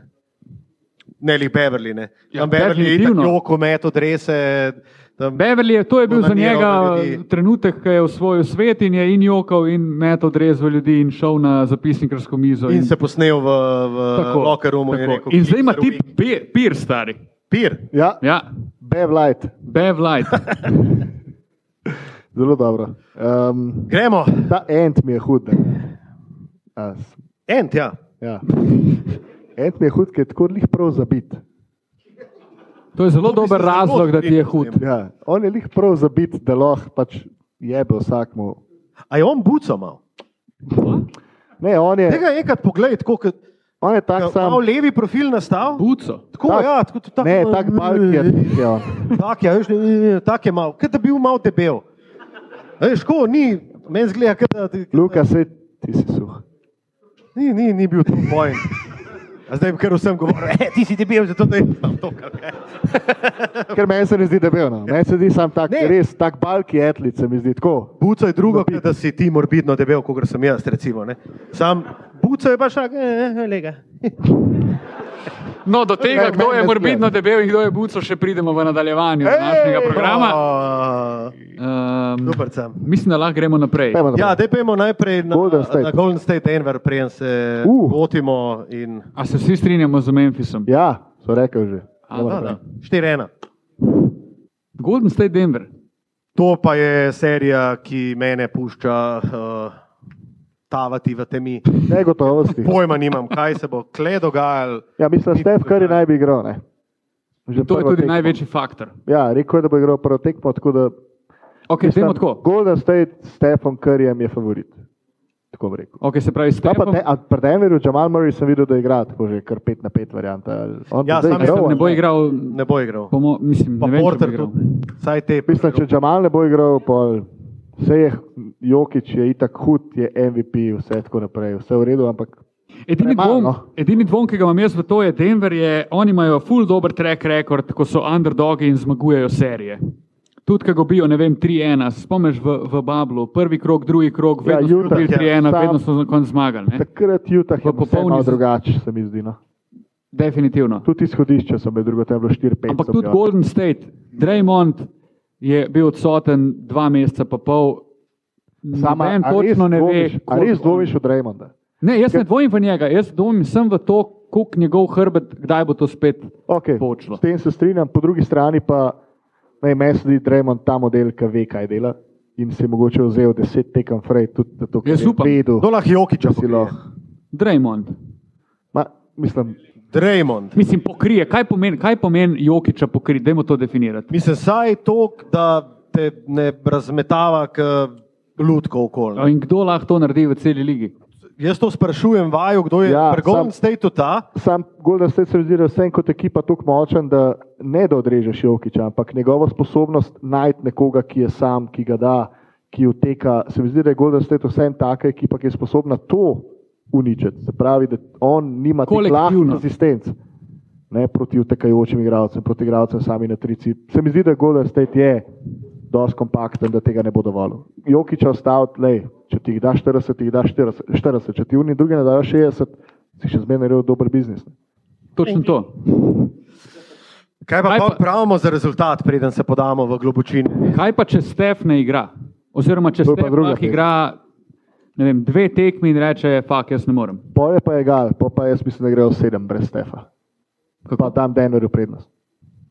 Ne, ali Beverly. Ne.
Ja,
Ja, Beverly je
definitivno.
tako komet odrese. Tam...
Beverly je, to je bil za
Naniral
njega
na ljudi.
trenutek, ko je osvojil svet in je in jokal in metal drez v ljudi in šel na zapisnikarsko mizo.
In se posnel v, v
Tako,
locker roomu in
tako.
rekel:
in zdaj ima
"Keep
tip
the
pe- pir, stari.
Pir.
Ja,
Ja,
Bev Light,
Bev Light.
zelo dobro. Um,
Gremo,
ta Ant mi je hud. ne. A, s-
ent, ja.
Ja. Ant mi je hud, ker je tako lih prav zabit.
To je zelo dober
zelo
razlog, da ti je hud.
Ja, on je lih prav zabit, da lahko pač jebe vsakmu.
A je on buco mal.
Ne, on je,
Tega enkrat pogled, tako kot
on je tak sam.
je levi profil nastal.
Buco.
Tako,
Tak.
ja, tako, tako, Mm.
Ne, tak balk je. je on.
Tak, ja, veš, ne, ne, ne, tak je mal, kot da bi bil mal debel. A Veš, ko ni, meni zgleda, kot da ti-
Luka, se ti si suh.
ni, ni, ni bil to point. A zdaj bi kar vsem govoril, e, ti si debel, zato da je to.
Ker meni se ne zdi debel. No. Meni se zdi sam tak,
Ne.
res tak balki etlic, se mi zdi tako.
Buco je drugo, kot da si ti morbidno debel, kot sem jaz, recimo. Ne. Sam buco je pač tak, eh, eh, lega.
No, do tega,
Meni-
kdo
meni
je
ne
morbidno debel in kdo je buco, še pridemo v nadaljevanju današnjega programa.
Oh,
Um,
Super, sam.
mislim, da lahko gremo naprej.
Pejmo naprej.
Ja, zdaj pojmo najprej na
Golden State.
na Golden State Denver, preden se
Uh.
lotimo. In...
A se vsi strinjamo z Memphisom?
Ja, so rekel že.
A,
Gremo
no,
No, Da,
naprej.
da. 4-1.
Golden State Denver.
To pa je serija, ki mene pušča uh, tavati v temi.
Negotovosti.
Pojma nimam, kaj se bo kle dogajalo.
Ja, mislim, Stef Curry naj bi igral. Ne? Že
To je
prvo
tudi
tekmo.
največji faktor.
Ja, rekel je, da bo igral prvo tekmo, tako da
Ok,
mislim,
gremo tako.
Golden State s Stefom Curryjem je favorit. Tako bi rekel.
Ok, se pravi,
Pa pa
Stefan
ne, a pri Denverju, Jamal Murray sem videl, da igra tako že kar 5 na 5 varianta. On
Ja,
bo zdaj
sam
igral,
mislim,
ne bo
ali
igral.
Ne bo igral.
Po mo, mislim,
Pa
ne vem, če bo
Porter
igral.
tudi. Saj te
Mislim, če Jamal ne bo igral, pol vse je, Jokič je itak hud, je MVP, vse tako naprej, vse v redu, ampak
Edini
Premalo,
dvom,
no.
edini dvom, ki ga imam jaz v to, je Denver. Je, oni imajo full dober track record, ko so underdogi in zmagujejo serije. Tudi, ko gobijo, ne vem, 3-1, se spomniš v, v Bablu, prvi krok, drugi krok,
Ja,
vedno ja, so
Utah,
bili
ja.
3-1,
Sam-
vedno so na koncu zmagali. Ne?
takrat Utah je
V popolni
popolnoma
z-
drugače, se mi zdi. No.
Definitivno.
Tudi izhodišče so med drugim tam bilo 4-5.
Ampak
so bili
tudi
ja. oni.
Golden State, Draymond je bil odsoten dva meseca pa pol.
Sama,
Noben
a res
točno ne ve,
dvomiš- a res
koliko on-
dvomiš od Raymonda.
Ne, jaz ne dvomim v njega, jaz dvomim sem v to, koliko njegov hrbet, kdaj bo to spet
Okay,
počlo.
s tem se strinjam, po drugi strani pa naj meni se zdi Draymond ta model, ki ve, kaj dela in si je mogoče vzel deset tekem frej, tudi da to, kar
Jaz
je
upam.
vedel,
Dolah Jokiča
da si
silo.
lahko.
Draymond.
Ma, Mislim,
Draymond.
Mislim, pokrije. Kaj pomeni, kaj pomeni Jokiča pokriti? Dajmo to definirati.
Mislim, saj to, da te ne razmetava k lutko
Ja,
okoli.
In kdo lahko to naredi v celi ligi?
Jaz to sprašujem vaju, kdo je ja,
Ja,
pri Golden
sam-
Stateu ta.
sam Golden State se mi zdi, da je vsem kot ekipa tako močen, da ne da odrežeš Jokiča, ampak njegova sposobnost najti nekoga, ki je sam, ki ga da, ki uteka. Se mi zdi, da je Golden State vsem taka ekipa, ki je sposobna to uničiti. Se pravi, da on nima teh
Kolektivno.
lahkih rezistenc ne, proti utekajočim igralcem, proti igralcem sami na trici. Se mi zdi, da Golden State je dosti kompakten, da tega ne bo dovolj. Jokiča ostaviti, lej, če ti jih daš 40, ti jih daš 40, 40. če ti oni drugi ne dajo 60, si še zmeraj naredil dober biznis. Ne.
Točno to.
Kaj pa,
Kaj
pa
pa-
pravimo za rezultat, preden se podamo v globočino?
Kaj pa, če Stef ne igra? Oziroma, če
To je pa
Stef
druga
lahko
tema.
igra ne vem, dve tekmi in reče, fuck, jaz ne morem.
Po je pa je gal, po pa jaz mislim, da grejo 7 brez Stefa. Pa dam Denverju prednost.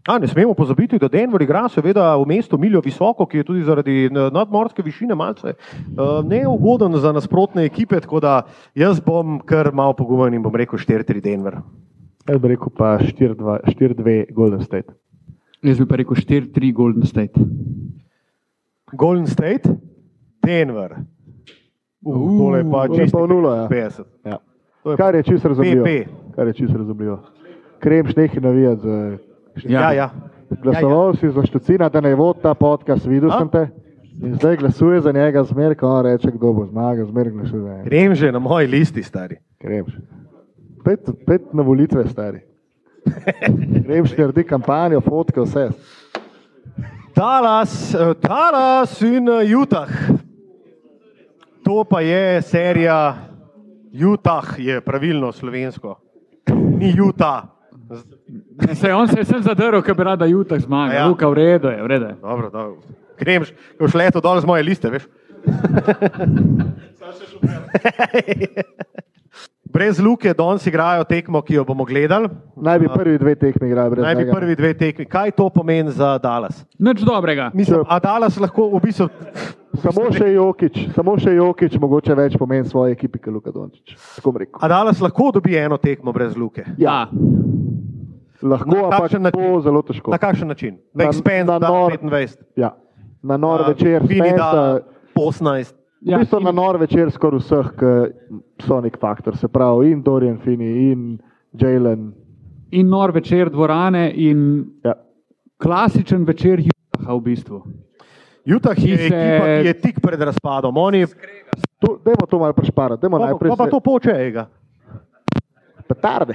A, ne smemo pozabiti, da Denver igra seveda v mestu Miljo visoko, ki je tudi zaradi eh, nadmorske višine malce eh, neugoden za nasprotne ekipe, tako da jaz bom kar malo pogumen in bom rekel 4-3 Denver.
Jaz bi rekel pa 4-2 4-2 Golden State.
Jaz bi pa rekel 4-3 Golden State.
Golden State, Denver.
Uh,
Tole je pa
tole je
čisto
pa v nulo, ja.
50.
Ja.
To je
Kar je čisto razumljivo.
PP.
Kar je čisto razumljivo. Krem šnehi navija za
Ja, ja.
Glasoval si za Štucina, da ne bo ta podcast, videl
A?
sem te. In zdaj glasuje za njega, zmer, ko on reče, kdo bo zmagal, zmer glasuje za njega.
Grem že na moji listi, stari.
Kremš. Pet, pet na volitve, stari. Kremš naredi kampanjo, fotke, vse.
Dallas, eh, Dallas in eh, Utah. To pa je serija Utah, je pravilno slovensko. Ni Utah. Z-
Ne, Se, on se je sem zadrl, ker bi rada Jutak zmagal.
Ja.
Ja. Luka, v redu je, v redu je.
Dobro, dobro. Grem, boš leto dol z moje liste, veš. Brez Luke danes igrajo tekmo, ki jo bomo gledali.
Naj bi prvi dve tekmi igrali brez
Naj bi
njega.
prvi dve tekmi. Kaj to pomeni za Dallas?
Nič dobrega.
Mislim, a Dallas lahko v bistvu.
Samo še Jokič, samo še Jokič, mogoče več pomeni svoje ekipi, kot Luka Dončić. Tako bom rekel.
A Dallas lahko dobi eno tekmo brez Luke?
Ja.
Lahko,
Na
ampak
kakšen način?
to zelo težko.
Na kakšen način? Na
Na-
Expense
na
da
nor-
25.
Ja. Na nor večer,
Fini da
Spensa,
18.
Ja,
ja.
v bistvu na nor večer skoraj vseh, ki so nek faktor, se pravi in Dorian Fini in Jalen.
In nor večer dvorane in
Ja.
klasičen večer Jutaha v bistvu.
Utah je
Ki se-
ekipa, ki je tik pred razpadom. Oni
To- Dajmo to malo prešparati, dajmo
pa,
najprej
pa, pa
se-
to počejo. ga.
petarde.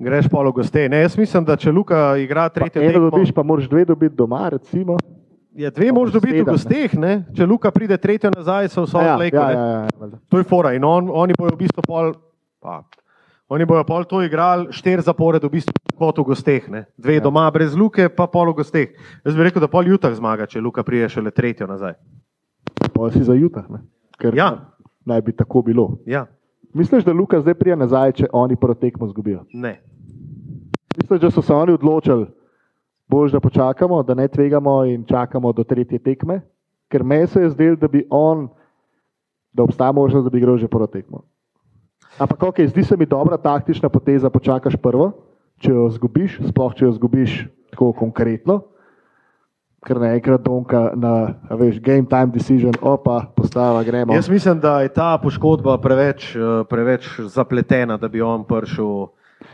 greš polo goste. Ne, jaz mislim, da če Luka igra
Pa
tretjo
Eno
tekmo,
dobiš, pa moraš dve dobiti doma, recimo.
ja, dve
pa
moraš dobiti v
sedem, ne.
gosteh, ne? če Luka pride tretjo nazaj, so v Salt
ja,
Lakeu.
ja,
ne.
ja, ja, valjda.
To je fora in on, oni bojo v bistvu pol. Pa, oni bojo pol to igrali štiri zapored, v bistvu kot v gosteh. Ne? Dve ja. doma brez luke, pa pol v gosteh. Jaz bi rekel, da pol Jutak zmaga, če Luka prije šele tretjo nazaj.
Pol si za Jutah, ne? ker
Ja.
naj bi tako bilo.
Ja,
Misliš, da Luka zdaj prija nazaj, če oni prvo tekmo zgubijo?
ne.
Misliš, da so se oni odločili, bož da počakamo, da ne tvegamo in čakamo do tretje tekme, ker me se je zdelo, da bi on, da obstaja možnost, da bi igral že prvo tekmo. Ampak, ok, zdi se mi dobra taktična poteza, počakaš prvo, če jo zgubiš, sploh če jo zgubiš tako konkretno. Ker naenkrat donka na, a veš, game time decision, opa, postava, gremo.
Jaz mislim, da je ta poškodba preveč, eh, preveč zapletena, da bi on prišel.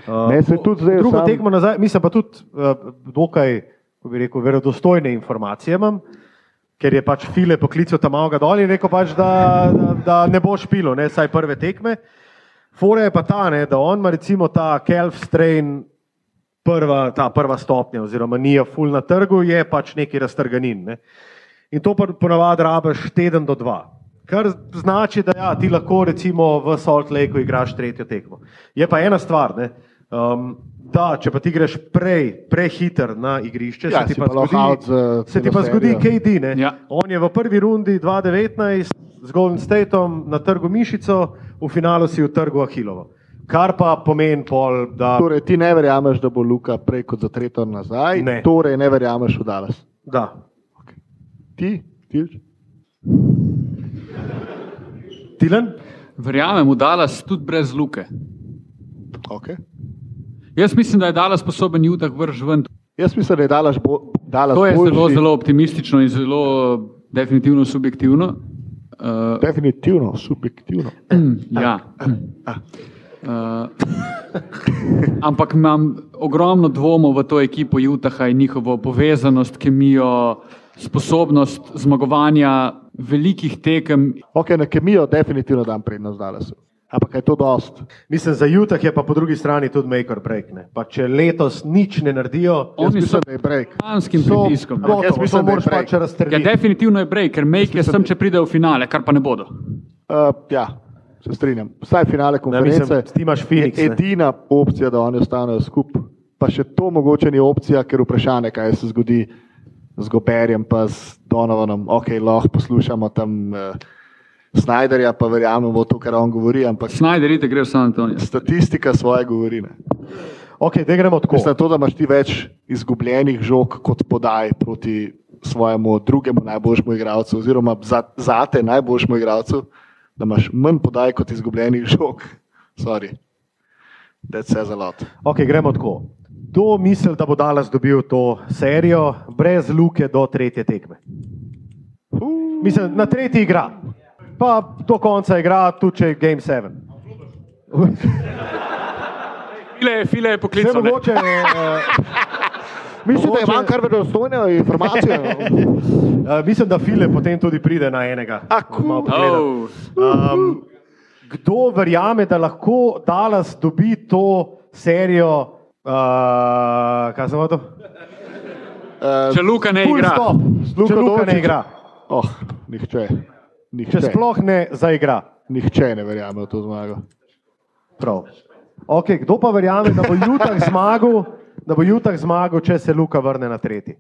eh,
Ne, saj tudi zdaj
Drugo
sam-
tekmo nazaj, mislim pa tudi eh, dokaj, kako bi rekel, verodostojne informacije imam. Ker je pač file poklical tam avga dol in rekel, pač, da, da, da ne bo špilo, ne saj prve tekme. Fore je pa ta, ne, da on ima recimo ta Kelf strain, prva, ta prva stopnja, oziroma nije full na trgu, je pač neki raztrganin. Ne. In to pa ponavadi rabiš teden do dva. Kar znači, da ja, ti lahko recimo v Salt Lakeu igraš tretjo tekmo. Je pa ena stvar, ne, um, da če pa ti greš prej, prehiter na igrišče,
Ja,
se
si
ti pa
pa lahko out za
zgodi, se ti
celo
pa zgodi
serijo.
KD. Ne?
Ja.
On je v prvi rundi 2019 z Golden Stateom na trgu Mišico, v finalu si v trgu Ahilovo. Kar pa pomeni pol, da.
Torej, ti ne verjameš, da bo Luka prej kot za tretjo nazaj,
Ne.
torej ne verjameš v Dallas.
da.
Ti, ti,
Tilen?
Verjamem, v Dallas tudi brez luke.
Okay.
Jaz mislim, da je Dallas sposoben Judah vrž ven.
Jaz mislim, da je Dallas, bo, Dallas
To je
boljši.
zelo, zelo optimistično in zelo eh, definitivno subjektivno. Uh,
Definitivno, subjektivno.
ja. Uh, ampak imam ogromno dvomov v to ekipo Utaha in njihovo povezanost, kemijo, sposobnost zmagovanja velikih tekem.
Ok, na kemijo definitivno dam prednost Dallasu. Ampak je to dost.
Mislim, za Jutah je pa po drugi strani tudi make or break. ne. Pa če letos nič ne naredijo,
Oni
Mislim,
so
da je break.
pod panskim
so
pritiskom.
gotovo,
jaz mislim,
to
da je
moraš
break.
pač
Ja,
raztrgati.
definitivno je break, ker make je sem, če pride v finale, kar pa ne bodo.
Uh, ja, se strinjam. Vsaj finale konference.
Ja, mislim, ti imaš Phoenix,
je
ne.
edina opcija, da oni ostanejo skupaj. Pa še to mogoče ni opcija, ker vprašanje, kaj se zgodi z Goberjem, pa z Donovanom. Ok, lahko poslušamo tam uh, Snyderja, pa verjamemo v to, kar on govori, ampak
Snyder, ide, gre v San Antonijo.
statistika svoje govori. Ne.
Okay, da gremo tako.
Mislim, to, da imaš ti več izgubljenih žog kot podaj proti svojemu drugemu najboljšemu igralcu, oziroma za, za te najboljšemu igralcu, da imaš manj podaj kot izgubljenih žog. Sorry. That says a lot.
Okay, gremo tako. Kdo misli, da bo Dallas dobil to serijo brez luke do tretje tekme? Mislim, na tretji igra, pa do konca igra, tudi če je Game 7.
File, file je
Ne
poklical. ne? Oh.
mogoče, eh,
Mislim, da
Mogoče-
imam kar verodostojno informacijo.
eh, mislim, da File potem tudi pride na enega. Malo pogledati.
Oh.
Um, kdo verjame, da lahko Dallas dobi to serijo? Uh, kaj sem hotel?
Če Luka ne
Full
igra,
stop. Eh, Če
Luka
Luka ne
Dončić.
igra,
Oh, nihče.
če
Nihče,
sploh ne zaigra.
nihče ne verjame v to zmago.
Prav. Okay, kdo pa verjame, da bo Jutah zmagal, da bo Jutah zmagal, če se Luka vrne na tretji?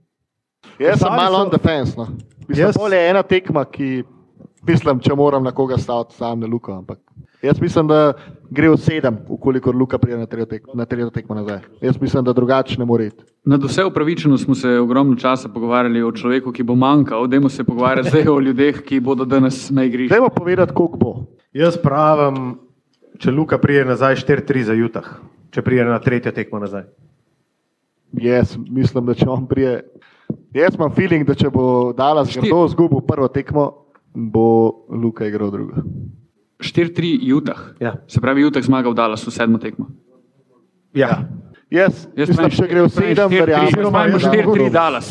Jaz sem
Ostali
malo
so-
on defense. No. Mislim,
Jaz-
jaz... je ena tekma, ki mislim, če moram na koga staviti, sam ne Luka. Ampak jaz mislim, da gre od sedem, ukolikor Luka pride na tretjo tek- na tretjo tekmo nazaj. Jaz mislim, da drugače ne more iti.
nad vse upravičeno smo se ogromno časa pogovarjali o človeku, ki bo manjkal, dajmo se pogovarjati zdaj o ljudeh, ki bodo danes na igrišču.
Dajmo povedati, koliko bo.
Jaz pravim, če Luka pride nazaj 4-3 za Jutah, če pride na tretjo tekmo nazaj.
Jaz mislim, da če on prije. Jaz imam feeling, da če bo dala zelo zgubo prvo tekmo, bo Luka igral drugo.
4-3 Jutah.
Ja.
Se pravi, Jutah zmaga v Dallasu sedmo tekmo.
Ja.
Jaz, jaz
Jaz
mislim,
pravim
če gre v
pravim
sedem,
4-3,
verjamem.
jaz pravim
da bo
4-3
dobro.
Dallas.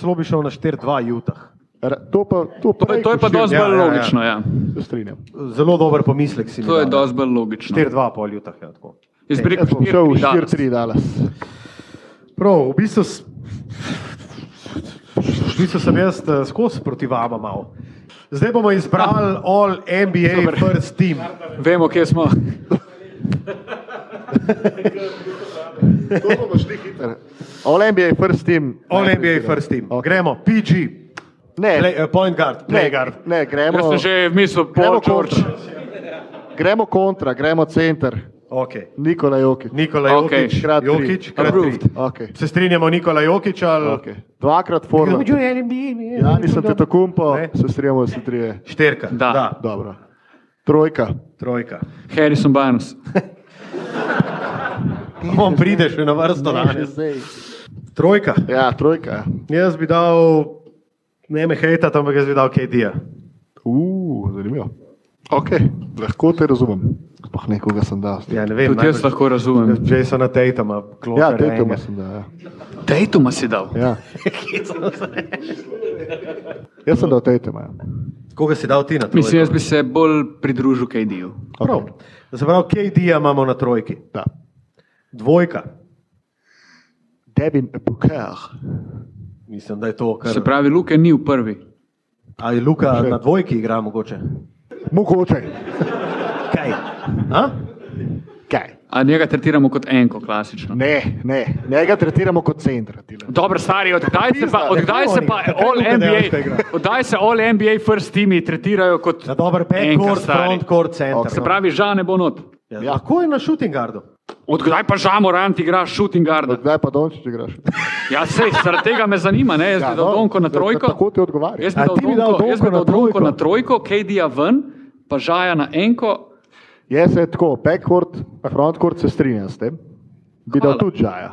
Slo bi šel na 4-2 Jutah.
Ra- To pa, to
To, je- Torej, to je pa dosti
Ja,
bolj
ja, ja.
logično. Ja.
Se strinjam.
Zelo dober pomislek si. mi
To je
dal,
dosti bolj logično.
ne. 4-2 pol Jutah. Ja, tako.
Jaz bi rekel
Jaz bom šel v
4-3
4-3 Dallas.
Prav, v bistvu, s- v bistvu sem jaz eh, skozi proti vama malo. Zdaj bomo izbrali All NBA Super. First Team.
Dallas. Vemo, kje smo.
To bomo šli hitro. All NBA first team.
All
najprej
NBA
igra.
First Team.
Ok.
Gremo, PG.
Ne,
Play, eh, point guard, play
ne,
guard.
ne, gremo,
Jaz sem že v mislu,
gremo,
Paul George.
kontra. gremo kontra, gremo center.
Okay.
Nikola Jokić.
Nikola
Okej.
Jokić,
Krat tri.
Jokić krat
Approved.
tri.
Okay.
Se strinjamo, Nikola Jokić ali
Okay. Dvakrat forma. Ja, nisem te tako umpo,
Ne.
se strijamo vsi trije.
Šterka, da.
Da.
da,
Dobro. Trojka.
trojka.
Harrison Barnes.
On pride še na vrsto danes. Trojka.
Ja, trojka.
Jaz bi dal, ne me hejta, ampak jaz bi dal KD-ja.
Uuu, zanimivo. Ok, lahko te razumem. Sploh nekoga sem dal.
Ja, ne vem.
Tudi jaz lahko razumem.
Jasona Tatuma, Klopa.
Ja, Tatuma sem dal. Ja.
Dejtuma si dal.
Ja. Jaz sem dal Tatuma. ja.
Koga si dal ti na trojko?
Mislim, jaz bi se bolj pridružil KD-ju.
Prav. Se pravi, KD-ja imamo na trojki.
Da.
Dvojka.
Devin Booker.
Mislim, da je to, kar
Se pravi, Luke ni v prvi.
Ali Luka na dvojki igra mogoče?
Mogoče.
Kaj? A?
Kaj?
A njega tretiramo kot enko, klasično.
Ne, ne, njega tretiramo kot centra. tile.
Dobro, stari, odkdaj se pa, odkdaj se pa
Katero
all
Luka dejansko igra?
NBA, odkdaj se all NBA first teami tretirajo kot
Na dober
enka,
backcourt,
stari.
frontcourt, center.
Se pravi, žal ne bo not.
no. ja. lahko je na shooting guardu.
Odkdaj pa žal Morant igra shooting guard?
Kdaj pa Dončić igraš?
Ja, sej, zaradi tega me zanima, ne, jaz bi dal
dobro,
Donko na
zdaj,
trojko.
Tako ti odgovarja.
Jaz bi
A
dal
ti bi dal
Donko, jaz bi
Donko na
dal Donko
trojko?
na trojko, KD-ja ven, pa žaja na enko,
Jaz se tako, backward, frontcourt se strinjam s tem. Bi dal
Hvala.
tudi žaja.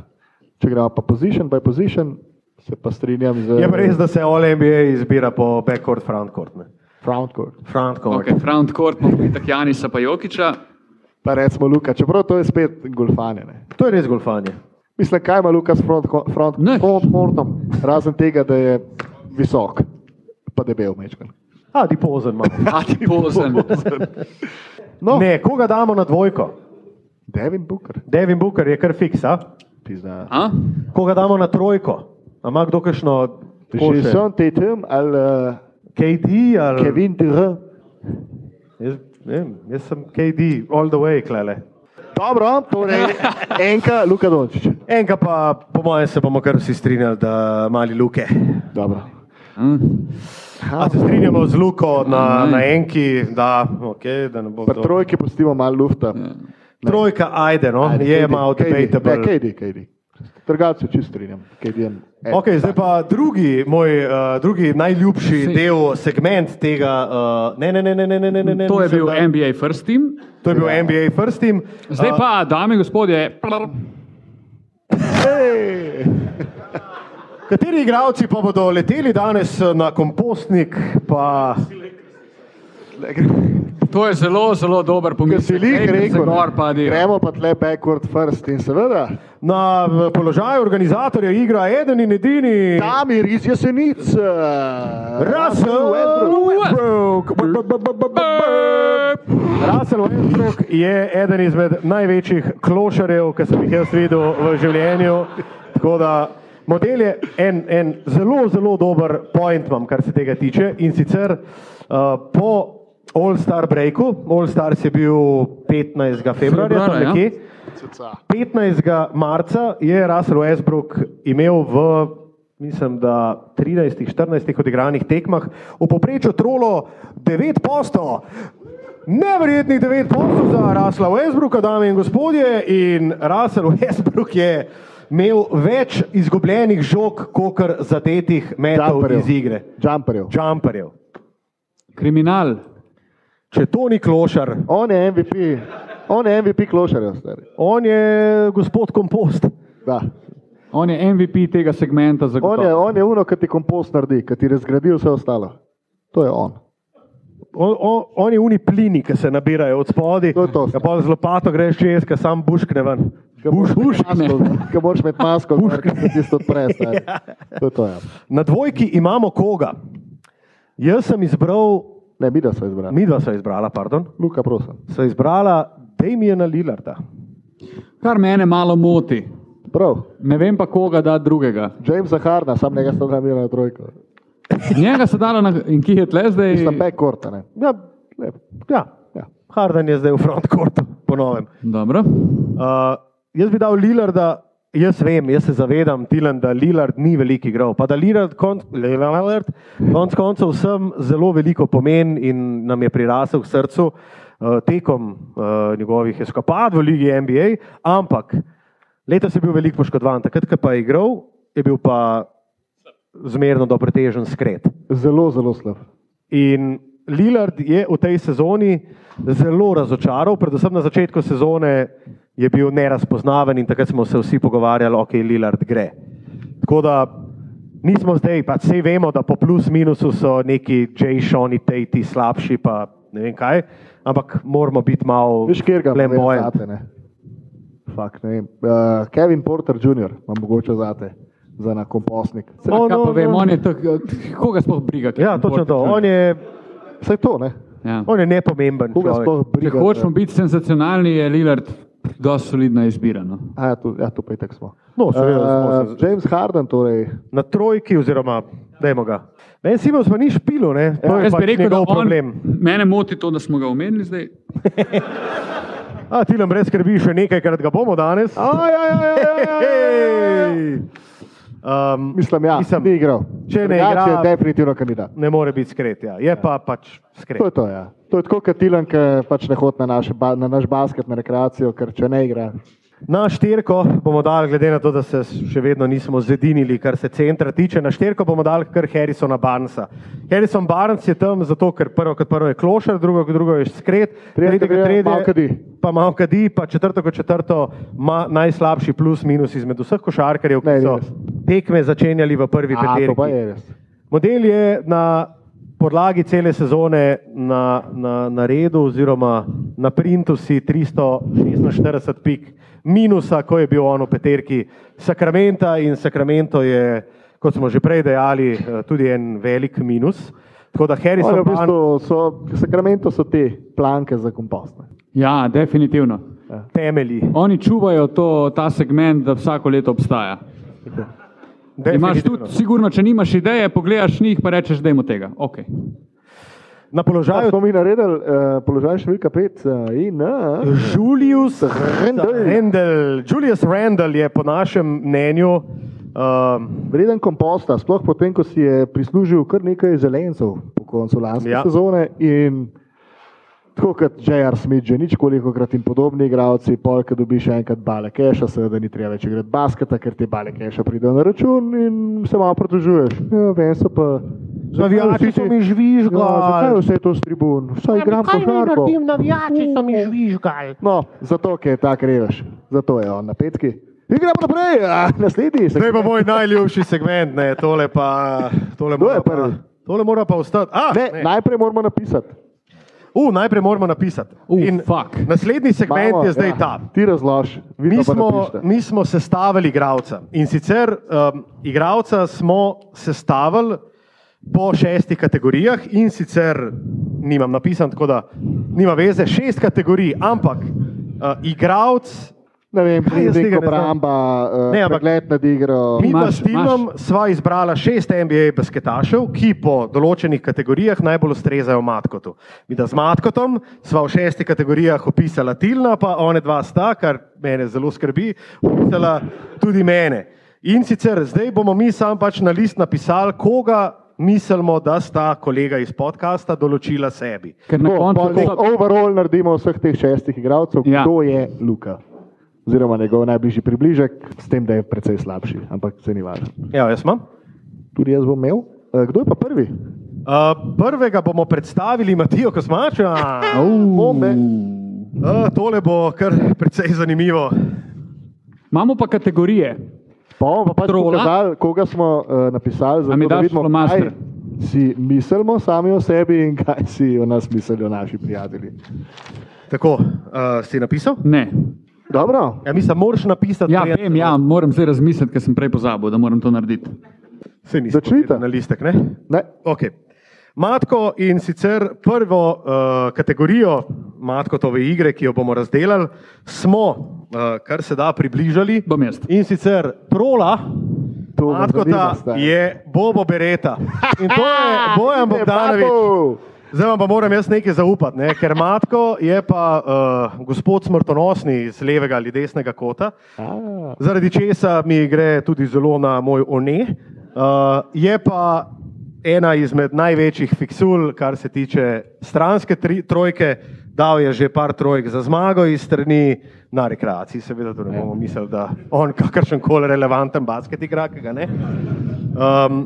Če gremo pa position by position, se pa strinjam z
Je pa res, da se All-NBA izbira po backcourt, frontcourt. ne.
frontcourt.
Frontcourt.
Okay, Front court, pa tak Janisa pa Jokiča.
Pa recimo Luka, čeprav to je spet golfanje. Ne.
To je res golfanje.
Mislim, kaj ima Luka s frontcourtom, front,
Nič.
frontcourtom, razen tega, da je visok, pa debel mečkan.
A, ti pozen imamo.
A ti pozen.
No. Ne, koga damo na dvojko?
Devin Booker,
Devin Booker je kar fiks, a?
pizda.
A?
Koga damo na trojko? A Ima kdo kakšno košo?
Jason Tatum ali uh,
KD ali
Kevin Durant.
Jaz, ne vem, jaz sem KD, all the way, klele.
Dobro, torej enka, Luka Dončić.
Enega pa, po mojem, se bomo kar vsi strinjali, da mali luke.
Dobro.
A se strinjamo z luko na,
Aj.
na enki, da, okay, da ne bo
Pri
kdo-
trojki pustimo malo lufta.
Ja.
Trojka, ajde, no, ajde, je
KD,
malo
KD, Ne,
debatable.
KD, KD. Trgati se čisto strinjam. KD je en.
Okay, Eh, zdaj pa drugi, moj uh, drugi najljubši
Sej.
del, segment tega. Uh, ne, ne, ne, ne, ne, ne, ne, ne, ne.
To je
mislim,
bil
da-
NBA first team.
To je bil NBA first team.
Zdaj
Uh,
pa, dame in gospodje, plr,
Kateri igravci pa bodo leteli danes na kompostnik? Pa...
to je zelo, zelo dober
Ker
pomislek.
si lih
Ejte se
rekel,
gor, pa
ne,
adijo.
gremo pa tle backward first in seveda,
Na v položaju organizatorja igra eden in edini.
Damir iz Jesenic, eh,
Russell Westbrook. Russell Westbrook je eden izmed največjih klošarjev, ki sem jih jaz videl v življenju. Tako da model je en, en zelo, zelo dober point, imam, kar se tega tiče. In sicer uh, po All-Star breaku, All-Star je bil 15. februarja, tam
Februarja, ja.
nekje. 15. marca je Russell Westbrook imel v, mislim, da 13-14 odigranih tekmah v povprečju trolo 9 postov. Neverjetnih 9 postov za Russella Westbrooka, dame in gospodje, in Russell Westbrook je imel več izgubljenih žog, kot zadetih metov
Jumperjev.
iz igre.
Jumperjev.
Jumperjev.
Kriminal.
Če to ni klošar,
On je MVP, on je MVP klošarjev, stari.
on je gospod kompost.
Da.
On je MVP tega segmenta za
On je, on je uno, ki ti kompost naredi, ki ti razgradi vse ostalo. To je on.
On, on, on je uni plini, ki se nabirajo od spodaj.
To je to.
Ja, pa z lopato greš čez, ki sam buškne ven. Buš, buš.
Ki moraš imeti masko, ki se ti odpre. stari. To je to, ja.
Na dvojki imamo koga. Jaz sem izbral,
Ne, mi da so izbrali.
mi dva sva izbrala, pardon,
Luka, prosim.
sva izbrala Damiena Lillarda.
Kar mene malo moti.
Prav,
Ne vem pa koga da drugega.
Jamesa Harna, sam njega sta tam imela na trojko.
Njega se dalo na in ki je tle zdaj.
Sta backcourta, ne.
Ja,
Lep.
ja.
Ja.
Harden je zdaj v frontkortu, ponovem.
Dobro.
Uh, jaz bi dal Lilarda, jaz vem, jaz se zavedam, Tilan, da Lilard ni veliko igral. Pa da Lilard, kon, Lillard, konc koncev, vsem zelo veliko pomen in nam je prirasel k srcu uh, tekom uh, njegovih eskapad v Ligi NBA. Ampak letos je bil veliko poškodovan, takrat, ko pa je igral, je bil pa zmerno do pretežen skret.
Zelo, zelo slab.
In Lillard je v tej sezoni zelo razočaral, predvsem na začetku sezone je bil nerazpoznaven in takrat smo se vsi pogovarjali, ok, Lillard gre. Tako da nismo zdaj, pa vse vemo, da po plus minusu so neki Jay, Shoni, Tati slabši, pa ne vem kaj, ampak moramo biti malo
Veš, kjer ga
flamboyant.
zate, ne? Fak, ne vem. Uh, Kevin Porter Jr. ima mogoče zate za na kompostnik.
No,
No, no,
no,
pa vem,
no.
on je tak, koga sploh briga. kaj
Ja,
je
točno to.
Porter
On je,
Vse to, ne?
Ja.
on je nepomemben.
Koga
človek.
sploh
Če
briga?
hočemo biti senzacionalni, je Lillard dosti solidna izbira. No.
A, ja, tu, ja, tu pa itak smo.
No, seveda, smo
Eh, James Harden, torej.
Na trojki, oziroma, dajmo ga. Ben Simons pa ni špilo, ne? To je
Ja. Jaz bi
pač
rekel, da
njegov
on,
problem.
mene moti to, da smo ga omenili zdaj.
A ti nam brez skrbi, še nekajkrat ga bomo danes. Um,
Mislim, ja,
Mislim,
ni igral.
če ne
Drugače
igra-
je definitivno kandidat.
ne more biti skret, ja. je pa pač skret.
To je to, ja. To je tako, kot Tilan, ki pač ne hodi na, naš ba- na naš basket, na rekreacijo, ker če ne igra,
Na štirko bomo dali, glede na to, da se še vedno nismo zedinili, kar se centra tiče, na štirko bomo dali kar Harrisona Barnesa. Harrison Barnes je tam zato, ker prvo kot prvo je klošar, drugo kot drugo je skret,
Tretjo
tretji kot
gre
tretji
malo kadi.
pa malo kadi, pa četrto kot četrto ima najslabši plus minus izmed vseh košarkarjev,
Ne,
ki
ni
so
res.
tekme začenjali v prvi
A, to pa je
peterki.
res.
Model je na podlagi cele sezone na, na, na redu, oziroma na printu si 346 pik minusa, ko je bil on v peterki Sakramenta in Sakramento je, kot smo že prej dejali, eh, tudi en velik minus. Tako da Harrison
Oni v
Barnes-
bistvu so, sakramento so te planke za kompost. ne.
Ja, definitivno.
temelji.
Oni čuvajo to, ta segment, da vsako leto obstaja. Imaš tudi,
Definitivno.
sigurno, če nimaš ideje, pogledaš njih in rečeš, da jim tega. Okay.
Na
Ja,
položaju
smo mi naredili uh, položaj številka 5 uh, in uh,
Julius
Randle.
Randall. Julius Randall je po našem mnenju um,
vreden komposta, sploh potem, ko si je prislužil kar nekaj zelencev po koncu lanske
Ja.
ja. sezone. In tako kot J.R. Smith, že nič koliko krat in podobni igravci, pol, ki dobiš enkrat bale keša, seveda ni treba več igrati basketa, ker ti bale keša pridejo na račun in se malo pritožuješ. Ja, vem, so pa.
Navijači
zakaj vsi
so
ti-
mi žvižgali.
Ja, zakaj je vse to s tribun?
Ja,
Vsaj igram košarko.
navijači so mi žvižgali.
No, zato ker je tak revež, zato je on na petki. Igramo naprej, a naslednji se
Zdaj pa moj najljubši segment, ne, tole pa. Tole
Kdo
mora
je
pa,
prvi?
tole mora pa ostati. A,
Ne,
Ah, ne.
najprej moramo napisati.
U, najprej moramo napisati.
U,
In
fuck.
Naslednji segment
Imamo,
je zdaj
ja.
ta.
Ti razloži.
Mi smo, mi smo sestavili igralca in sicer um, igralca smo sestavili po šestih kategorijah in sicer nimam napisan, tako da nima veze, šest kategorij, ampak uh, igralc.
Ne vem,
Kaj jaz
pride
tega ne znam?
obramba,
Ne,
ne,
ampak-
ampak let nad igro.
Mi pa
Imaš-
s timom sva izbrala šest NBA basketašev, ki po določenih kategorijah najbolj ustrezajo Matkotu. Mi da z Matkotom sva v šestih kategorijah opisala Tilna, pa one dva sta, kar mene zelo skrbi, opisala tudi mene. In sicer zdaj bomo mi sam pač na list napisali, koga mislimo, da sta kolega iz podcasta določila sebi.
Ker na
Tako, pol
koncu
nek
so-
overall naredimo vseh teh šestih igralcev,
Ja.
ja. kdo je Luka. Oziroma njegov najbližji približek, s tem, da je precej slabši, ampak se ni važno.
Ja, jaz imam.
Tudi jaz bom imel. Eh, Kdo je pa prvi?
Uh, prvega bomo predstavili Matijo Kosmača.
Bombe.
Uh, tole bo kar precej zanimivo.
Imamo pa kategorije.
Pa bomo pa pač
Trola.
pokazali, koga smo uh, napisali, zato,
A mi
da
daš
vidimo,
flomaster?
kaj si mislimo sami o sebi in kaj si o nas mislijo naši prijatelji.
Tako, uh, si napisal?
Ne.
Dobro,
Ja, mislim, moraš napisati,
Ja, vem, ja, moram zdaj razmisliti, ker sem prej pozabil, da moram to narediti.
se nisem
Začnite.
pogledal na listek. Ne?
ne,
Okay. Matko in sicer prvo uh, kategorijo Matkotove igre, ki jo bomo razdelali, smo, uh, kar se da, približali.
Bom jaz.
In sicer trola,
To me zanima,
Matkota
stari.
je Bobo Bereta. In to je Bojan
Ne,
Bogdanovič.
Babu!
Zdaj vam pa moram jaz nekaj zaupati, ne? ker matko je pa uh, gospod smrtonosni iz levega ali desnega kota,
A.
zaradi česa mi gre tudi zelo na moj one. Uh, je pa ena izmed največjih fiksul, kar se tiče stranske tri, trojke. Dal je že par trojk za zmago iz strani na rekreaciji, seveda, da ne bomo mislili, da on kakršen koli relevanten basket igra, ki ga ne. Um,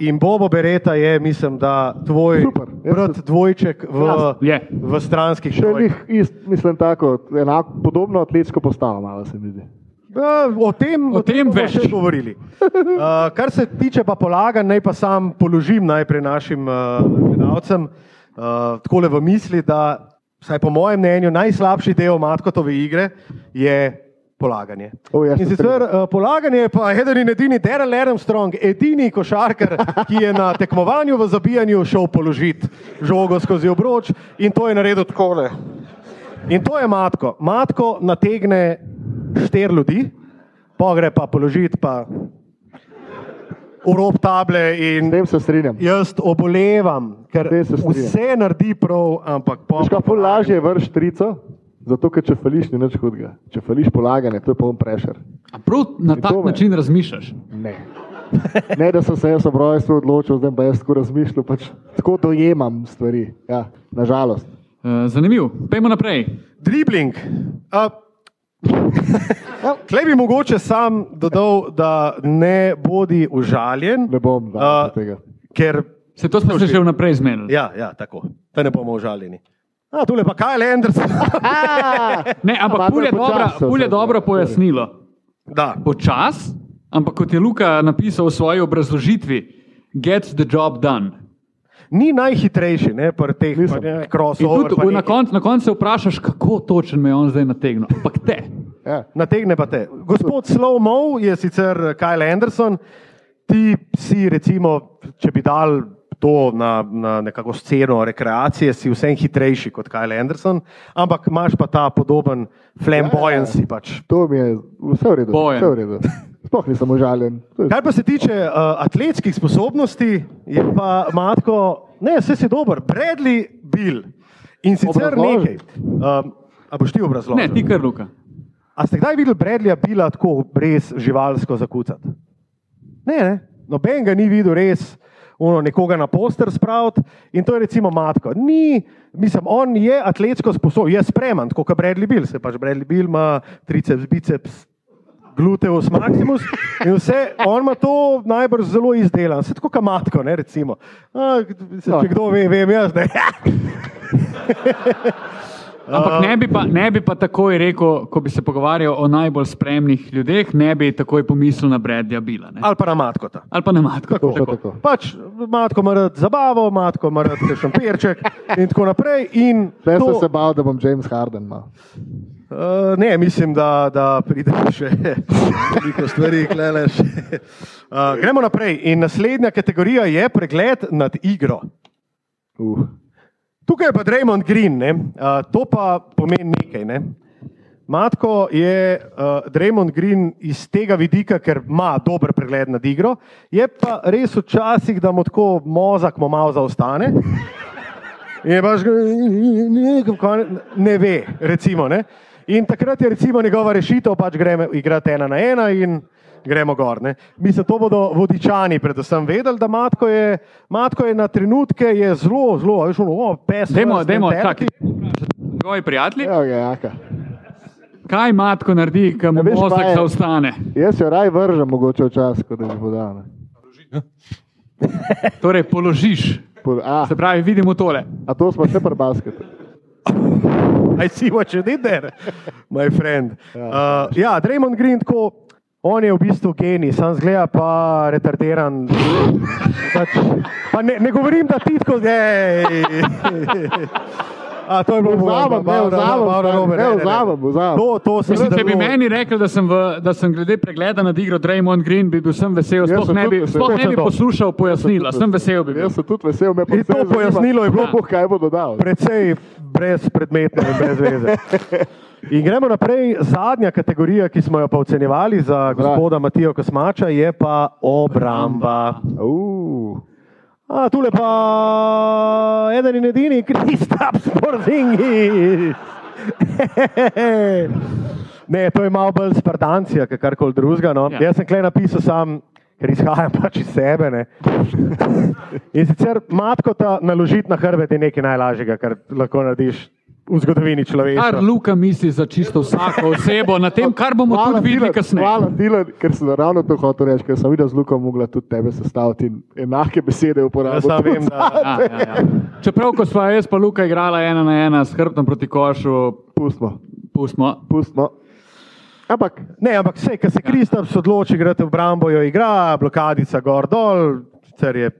in Bobo Bereta je, mislim, da tvoj
Super, jaz
brat dvojček v,
Krasno.
Je.
v stranskih
Še njih,
šolah.
ist, mislim, tako, enako, podobno atletsko postavo, malo se mi zdi.
Eh, O tem,
O tem
bomo
več.
še govorili. Uh, kar se tiče pa polaga, naj pa sam položim najprej našim uh, gledalcem uh, takole v misli, da, vsaj po mojem mnenju, najslabši del Matkotove igre je polaganje.
O, jaz
In
se
sicer eh, polaganje je pa eden in edini Daryl Armstrong, edini košarkar, ki je na tekmovanju v zabijanju šel položiti žogo skozi obroč in to je naredil tako. In to je matko. Matko nategne štiri ljudi, pa gre pa položiti pa v rob table
S
in
tem se strinjam.
jaz obolevam, ker
S tem se strinjam.
vse naredi prav, ampak pa.
Veš, kaj pol lažje je vrš trico, zato ker če fališ, ni nič hudega. Če fališ polaganje, to je poln prešer.
A prav na tak
me.
način razmišljaš?
Ne. ne, da sem se jaz ob rojstvu odločil, zdaj pa jaz tako razmišljam, pač tako dojemam stvari. Ja, nažalost.
Eh, Zanimivo. Pejmo naprej.
Dribling. Uh, Klej bi mogoče sam dodal, da ne bodi užaljen.
Ne bom
a,
dal tega.
Ker,
Se to smo se že vnaprej zmenili.
ja, ja, tako, da ne bomo užaljeni. A, tule pa Kyle Anderson.
Ja. Ne, ampak
Malo
pul je,
počasi
dobra,
so
pul je
se
dobro
zdaj,
pojasnilo.
da,
Počas, ampak kot je Luka napisal v svoji obrazložitvi, get the job done.
ni najhitrejši, ne, pri teh
Nisem.
ja. In
crossover.
tudi
pa
v- na
nekaj.
koncu na koncu se vprašaš, kako točen me je on zdaj nategnil. Ampak te.
Ja.
Nategne pa te. Gospod Slowmo je sicer Kyle Anderson, ti si recimo, če bi dal to na, na nekako sceno rekreacije, si vsem hitrejši kot Kyle Anderson, ampak imaš pa ta podoben
Ja,
flamboyancy. Pač.
To mi je vse v redu.
Bojan.
Vse v redu. Sploh nisem užaljen. To je-
Kar pa se tiče uh, atletskih sposobnosti, je pa matko, ne, vse si dober, Bradley Bill. In sicer
Obrazloži.
nekaj. Um, a boš ti
Ne,
obrazložil?
ti kar, Luka.
A ste kdaj videli Bradleya Bila tako res živalsko zakucati? Ne, ne. Noben ga ni videl res. Uno, nekoga na poster spraviti in to je recimo matko. Ni, mislim, on je atletsko sposoben, je spreman, tako kot Bradley Bill. Se pač Bradley Bill ima triceps, biceps, gluteus maximus in vse, on ima to najbrž zelo izdelan, se tako kot matko, ne recimo. A, se,
No.
če kdo ve, vem jaz, da je.
Ampak ne bi, pa, ne bi pa takoj rekel, ko bi se pogovarjal o najbolj spremnih ljudeh, ne bi takoj pomislil na Bradja Bila. Ne?
Ali pa na matko ta.
Ali pa na matko.
Tako,
Tako,
tako. Tako.
tako.
Pač, matko ima rad zabavo, matko ima rad kakšen pirček in tako naprej. In
Zdaj sem
to,
se bal, da bom James Harden. No.
uh, ne, mislim, da, da pride še veliko stvari, kleleš. Uh, gremo naprej. In naslednja kategorija je pregled nad igro.
Uh.
Tukaj je pa Draymond Green, ne? uh, to pa pomeni nekaj. Ne? Matko je uh, Draymond Green iz tega vidika, ker ima dober pregled nad igro, je pa res včasih, da mu tako mozak mu malo zaostane. In je pač, ne ve, recimo. Ne? In takrat je recimo njegova rešitev, pač gremo igrati ena na ena in gremo gor. Ne? Mislim, to bodo vodičani predvsem vedeli, da matko je, matko je na trenutke je zelo, zelo, veš, ono, o, pes.
Dajmo,
first
dajmo,
mentality.
čakaj. Njegovi prijatelji,
Evo ga, Ja, jaka.
kaj matko naredi, ko mu
Ja, veš, kaj
mozak
je?
zaostane?
Jaz jo raj vržem, mogoče včasih, kot da bi podal.
Torej, položiš.
A,
Se pravi, vidimo tole.
a to smo še pri basketu.
I see what you did there, my friend. Uh, ja, Draymond Green, tako, on je v bistvu genij, sam zgleda pa retardiran. Pač, pa ne, ne govorim, da ti tako zdaj. A, to je bilo
Vzamem, ne vzamem, ne, ne vzamem, vzamem.
To, to se mi
Mislim,
zdi
če bi
zelo-
meni rekel, da sem, v, da sem glede pregleda nad igro Draymond Green, bi bil sem vesel,
Jaz
sploh
sem
ne bi,
tudi vesel.
sploh ne bi
Točno to.
poslušal pojasnila, sem vesel bi bil. E,
Jaz sem tudi vesel, me pa
In to
vse zanima,
pojasnilo je bilo-
kdo bo kaj bo dodal.
precej brezpredmetno in brez veze. In gremo naprej. Zadnja kategorija, ki smo jo pa ocenjevali za gospoda Matijo Kosmača, je pa obramba.
Uh,
A tule pa eden in edini, Kristap Sporzingi. Ne, to je malo bolj spartancija, kot karkoli drugega. No.
Ja.
Ja. Jaz sem klej napisal sam, ker izhajam pač iz sebe. Ne. In sicer matko ta naložiti na hrbet je nekaj najlažjega, kar lahko narediš v zgodovini
Kar
človeštva.
Luka misli za čisto vsako osebo, na tem, kar bomo tudi videli
Dylan, hvala,
kasneje.
Dilan, ker sem ravno to hotel reči, ker sem videl z Luko mogla tudi tebe sestaviti in enake besede
Jaz
uporabiti.
samo vem, da
Ja, ja, ja. Čeprav, ko smo jaz pa Luka igrala ena na ena s hrbtom proti košu,
Pustmo,
pustimo.
pustmo. Ampak
Ne, ampak vse, kar se Kristaps odloči, igrate v brambo, jo igra, blokadica gor dol, sicer je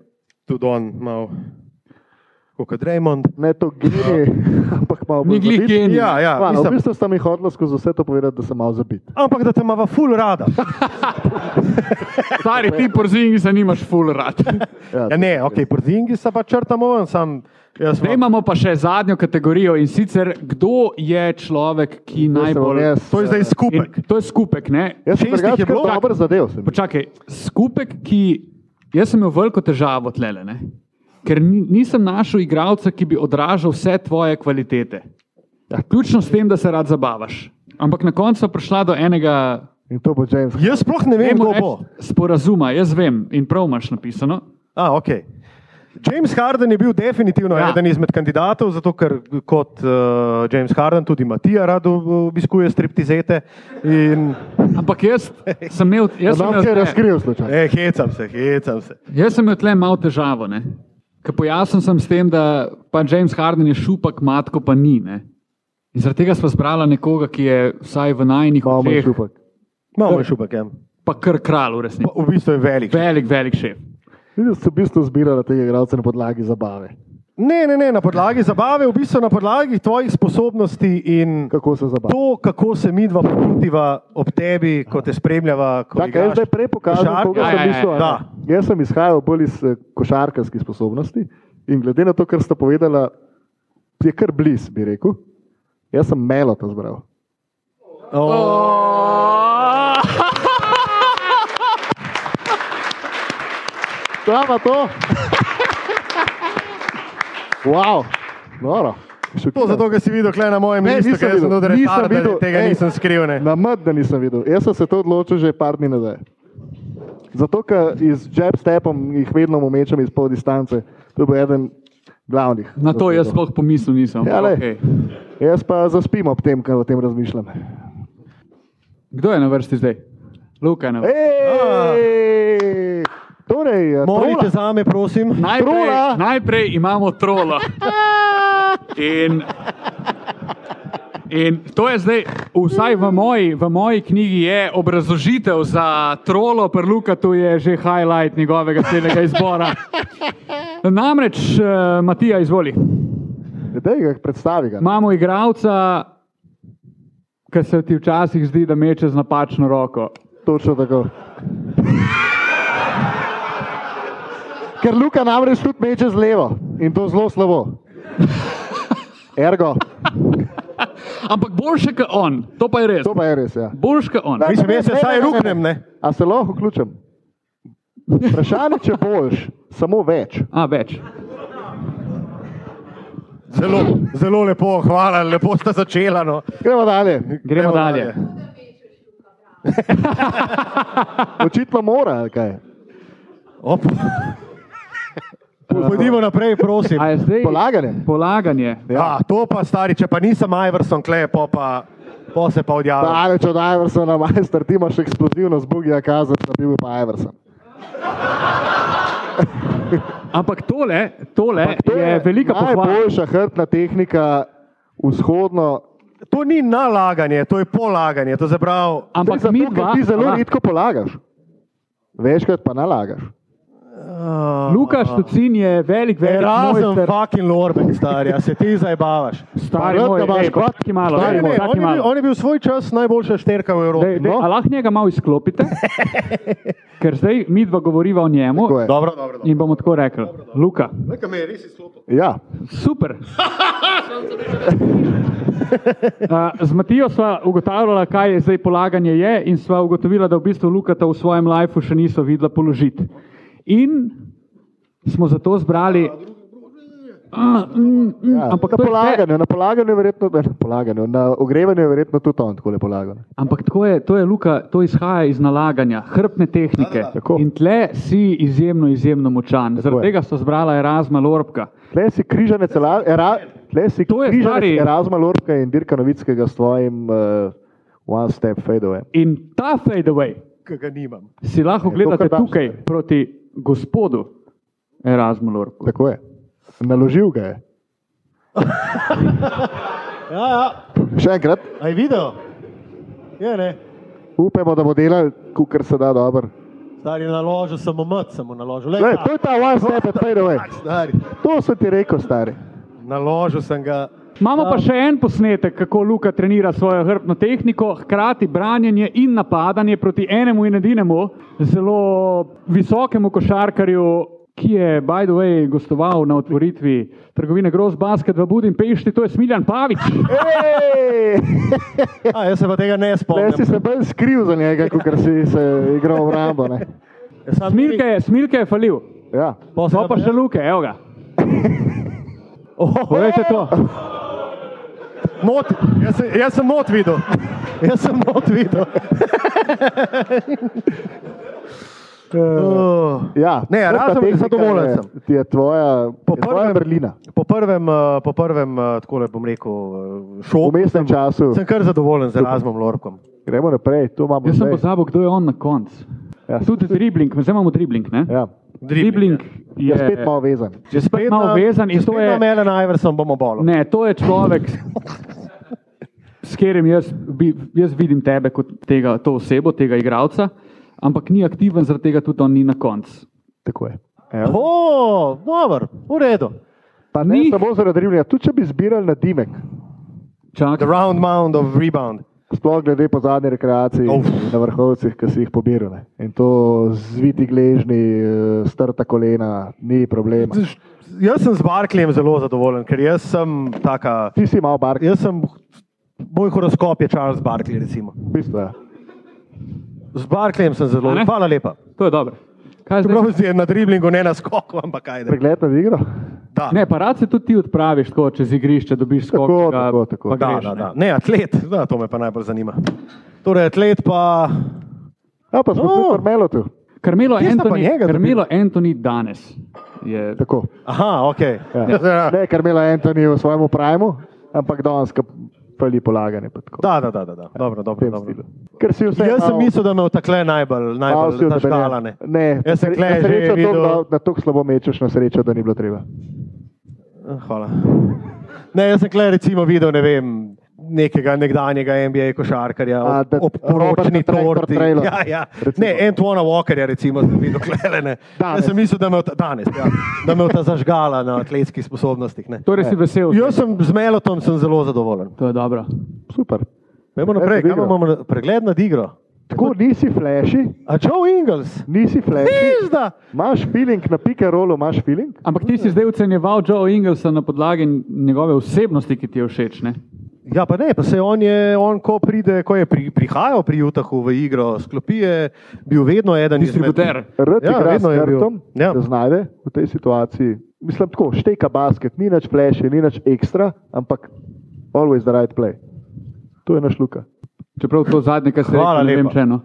tudi on mal, kot Raymond.
ne to gini, ampak malo bolj
Ni glih
zabit.
genij.
Ja, ja,
Hvala, v
mislim,
bistvu sta mi hodila skozi vse to povedati, da sem malo zabit.
ampak da te ima ful rada.
Stari ti porzingi se nimaš full rad.
Ja, ne, ok, przingi se pa črtamo ven, sam jaz
Zdaj
imam.
imamo pa še zadnjo kategorijo in sicer, kdo je človek, ki
To sem vam
najbolj.
jaz,
To je zdaj
eh,
skupek.
In to je skupek, ne?
Jaz sem
Šest jih je
drugače
bilo.
kar dobro zadev. se mi zdi.
Počakaj, skupek, ki jaz sem imel veliko težavo tlele, ne? ker ni, nisem našel igralca, ki bi odražal vse tvoje kvalitete. Ja. Ključno s tem, da se rad zabavaš. Ampak na koncu je prišla do enega,
In to bo James.
Jaz sploh ne vem,
dajmo
kdo
reči,
bo.
sporazuma, jaz vem in prav imaš napisano.
A, ok. James Harden je bil definitivno ja. eden izmed kandidatov, zato ker kot uh, James Harden tudi Matija rado obiskuje striptizete. In...
Ampak jaz sem imel, jaz sem
Pravno
imel,
se je
tle,
razkril slučaj.
E, hecam se, hecam se.
jaz sem imel tle malo težavo. Ne? Ker pojasnil sem s tem, da pa James Harden je šupak, matko pa ni. Ne? In zaradi tega smo zbrali nekoga, ki je vsaj v najnih
Malo manj
očeh,
šupak.
Malo je šupek, ja.
pa kar kralj v resnici.
V bistvu je velik.
Velik, velik šef.
Videli ste, v bistvu zbirali tega igralca na podlagi zabave.
Ne, ne, ne, na podlagi zabave, v bistvu na podlagi tvojih sposobnosti in
Kako se zabava.
to, kako se mi dva počutiva ob tebi, ko te spremljava. ko
Tako,
igraš
jaz zdaj prej pokažem,
košarko.
koga
Ja,
sem
ja, ja,
mislil. a ne?
da.
Jaz sem izhajal bolj iz eh, košarkarskih sposobnosti in glede na to, kar ste povedala, je kar bliz, bi rekel. Jaz sem melot zbral. To je pa to. Wow, noro.
To zato, ker si videl, kaj na mojem
Ne,
mestu,
nisem
ker sem
videl,
tudi
nisem
rekel, da
videl,
tega
ej.
nisem skril. Ne.
Na mrt, da nisem videl. Jaz sem se to odločil že par dni nazaj. Zato, ker z jab stepom jih vedno umečem iz pol distance. To bo eden glavnih.
Na to jaz sploh pomislil nisem.
Ja, lej.
Okej.
Jaz pa zaspim ob tem, kar o tem razmišljam.
Kdo je na vrsti zdaj? Luka je na vrsti. Ah.
Ej! Torej, eh,
Molite
trola.
za me, prosim.
Najprej,
trola.
najprej imamo trola. In, in to je zdaj, vsaj v moji, v moji knjigi, je obrazložitev za trolo, pa Luka tu je že highlight njegovega celega izbora. Namreč, eh, Matija, izvoli.
Daj ga, predstavi ga.
Imamo igralca, ki se ti včasih zdi, da meče z napačno roko.
Točno tako. Ker Luka namreč tudi meče z levo in to zelo slabo. Ergo,
Ampak boljše kot on, to pa je res.
to pa je res. Ja.
Boljše kot on.
Mislim, jaz se
Ne, ne,
vsaj
ne, ne, ne.
ruknem. Ne.
A se lahko vključim? Vprašanje, če boš, samo več.
A več.
Zelo, zelo lepo, hvala, lepo sta začela. No.
Gremo dalje.
Gremo dalje.
Očitno mora, ali kaj.
Op. Pojdimo naprej, prosim.
A je zdaj
Polaganje.
polaganje?
Ja, to pa stari, če pa nisem Iverson, kle, po, pa, po se pa odjavim.
Daleč od Iversona, majster, ti imaš eksplozivnost, Bugija kazal, da bi bil pa Iverson.
Ampak tole,
E,
tole Ampak
To
tole je velika pohvala.
Najboljša hrbtna tehnika vzhodno.
To ni nalaganje, to je polaganje, to se pravi.
Ampak
Saj
mi
zato, ker
dva,
ti zelo
aha,
redko polagaš. Večkrat pa nalagaš.
Luka Štucin je velik,
Ah. E,
velik
Razen
mojster.
fucking Lorben, stari, a se ti zabavaš.
Stari
Pa
moj,
rad ga imaš
ej,
kot-
počakaj malo,
Stari
ej,
Ne, ne,
počakaj
on, je bil,
malo.
on je bil svoj čas najboljša šterka v Evropi.
Dej, dej,
no.
a lahko njega malo izklopite, ker zdaj mi dva govoriva o njemu
Tako je.
Dobro, dobro, dobro.
in bomo tako rekli. Luka,
Nekaj me je res izklopil.
Ja,
super. A, Z Matijo sva ugotavljala, kaj je zdaj polaganje je in sva ugotovila, da v bistvu Lukata v svojem lifeu še niso videla položiti. In smo zato zbrali. A, mm, mm,
ja.
Ampak
na
to je vse-
polaganju, na polaganju, je verjetno, ne, na, polaganju, na ogrevanju je verjetno tudi on tako polagal.
Ampak to je, to je Luka, to izhaja iz nalaganja, hrbne tehnike.
Ja, Tako.
In tle si izjemno, izjemno močan. Zaradi
je.
tega so zbrala Erasma Lorbka.
Tle si križanec, Ela- era, tle si
To je
križanec
stari-
Erasma Lorka in Dirka Novickega s tvojim uh, one step fadeaway.
In ta fadeaway
Ki ga nimam.
si lahko
to
gledate
kar daš,
tukaj
stari.
proti gospodu Erasmu Lorbku.
Tako je. Naložil ga je.
Ja, ja.
Še enkrat,
A je videl? Je, ne.
upajmo, da bo delal, kar se da dobro.
Stari naložil sem omet, sem mu naložil. Le,
Glej,
ta,
To je ta one step and fadeaway.
stari.
To sem ti rekel, stari.
Naložil sem ga.
Imamo pa še en posnetek, kako Luka trenira svojo hrbtno tehniko, hkrati branjenje in napadanje proti enemu in edinemu zelo visokemu košarkarju, ki je, by the way, gostoval na otvoritvi trgovine Gross Basket v Budimpešti, to je Smiljan Pavič.
A, jaz se pa tega ne
Ne si
spomnim.
se bolj skril za njega, kot si se igral obrambo. ne.
Ja, Sam
Smilke, je- smilke je falil,
Ja.
so pa še Luke, evo ga. Povejte to.
Not, jaz, sem- jaz sem not videl. Jaz sem not videl.
Uh, ja,
Oh. Ne,
sportna
razen
tehnika
zadovoljen
je-
sem.
Ti je tvoja,
Po
po je tvoja
prvem-
Berlina.
Po prvem, eh, po prvem eh, takole bom rekel, eh, šoku
V mestnem času.
sem kar zadovoljen z Erasmom Lorkom.
Gremo naprej, to imamo
Jaz sem
zdaj.
pozabil, kdo je on na koncu.
Ja.
Tudi dribling, zdaj imamo dribling. Ne?
Ja.
Dribling
Je
je
spet malo vezan.
Če spet
malo vezan in to je-
Mele Najversom bomo bolj.
Ne, to je človek, s- s katerim jaz, bi, jaz vidim tebe kot tega, to osebo, tega igralca, ampak ni aktiven, zaradi tega tudi on ni na koncu.
Tako je.
O, dobro, v redu.
Pa ne
Ni-
samo zaradi driblinga, tudi če bi zbirali na Dimek,
The
Čakaj,
round mound of rebound.
sploh glede po zadnji rekreaciji
Uf.
na vrhovcih, ki si jih pobirali. In to zviti gležni, eh, strta kolena, ni problema.
Z- Jaz sem z Barkljem zelo zadovoljen, ker jaz sem taka.
Ti si malo bark,
Jaz sem, moj horoskop je Charles Barkley. Recimo.
v bistvu. ja.
Z Barkljem sem zelo.
A ne?
Hvala lepa.
to je dobro. Kaj zdaj?
Čeprav si je na driblingu, ne na skoku, ampak kaj da.
Pregled na igro.
Ne, pa rad se tudi ti odpraviš tako čez igrišče, dobiš
Tako,
skok. pa ga-
tako, tako.
pa
Da,
greš,
da,
ne.
da. Ne, atlet, da, to me pa najbolj zanima. Torej, atlet pa.
A pa smo
No.
no. spet prmelo tu.
Carmelo,
Kje sta pa
Anthony,
njega
Carmelo Anthony danes je
Tako.
Aha, ok.
Ja. Ne, kar imela Antoni v svojem primu, ampak danes ka pali polaganje. pa tako.
Da, da, da, da, da. Dobro,
V tem
dobro, dobro.
stilu. Ker si vse.
Jaz sem
malo-
mislil, da me takle najbolj,
malo
najbolj
si
ta
odebeljen.
škala. Ne.
Ne,
Jaz sem
na
kle že
srečo
videl-
toliko dal- Na tako slabo mečeš, na srečo, da ni bilo treba.
Eh, Hvala. Ne, jaz sem kle recimo videl, ne vem. Nekega nekdanjega NBA košarkarja,
A,
ob-
da-
ob poročni
Robert Tractor
torti.
Traylor,
Ja, ja.
recimo.
Ne, Antona Walkerja, recimo, sem videl, klelene. Jaz
Danes.
sem mislil, da me, bo ta- danes, ja, da me bo ta zažgala na atletskih sposobnostih. Ne.
Torej si vesel.
E, Jaz sem z Melotom sem zelo zadovoljen.
To je dobro.
Super.
Gremo naprej,
Eto,
kaj
igro.
imamo na- pregled nad igro.
Tako nisi flashi,
A Joe Ingles,
nisi flashi.
pizda!
Imaš feeling na pike rolu, imaš feeling.
Ampak ti si zdaj ocenjeval Joe Inglesa na podlagi njegove osebnosti, ki ti je všeč. Ne?
Ja, pa ne, pa se on je, on ko pride, ko je pri, prihajal pri Utahu v igro, sklopi je bil vedno eden izmed
Distributer.
Rud
Ja,
ja, igra s
vedno je bil.
kartom,
Ja.
ja. da znajde v tej situaciji. Mislim tako, šteka basket, ni nič flashi, ni nič ekstra, ampak always the right play. To je naš luka.
Čeprav to zadnje, kar si
Hvala
rekel, ne vem no.
lepa.
če eno.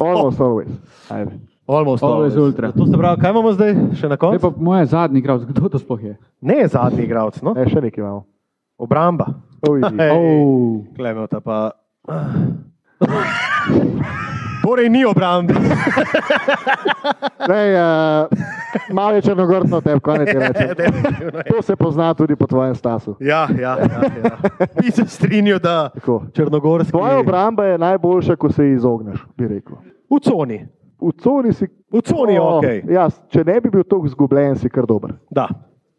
Almost
Oh.
always. Ajde.
Almost
Always ultra.
To se pravi, kaj imamo zdaj še na
Zdaj pa
koncu?
moje zadnji igralec, kdo to sploh je?
Ne zadnji igralec, no?
Ne, še nekaj imamo.
obramba.
Oh, easy.
Oh.
Klemeta pa. Torej ni obrambe.
Lej, uh, malo je črnogorno tebi, konec je reče. To se pozna tudi po tvojem stasu.
Ja, ja, ja. ja. Bi se strinjal, da
Tako.
črnogorski.
Tvoja obramba je najboljša, ko se ji izogneš, bi rekel.
V coni.
V coni si.
V coni je
O,
ok.
Ja, če ne bi bil tako zgubljen, si kar dober.
Da.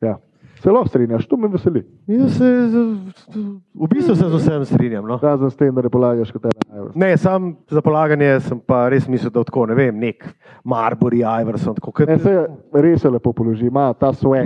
Ja. Celo strinjaš, to me veseli.
Jaz se, z- v bistvu se z vsem strinjam. No?
Razen s tem, da ne polagaš kot ena evra.
Ne, sam za polaganje sem pa res mislil, da tako ne vem, nek Marbury, Iverson. Tako, kot,
Ne, se E, res se lepo položi, ima ta svoj.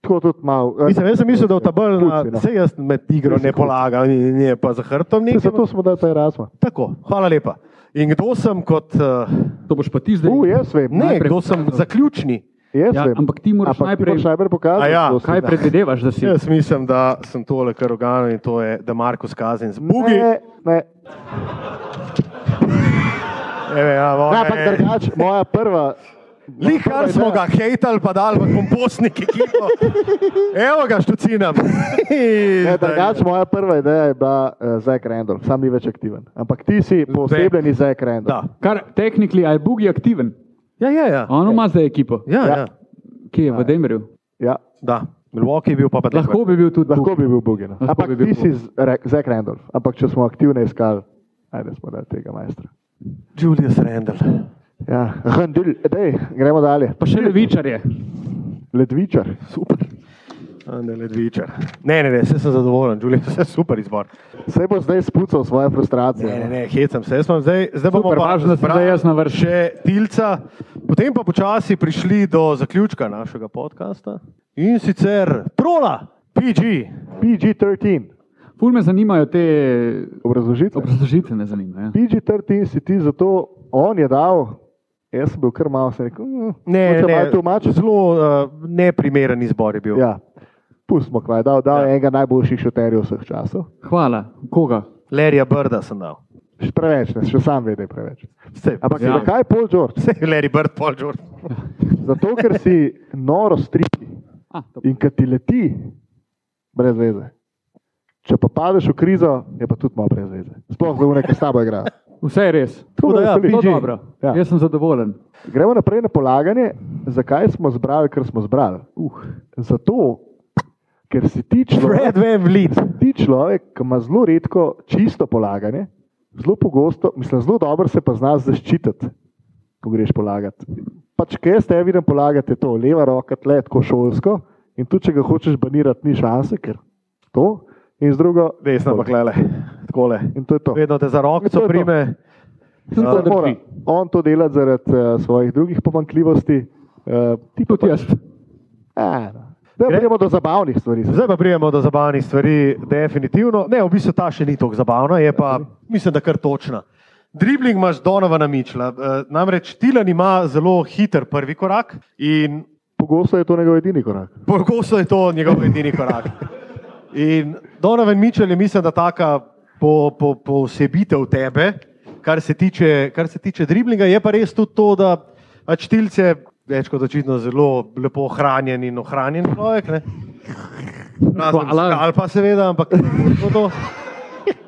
Tako tudi malo. eh,
mislim, jaz sem mislil, da v tabelu,
Kuci, no.
se jaz med igro ne polagam, ni, ni pa za hrbtom
Saj
nekaj.
Zato smo dali ta Erasmus.
Tako, hvala lepa. In kdo sem kot, eh,
To boš pa ti zdaj.
U, jaz vem.
ne,
Najprej-
kdo sem zaključni?
Jaz
Ja,
vem.
ampak ti moraš
Ampak
najprej-
moraš najprej
A
pokazati.
ja,
kdo si.
Kaj predvidevaš, da si?
Jaz mislim, da sem tole kar organ in to je, da Markus Kazen z Bugi.
Ne, ne.
Evo, ja, ona
Ja, ampak
je-
drugač, moja prva. Ja,
Lih, kar smo ga hejtali, pa dal v kompostnik ekipo. Evo ga, štucinam.
Ne, drugač, moja prva ideja je bila uh, Zek Randall, sam ni več aktiven. Ampak ti si posebljeni Zek
Da.
Randall.
Kar tehnikli, a je Bugi aktiven.
Ja, ja, ja.
On ima zdaj ekipo.
ja, ja.
Ja.
ja.
Kje je v Denverju?
Ja,
Da, Milwaukee je bil pa pa
Lahko bi bil tudi
lahko
Bugi.
bi bil Bugin.
Lahko bi
Ampak
bil
ti si Zek Randall. Ampak če smo aktivni iskali, ajde smo dali tega majstra.
Julius Randall.
Ja, Randall, dej, gremo dalje.
Pa še levičar je.
Ledvičar.
Super. Ne, ledvičar. Ne, ne, ne, vse sem zadovoljen, Julius, vse super izbor.
Sej bo zdaj spucal svoje frustracije. no.
Ne, ne, ne, hecam se. Jaz imam Zdaj, zdaj bomo
Super,
pa
važno, da sem
zbrali
zdaj jaz na vrhu.
Še tilca, potem pa počasi prišli do zaključka našega podcasta in sicer trola, PG.
PG-13,
Ful me zanimajo te
obrazložitev.
obrazložitve, ne zanimajo. Ja.
PG-13 si ti zato, on je dal, jaz sem bil kar malo, sem rekel, mm,
Ne,
mogoče
ne,
malo tolmačil.
zelo uh, neprimeren izbor je bil.
Ja, pustimo, kaj je dal, dal je enega najboljših šuterjev vseh časov.
Hvala. Koga?
Lerija Brda sem dal.
Še preveč, ne, še sam vede preveč.
Saj,
Ampak
ja.
ja. zakaj Paul George?
Saj, Larry Bird, Paul George.
Zato, ker si noro striki
A, to-
in kad ti leti, brez veze. Če pa padeš v krizo, je pa tudi malo brez veze. Sploh za unek, ki s tabo igra.
Vse je res.
Tako da, ja,
To je
PG.
dobro.
Ja.
Jaz sem zadovoljen.
Gremo naprej na polaganje, zakaj smo zbrali, kar smo zbrali.
Uh.
Zato, ker si ti
Fred
človek,
Van Vliet.
ti človek, ki ima zelo redko čisto polaganje, zelo pogosto, mislim, zelo dobro se pa zna zaščititi, ko greš polagati. Pač, kaj jaz tebi vidim polagati, je to leva roka, tle tako šolsko in tudi, če ga hočeš banirati, ni šanse, ker to in z drugo.
Desno pa klele, takole.
In to je to.
Vedno te za
To je
roko
to.
prime.
Tudi
Ja.
to mora. On to dela zaradi uh, svojih drugih pomankljivosti. Uh, ti pa
Tudi jaz.
Ja, no. Zdaj pa gremo do zabavnih stvari.
Zdaj pa prijemo do zabavnih stvari, definitivno. Ne, v bistvu ta še ni tako zabavna, je
Ja,
pa, mislim, da kar točna. Dribling imaš Donovana Mičla. Eh, Namreč Tilan ima zelo hiter prvi korak in
Pogosto je to njegov edini korak.
Pogosto je to njegov edini korak. In Donovan Mitchell je, mislim, da taka po- po- posebitev po tebe, kar se, tiče, kar se tiče driblinga. Je pa res tudi to, da pač tilce več kot očitno zelo lepo hranjen in ohranjen človek. ne. Razen
Hvala.
skal pa seveda, ampak to to.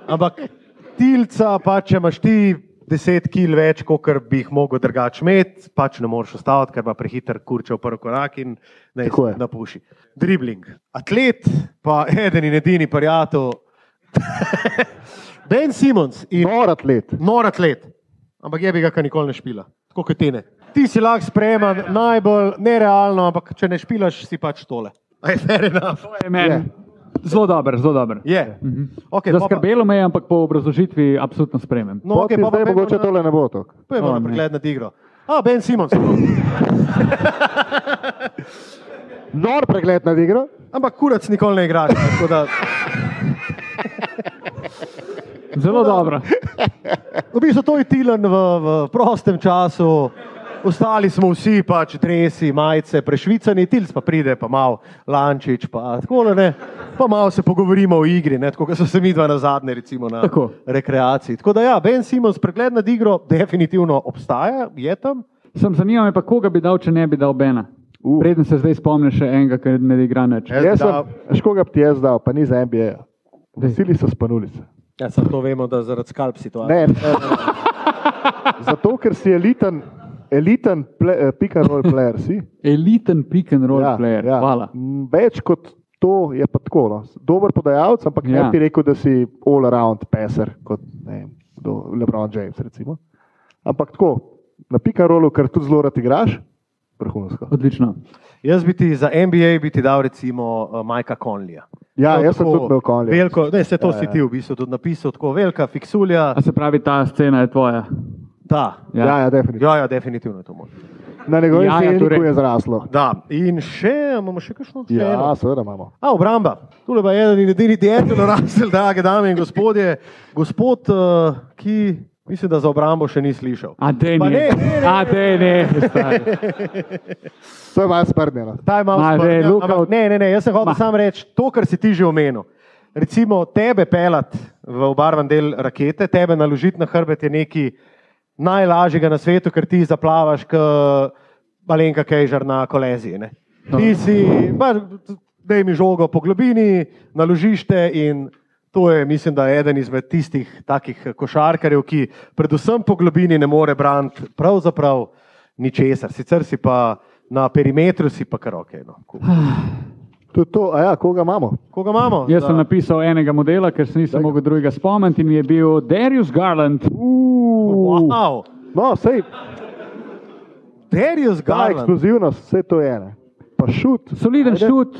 Ampak tilca, pa če imaš ti 10 kil več, kot bi jih mogel drugače imeti, pač ne moreš ustaviti, ker pa prehiter kurče v prvi korak in ne
Tako je.
napuši. Dribling. Atlet, pa eden in edini prijatelj. ben Simons in
Nor atlet.
nor atlet, ampak je bi ga kar nikoli ne špila, tako kot ti ne. Ti si lahko sprejeman, najbolj nerealno, ampak če ne špilaš, si pač tole. Aj, fair enough.
To je meni. Zelo dober, zelo dober.
Je.
Mhm.
Okay,
Zaskrbelo me je, ampak po obrazložitvi absolutno spremem.
No,
Okay,
okay, pa
zdaj
pa
mogoče tole ne bo to.
Pojmo
O,
na
ne.
pregled nad igro. A, Ben Simons.
Nor pregled nad igro.
Ampak kurac nikoli ne igraš. tako Da,
Zelo dobro.
v bistvu to je Tilan v, v prostem času. Ostali smo vsi, pač dresi, majice, prešvicani, Tilc pa pride, pa malo Lančič, pa tako no, ne. Pa malo se pogovorimo o igri, ne, tako kot so se mi dva na zadnje, recimo na
Tako.
rekreaciji. Tako da ja, Ben Simons pregled nad igro definitivno obstaja, je tam.
Sem zanima me pa, koga bi dal, če ne bi dal Bena. Uh. Preden se zdaj spomnim še enega, ki ne igra več.
Jaz bi
Jaz
dal-
sem škoga ti jaz dal, pa ni za NBA.
Dej.
Veseli so spanulice.
Ja, samo to vemo, da zaradi skalp situacije.
Ne, ne, ne. Zato, ker si eliten, eliten ple, eh, pick and roll player. Si.
Eliten pick and roll ja, player. Ja. Hvala.
M, Več kot to je pa tako. No. Dober podajalec, ampak ja.
Ja.
ne bi rekel, da si all-around peser, kot ne vem, kdo, LeBron James. Recimo. Ampak tako, na pick and rollu, ker tudi zelo rad igraš, vrhunsko.
Odlično.
Jaz bi ti za NBA bi ti dal recimo eh, Majka Conlija.
Ja,
Prav
jaz sem
tako
tudi imel konje.
Veliko, ne, se to ja, si ti v bistvu tudi napisal, tako velika fiksulja.
A se pravi, ta scena je tvoja.
Da,
Ja.
Ja, ja, definitivno.
ja, ja definitivno je to moj.
Na njegovem
Ja, ja,
ja, jeziku
torej.
torej. je zraslo.
Da, in še imamo še kakšno Še eno?
Ja, seveda imamo.
A, obramba. Tule pa je eden in edini Dietelo Rasel, drage dame in gospodje. Gospod, eh, ki mislim, da za obrambo še ni slišal.
A dej
Pa
ne,
ne, ne, ne.
a dej ne. stari.
To je malo sprnjeno.
Ta je malo
Ma,
sprnjen,
daj, Luka,
ampak
od-
Ne, ne, ne, jaz sem hotel
Ma.
samo reči to, kar si ti že omenil. Recimo tebe pelati v obarvan del rakete, tebe naložiti na hrbet je nekaj najlažjega na svetu, ker ti zaplavaš kot malenka kejžar na koleziji. Ne?
No.
Ti si, da jim žogo po globini, naložiš te in to je, mislim, da eden izmed tistih takih košarkarjev, ki predvsem po globini ne more braniti pravzaprav ničesar. Sicer si pa na perimetru, si pa kar ok. No.
To, to, a ja, koga imamo?
Koga imamo?
Jaz
Za-
sem napisal enega modela, ker se nisem mogel drugega spomniti in je bil Darius Garland.
Uh, Uuu.
Wow,
No, sej,
Darius
ta
Garland.
eksplozivnost, vse to je ena. Pa šut,
Soliden
Ajde.
šut,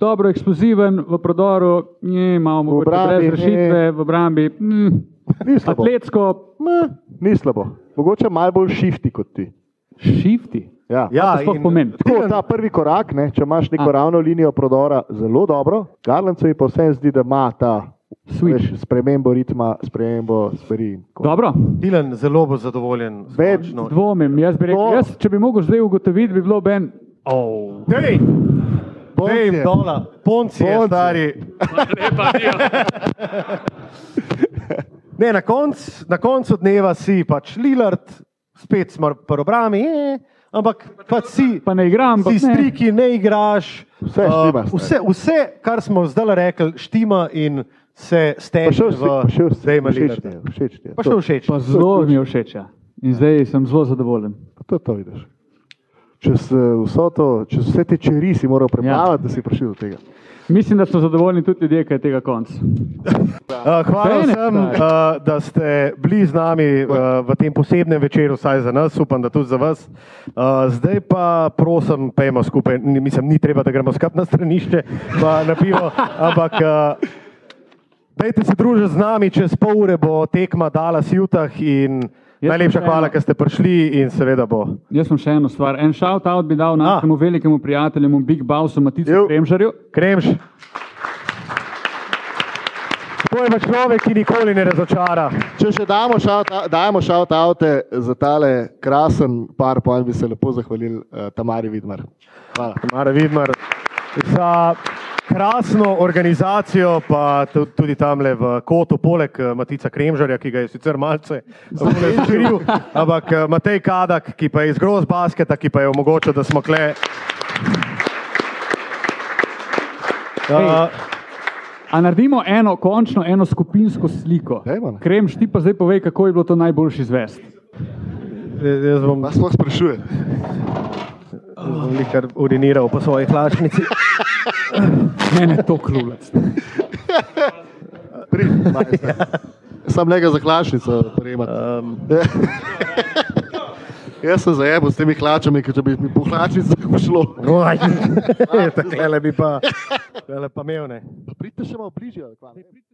dobro eksploziven v prodoru, ne, imamo mogoče
obrambi,
brez rešitve
ne.
v obrambi. Mm.
ni slabo.
Atletsko,
Ma, ni slabo. Mogoče malo bolj šifti kot ti.
šifti.
Ja.
to sploh
in-
pomeni?
Tako, ta prvi korak, ne, če imaš neko
A.
ravno linijo prodora, zelo dobro. Garland se mi pa vsem zdi, da ima ta
Switch.
veš, spremembo ritma, spremembo stvari. in tako.
Dobro,
Tilan zelo bo zadovoljen. s
Več
končno-
dvomim. Jaz bi rekel,
To-
jaz, če bi mogel zdaj ugotoviti, bi bilo Ben.
Dej, dej jim
Poncije.
Oh. dola, poncije,
Poncije.
stari. Ne, na, konc, na koncu dneva si pač Lilard, spet smo pri obrami, eh, ampak pač si,
Pa ne igram, ampak
si
ne.
striki, ne igraš.
Vse štima,
Uh, vse, vse, kar smo zdaj rekli, štima in se
Pa še
steče v
vse,
Dejma
všeč ti
Lillarda.
je, všeč ti je.
Pa še
To-
všeč.
Pa zelo mi je všeč. ja. In zdaj sem zelo zadovoljen.
pa To, to vidiš. Čez, eh, vso to, čez vse te čeri si moral preplavati, ja. da si prišel do tega.
Mislim, da so zadovoljni tudi ljudje, ki je tega konca.
Uh, hvala
Bene,
vsem,
stari.
uh, da ste bili z nami uh, v tem posebnem večeru, vsaj za nas, upam, da tudi za vas. Uh, zdaj pa prosim, pejmo skupaj, ni, mislim, ni treba, da gremo skupaj na stranišče, pa na pivo, ampak uh, dajte se družiti z nami, čez pol ure bo tekma Dallas Jutah in
Jaz
najlepša
sem še
hvala,
eno.
ker ste prišli in seveda bo.
Jaz sem še eno stvar. En shout out bi dal našemu velikemu prijatelju, Big Bowsu, Maticu
Jev.
Kremžarju.
Kremš. To je pa človek, ki nikoli ne razočara.
Če še damo shout- dajemo shout oute za tale krasen par, pa bi se lepo zahvalili uh, Tamari Vidmar. Hvala.
Mara Vidmar, za krasno organizacijo, pa tu- tudi tamle v Kotu, poleg eh, Matica Kremžarja, ki ga je sicer malce skril, ampak eh, Matej Kadak, ki pa je iz groz basketa, ki pa je omogočil, da smo kle. Uh,
A naredimo eno, končno eno skupinsko sliko.
Dajmo, ne.
Kremš, ti pa zdaj povej, kako je bilo to najboljši izvest.
eh, jaz bom
Vas sploh sprašuje.
nekaj uriniral po svoji hlačnici.
Mene to klulac.
Pri, majster. Sam lega za klašnico prejemati.
Um,
Jaz sem zajel s temi hlačami, ker če bi mi po hlačnicah ušlo.
Oj, Takole bi pa, takole pa imel ne.
Pridite še malo bližje. ali kva, ne?